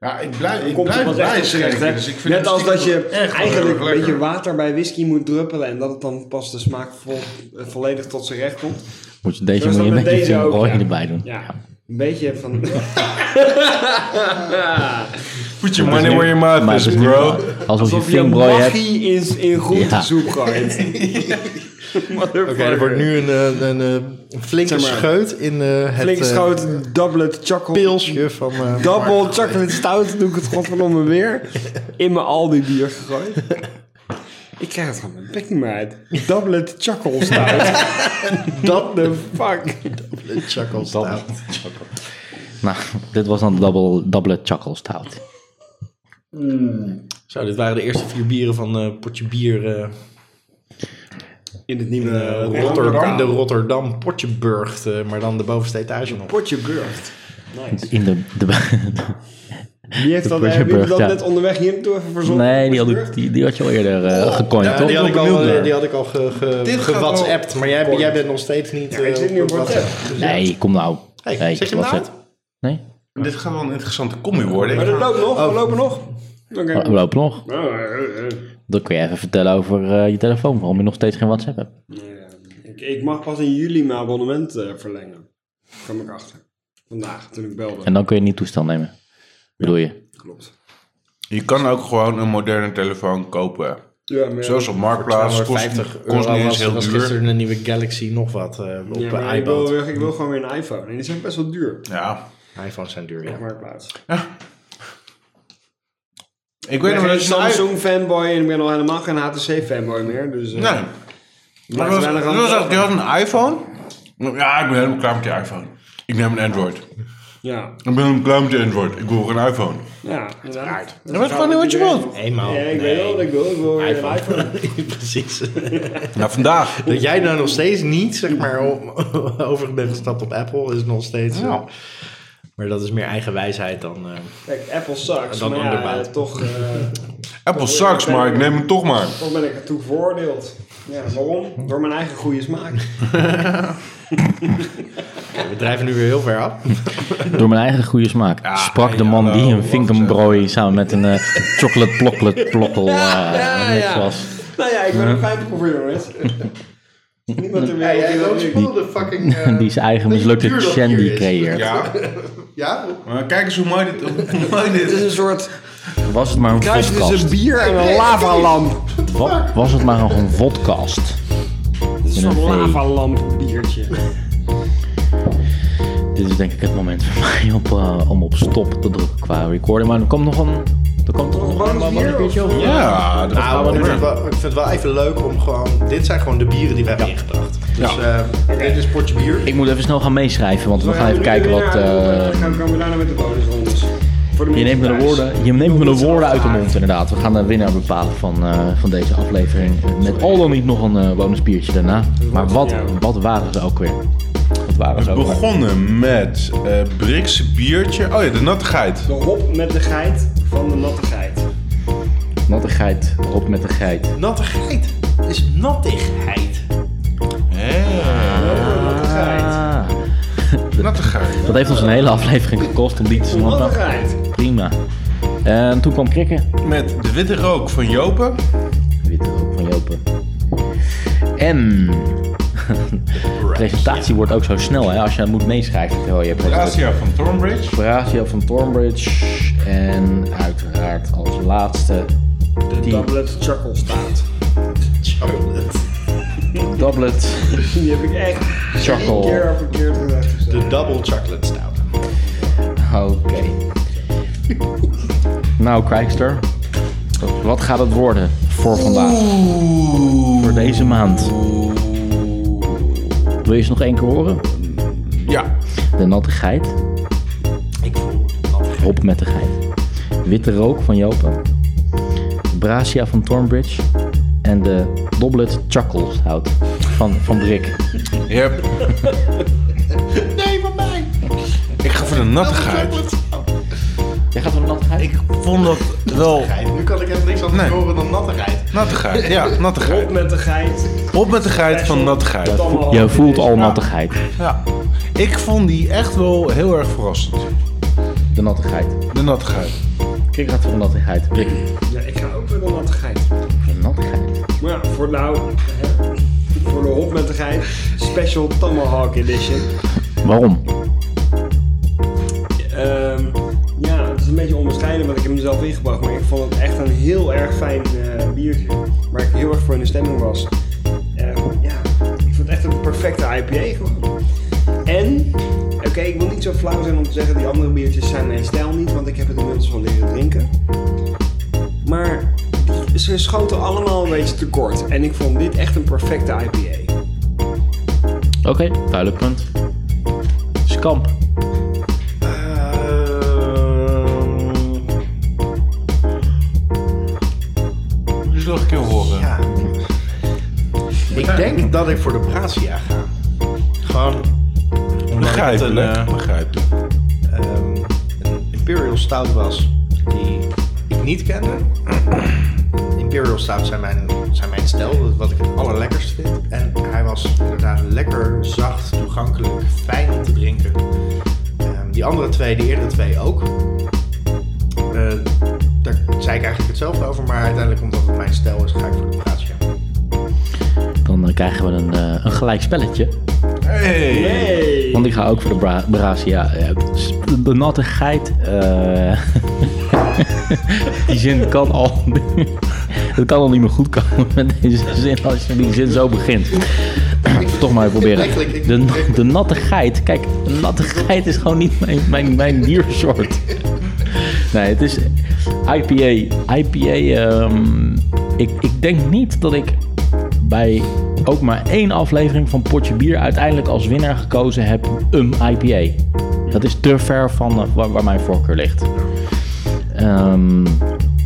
Speaker 5: Ja, ik blijf,
Speaker 3: Dan
Speaker 5: ik
Speaker 3: komt er
Speaker 5: blijf
Speaker 3: wat
Speaker 5: blij
Speaker 3: echt terecht,
Speaker 5: schenken.
Speaker 3: hè.
Speaker 5: Dus ik vind
Speaker 3: Net
Speaker 5: hem
Speaker 3: als dat je
Speaker 5: stiekem echt wel
Speaker 3: eigenlijk
Speaker 5: erg
Speaker 3: een beetje
Speaker 5: lekker.
Speaker 3: water bij whisky moet druppelen en dat het dan pas de smaak vol- eh, volledig tot zijn recht komt.
Speaker 1: Moet je deze
Speaker 3: Zo is dat
Speaker 1: manier
Speaker 3: met
Speaker 1: met je
Speaker 3: deze ook,
Speaker 1: vingerbolletje
Speaker 3: ja.
Speaker 1: erbij doen.
Speaker 3: Ja, een beetje van.
Speaker 5: Put your money where your mouth
Speaker 1: Maar
Speaker 5: is,
Speaker 1: het is niet
Speaker 5: Dus bro.
Speaker 1: waar. Alsof,
Speaker 3: Alsof
Speaker 1: je
Speaker 3: je
Speaker 1: vingerbrooi hebt.
Speaker 3: magie in, in groentesoep gooit. Motherfucker.
Speaker 2: Oké, er wordt nu een, eh, een, eh, een flinke
Speaker 3: Zeg maar.
Speaker 2: scheut in eh, het
Speaker 3: Flink
Speaker 2: eh,
Speaker 3: schoot, doublet chocolate.
Speaker 2: pilsje van... eh,
Speaker 3: Double chocolate stout doe ik het godverdomme weer. In mijn Aldi bier gegooid. Ik krijg het van mijn bek niet meer uit. Doublet chocolate stout. Dat de fuck.
Speaker 2: Mark Chuckle stout.
Speaker 1: Nou, dit was dan double, double chuckle stout.
Speaker 2: Zo, dit waren de eerste vier bieren van eh Potje Bier eh,
Speaker 3: In het nieuwe
Speaker 2: Rotterdam. De Rotterdam Potjeburg, eh, maar dan de bovenste etage nog.
Speaker 3: Potje burgt. Nice.
Speaker 1: In de, de,
Speaker 3: Wie heeft dat,
Speaker 1: Potje
Speaker 3: hebben jullie
Speaker 1: Burgt,
Speaker 3: dat
Speaker 1: ja.
Speaker 3: net onderweg hier naartoe even verzonnen?
Speaker 1: nee, die had,
Speaker 3: Potje
Speaker 1: ik, die, die had je al eerder eh, gecoind,
Speaker 2: Ja,
Speaker 1: toch?
Speaker 2: die, had ik
Speaker 5: benieuwd
Speaker 2: al, eh,
Speaker 5: naar.
Speaker 2: die had ik al ge, ge,
Speaker 5: Dit gaat
Speaker 2: gewhatsappt, maar jij, jij bent nog steeds niet...
Speaker 3: Burgt? Ik
Speaker 2: eh,
Speaker 3: zit nu op
Speaker 2: WhatsApp.
Speaker 3: WhatsApp.
Speaker 1: Nee, kom nou.
Speaker 2: Hey,
Speaker 1: Nee,
Speaker 2: zet je hem
Speaker 1: wat
Speaker 2: nou
Speaker 1: zeg- Nee,
Speaker 5: Dit gaat wel een interessante combi worden.
Speaker 3: Maar
Speaker 5: Ik
Speaker 3: dat loopt nog, we lopen nog. Oké. Oh, eh,
Speaker 1: we lopen nog. Dan kun je even vertellen over eh, je telefoon, waarom je nog steeds geen WhatsApp hebt.
Speaker 3: Ja, ik, ik mag pas in juli mijn abonnement eh, verlengen. Kwam ik achter. Vandaag, toen ik belde.
Speaker 1: En dan kun je een nieuw toestel nemen. Bedoel je?
Speaker 3: Klopt.
Speaker 5: Je kan ook gewoon een moderne telefoon kopen.
Speaker 3: Ja, maar,
Speaker 5: Zoals op Marktplaats kost,
Speaker 2: 250
Speaker 5: kost niet
Speaker 2: euro
Speaker 5: eens
Speaker 2: was,
Speaker 5: heel
Speaker 2: was
Speaker 5: duur.
Speaker 2: gisteren een nieuwe Galaxy nog wat eh, op
Speaker 3: ja, maar
Speaker 2: eh,
Speaker 3: ik, wil,
Speaker 2: iPad.
Speaker 3: weer- ik wil gewoon weer een iPhone. En die zijn best wel duur.
Speaker 5: Ja.
Speaker 2: iPhones zijn duur, ja.
Speaker 3: Op Marktplaats.
Speaker 5: Ik
Speaker 3: Ik
Speaker 5: weet
Speaker 3: ben
Speaker 5: nog
Speaker 3: geen
Speaker 5: dat je een
Speaker 3: Samsung fanboy en ik ben al helemaal geen HTC fanboy meer. Dus, eh,
Speaker 5: Nee. Maar dat was,
Speaker 3: weinig aan
Speaker 5: dat
Speaker 3: de
Speaker 5: was echt,
Speaker 3: telefoon.
Speaker 5: je had een iPhone. Ja, ik ben helemaal klaar met die iPhone. Ik neem een Android.
Speaker 3: Ja,
Speaker 5: Ik ben helemaal klaar met die Android. Ik wil weer een iPhone.
Speaker 3: ja inderdaad.
Speaker 5: Dat is gewoon niet wat je wilt.
Speaker 2: Eenmaal.
Speaker 3: Ja, ik
Speaker 2: nee.
Speaker 3: weet wel wat ik wil. Ik wil weer een iPhone.
Speaker 2: Precies.
Speaker 5: Nou, vandaag.
Speaker 2: Dat jij nou nog steeds niet, zeg maar, o- over bent gestapt op Apple is nog steeds... eh,
Speaker 5: Ja.
Speaker 2: maar dat is meer eigen wijsheid dan... eh,
Speaker 3: Kijk, Apple sucks.
Speaker 2: Dan
Speaker 3: maar ja,
Speaker 2: onderbouwd.
Speaker 3: eh, toch, eh,
Speaker 5: Apple sucks, maar ik neem hem toch maar.
Speaker 3: toch ben ik ertoe veroordeeld. Ja, waarom? Door mijn eigen goede smaak.
Speaker 2: we drijven nu weer heel ver af.
Speaker 1: Door mijn eigen goede smaak.
Speaker 5: Ja,
Speaker 1: Sprak de
Speaker 5: hey,
Speaker 1: man
Speaker 5: hallo,
Speaker 1: die een
Speaker 5: wacht
Speaker 1: vinkerbrooi samen met een eh, chocolate ploklet plokkel eh,
Speaker 3: Ja, ja,
Speaker 1: niks
Speaker 3: ja.
Speaker 1: was.
Speaker 3: Nou ja, ik ben een pijnproever, jongens. Niemand in de
Speaker 2: Hey,
Speaker 3: wereld
Speaker 2: hey,
Speaker 3: die dat
Speaker 2: Roach
Speaker 3: drinkt.
Speaker 2: Pool, de fucking... eh,
Speaker 1: Die zijn eigen mislukte
Speaker 2: cultuur dat
Speaker 1: shandy
Speaker 2: hier is.
Speaker 1: creëert.
Speaker 5: Ja,
Speaker 2: Ja?
Speaker 5: maar kijk eens hoe mooi dit, hoe mooi dit
Speaker 3: Het is
Speaker 5: is.
Speaker 3: een soort
Speaker 1: Was het maar een
Speaker 3: kruis
Speaker 1: vodcast.
Speaker 3: tussen bier en een lavalamp.
Speaker 1: Wa- was het maar een vodcast.
Speaker 3: Het is
Speaker 1: Met
Speaker 3: zo'n
Speaker 1: een V.
Speaker 3: lavalamp biertje.
Speaker 1: Dit is denk ik het moment voor mij op, eh, om op stop te drukken qua recording. Maar er komt nog een... Er komt toch nog een
Speaker 3: bier of-
Speaker 1: biertje op.
Speaker 5: Ja, dat
Speaker 2: Nou,
Speaker 1: we
Speaker 2: ik
Speaker 1: doen.
Speaker 2: vind, het wel, ik vind het wel even leuk om gewoon... Dit zijn gewoon de bieren die we hebben ingebracht. Dus eh, dit is potje bier.
Speaker 1: Ik moet even snel gaan meeschrijven, want we gaan even kijken wat... eh,
Speaker 3: Dan komen we daarna met de bonusrondes. Voor de
Speaker 1: je
Speaker 3: mensen
Speaker 1: neemt me de
Speaker 3: thuis.
Speaker 1: woorden, je neemt me de woorden uit de mond inderdaad. We gaan de winnaar bepalen van, eh, van deze aflevering. Eh, Met al dan niet nog een eh bonuspiertje daarna. Maar wat, wat waren ze ook weer? Wat waren ze
Speaker 5: We
Speaker 1: ook weer?
Speaker 5: begonnen met eh Brix biertje. Oh ja, de nattigheid.
Speaker 3: De hop met de geit van de natte geit.
Speaker 1: Nattigheid, op met de geit.
Speaker 2: Nattigheid is nattigheid.
Speaker 3: De natte geit.
Speaker 1: Ah,
Speaker 5: Eh, Nattigheid.
Speaker 1: dat heeft ons een hele aflevering gekost om die te
Speaker 3: Natte
Speaker 1: snappen.
Speaker 3: geit.
Speaker 1: Prima. En toen kwam Krikken.
Speaker 5: Met de witte rook van Jopen.
Speaker 1: Witte rook van Jopen. En... De presentatie wordt ook zo snel, hè? Als je moet meeschrijven terwijl je hebt...
Speaker 5: Ratia van Thornbridge.
Speaker 1: Horatio van Thornbridge. En uiteraard als laatste
Speaker 3: De tablet chuckle staat.
Speaker 1: doublet
Speaker 3: Die heb ik echt één keer
Speaker 1: charcoal.
Speaker 3: of een keer gezegd.
Speaker 2: De double chocolate stout.
Speaker 1: Oké. Nou, Krijkster. Wat gaat het worden voor vandaag? Voor deze maand? Wil je ze nog één keer horen?
Speaker 5: Ja.
Speaker 1: De natte geit.
Speaker 2: Ik voel nattigheid.
Speaker 1: Hop met de geit. Witte rook van Jopen. Bracia van Thornbridge. En de doublet chuckle hout van, van Brik.
Speaker 5: Yep.
Speaker 2: Nee, van mij!
Speaker 5: Ik ga voor de nattigheid.
Speaker 1: Jij gaat voor de natte geit?
Speaker 5: Ik vond dat wel...
Speaker 2: Nu kan ik even niks anders
Speaker 5: Nee.
Speaker 2: horen dan nattigheid.
Speaker 5: Nattigheid, ja,
Speaker 3: Hop
Speaker 5: nattigheid.
Speaker 3: met de geit.
Speaker 5: Op met de geit van nattigheid.
Speaker 3: Allemaal
Speaker 1: Je
Speaker 3: in
Speaker 1: voelt
Speaker 3: deze-
Speaker 1: al nattigheid.
Speaker 5: Ja. Ik vond die echt wel heel erg verrassend.
Speaker 1: De nattigheid.
Speaker 5: De nattigheid.
Speaker 1: Kijk, gaat voor de nattigheid. Blik.
Speaker 3: Ja, ik ga ook weer de natte geit.
Speaker 1: De nattigheid.
Speaker 3: Maar ja, voor nou... hè, Voor de hop met de geit. Special Tomahawk Edition.
Speaker 1: Waarom?
Speaker 3: Ehm, ja, het is een beetje onbescheiden, want ik heb hem zelf ingebracht. Maar ik vond het echt een heel erg fijn eh, biertje. Waar ik heel erg voor in de stemming was. Eh, ja, ik vond het echt een perfecte IPA gewoon. En, oké, ik wil niet zo flauw zijn om te zeggen die andere biertjes zijn mijn stijl niet. Want ik heb het inmiddels van leren drinken. Maar die- ze schoten allemaal een beetje tekort. En ik vond dit echt een perfecte IPA.
Speaker 1: Oké, duidelijk punt. Skamp.
Speaker 5: Dus nog een keer horen.
Speaker 2: Ja. Ik denk dat ik voor de Bracia ga. Gewoon omdat het een,
Speaker 5: Begrijpelijk,
Speaker 2: eh,
Speaker 5: begrijpelijk.
Speaker 2: ehm, een Imperial Stout was die ik niet kende. Imperial Stout zijn mijn, zijn mijn stijl, wat ik het allerlekkerst vind. En hij was inderdaad lekker, zacht, toegankelijk, fijn om te drinken. Ehm, die andere twee, die eerdere twee ook. Eh, daar zei ik eigenlijk hetzelfde over, maar uiteindelijk omdat het mijn stijl is, ga ik voor de Bracia.
Speaker 1: Dan eh, krijgen we een, eh, een gelijk spelletje.
Speaker 5: Hey.
Speaker 3: Hey!
Speaker 1: Want ik ga ook voor de bra Bracia. Eh, s- De natte geit. eh, die zin kan al. Het kan al niet meer goed komen met deze zin als je die zin zo begint. Toch maar even proberen. De, na- de natte geit. Kijk, de natte geit is gewoon niet mijn, mijn, mijn diersoort. Nee, het is IPA. IPA. ehm, ik, ik denk niet dat ik bij ook maar één aflevering van Potje Bier uiteindelijk als winnaar gekozen heb een IPA. Dat is te ver van eh, waar, waar mijn voorkeur ligt. Ehm,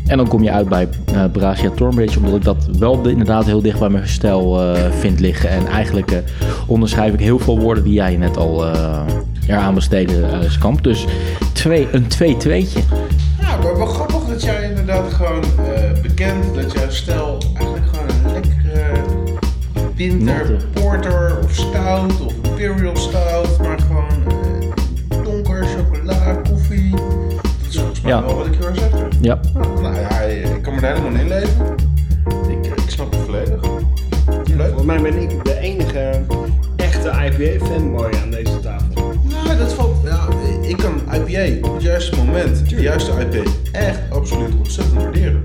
Speaker 1: en dan kom je uit bij eh Bracia Thornbridge, omdat ik dat wel de- inderdaad heel dicht bij mijn stijl eh, vind liggen. En eigenlijk eh, onderschrijf ik heel veel woorden die jij net al eh, eraan besteden, eh Skamp. Dus twee, een 2-2'tje.
Speaker 5: Ja, Nou, maar wel grappig dat jij inderdaad gewoon eh, bekend dat jouw stijl eigenlijk gewoon een lekkere winter
Speaker 1: Natte.
Speaker 5: porter of stout of imperial stout, maar gewoon eh, donker, chocola, koffie. Dat is volgens mij
Speaker 1: Ja.
Speaker 5: wel wat ik heel erg zeg.
Speaker 1: Ja,
Speaker 5: Nou, nou ja, ik kan me eh, daar helemaal in leven. Ik, ik snap het volledig. Leuk.
Speaker 3: Volgens mij ben ik de enige IPA-fanboy aan deze tafel.
Speaker 5: Nou, dat valt. Nou, ik kan IPA op het juiste moment, de juiste IPA, echt absoluut ontzettend waarderen.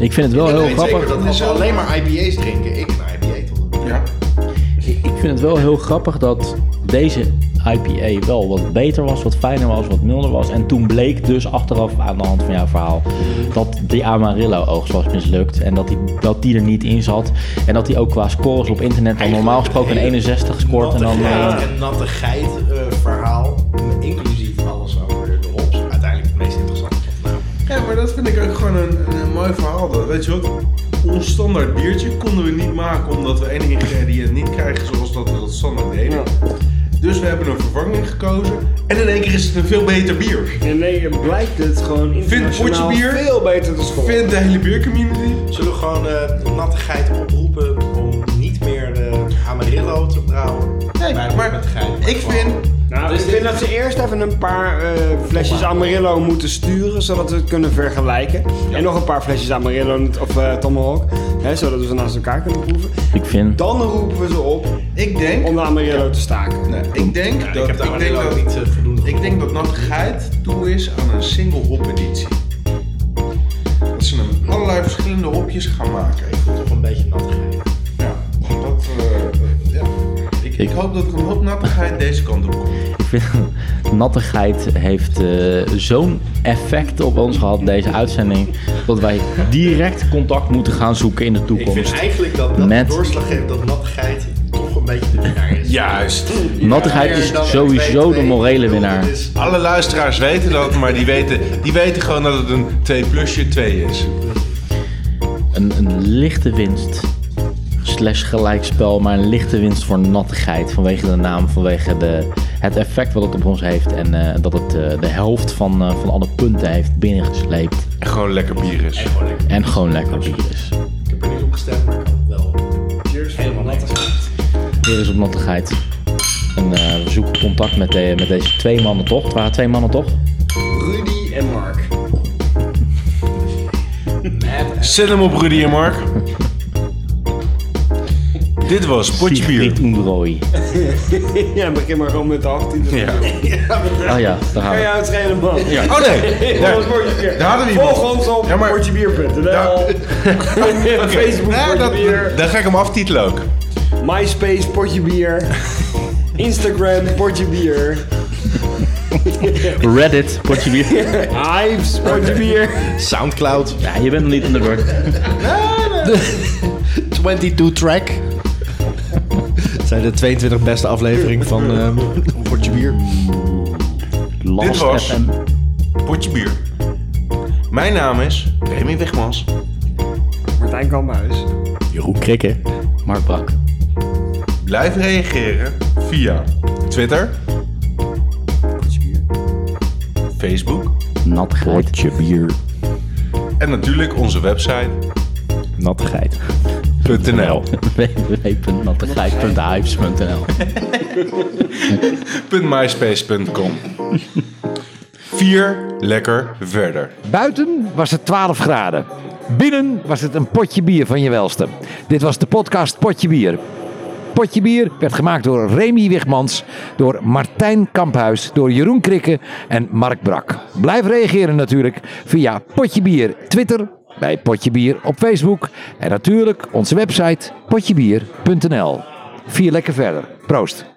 Speaker 1: Ik vind het wel heel
Speaker 2: Ik weet zeker
Speaker 1: grappig.
Speaker 2: dat als we alleen maar IPA's drinken, ik een IPA tot.
Speaker 5: Ja.
Speaker 1: Ik vind het wel heel grappig dat deze IPA wel wat beter was, wat fijner was, wat milder was. En toen bleek dus achteraf aan de hand van jouw verhaal dat die Amarillo oogst was mislukt. En dat die, dat die er niet in zat. En dat die ook qua scores op internet dan normaal gesproken een 61 gescoord. En dan, eh,
Speaker 2: Nattigheid en nattigheid eh, verhaal, inclusief alles over de hops, uiteindelijk het meest interessante. Nou,
Speaker 5: ja, maar dat vind ik ook gewoon een, een mooi verhaal. Dat, weet je wat? Ons standaard biertje konden we niet maken omdat we één ingrediënt niet krijgen zoals dat we dat standaard deden. Dus we hebben een vervanging gekozen. En in één keer is het een veel beter bier.
Speaker 3: En nee, blijkt het gewoon internationaal
Speaker 5: potje bier?
Speaker 3: veel beter te scoren.
Speaker 5: Vindt de hele biercommunity.
Speaker 2: Zullen we gewoon eh, de nattigheid oproepen om niet meer de Amarillo te brouwen?
Speaker 5: Nee, maar ik vind.
Speaker 3: Nou,
Speaker 2: Dus
Speaker 3: ik vind dat ze eerst even een paar eh, flesjes Amarillo moeten sturen, zodat we het kunnen vergelijken. En nog een paar flesjes Amarillo of eh, Tomahawk, hè, zodat we ze naast elkaar kunnen proeven.
Speaker 1: ik vind.
Speaker 3: Dan roepen we ze op
Speaker 5: Ik denk.
Speaker 3: om de Amarillo te staken.
Speaker 5: Nee, Eh, ik denk
Speaker 2: ik
Speaker 5: dat.
Speaker 2: heb de
Speaker 5: ik denk
Speaker 2: Amarillo
Speaker 5: dat
Speaker 2: niet eh, voldoende
Speaker 5: Ik denk dat nattigheid toe is aan een single hop editie. Dat ze hem allerlei verschillende hopjes gaan maken.
Speaker 2: gevoel, toch een beetje nattigheid.
Speaker 5: Ja, dat, eh, ja. Ik, ik hoop dat er een hoop nattigheid deze kant op komt.
Speaker 1: Ik vind nattigheid heeft eh, zo'n effect op ons gehad, deze uitzending. Dat wij direct contact moeten gaan zoeken in de
Speaker 2: Ik vind
Speaker 1: toekomst.
Speaker 2: eigenlijk dat dat
Speaker 1: Met-
Speaker 2: doorslag geeft dat nattigheid toch een beetje de winnaar is.
Speaker 5: Juist.
Speaker 1: Nattigheid
Speaker 2: Meer dan
Speaker 1: is sowieso de
Speaker 2: 2-2.
Speaker 1: morele
Speaker 2: Ik bedoel,
Speaker 1: winnaar.
Speaker 2: dit is-
Speaker 5: Alle luisteraars weten dat, maar die weten, die weten gewoon dat het een 2 plusje 2 is.
Speaker 1: Een, een lichte winst. Slash gelijkspel, maar een lichte winst voor nattigheid. Vanwege de naam, vanwege de, het effect wat het op ons heeft. En eh, dat het eh, de helft van, eh, van alle punten heeft binnengesleept.
Speaker 5: En gewoon lekker bier is.
Speaker 1: En gewoon lekker bier is.
Speaker 2: Ik heb er niet op gestemd, maar ik had het wel. Helemaal nattigheid.
Speaker 1: Hier is op nattigheid. En eh, we zoeken contact met, de- met deze twee mannen toch? Het waren twee mannen toch?
Speaker 3: Rudy en Mark.
Speaker 5: Zet hem op Rudy en Mark. Dit was Potje Bier.
Speaker 1: Siegfried Ungrooi.
Speaker 3: ja, begin maar gewoon met de 18.
Speaker 5: Ja.
Speaker 1: Oh ja, daar gaan
Speaker 3: Kan je
Speaker 1: we.
Speaker 3: uitschrijven, man? Ja.
Speaker 5: Oh nee, daar, daar hadden we iemand.
Speaker 3: Volg ons op
Speaker 5: Ja, maar-
Speaker 3: potjebier.nl, Facebook
Speaker 5: Nou, dat,
Speaker 3: potjebier,
Speaker 5: dan ga ik hem aftitelen ook.
Speaker 3: MySpace potjebier, Instagram potjebier,
Speaker 1: Reddit, potje bier.
Speaker 3: Hives potjebier.
Speaker 2: Soundcloud,
Speaker 1: Ja, je bent nog niet aan de beurt.
Speaker 2: 22 track. Dat zijn de 22 beste aflevering van ehm Potje Bier.
Speaker 1: Last
Speaker 5: Dit was-
Speaker 1: FM.
Speaker 5: Potje bier. Mijn naam is Remy Wegmans.
Speaker 3: Martijn Kamphuis.
Speaker 1: Jeroen Krikke. Mark Brak.
Speaker 5: Blijf reageren via Twitter, Facebook
Speaker 1: Nattigheid.
Speaker 2: Potje Bier.
Speaker 5: en natuurlijk onze website.nl.
Speaker 2: Nattigheid.
Speaker 1: www.nattigheid.hypes.nl
Speaker 5: .myspace.com. Vier lekker verder.
Speaker 6: Buiten was het 12 graden. Binnen was het een potje bier van je welste. Dit was de podcast Potje Bier. Potje Bier werd gemaakt door Remy Wigmans, door Martijn Kamphuis, door Jeroen Krikke en Mark Brak. Blijf reageren natuurlijk via Potje Bier Twitter, bij Potje Bier op Facebook en natuurlijk onze website potjebier.nl. Vier lekker verder. Proost.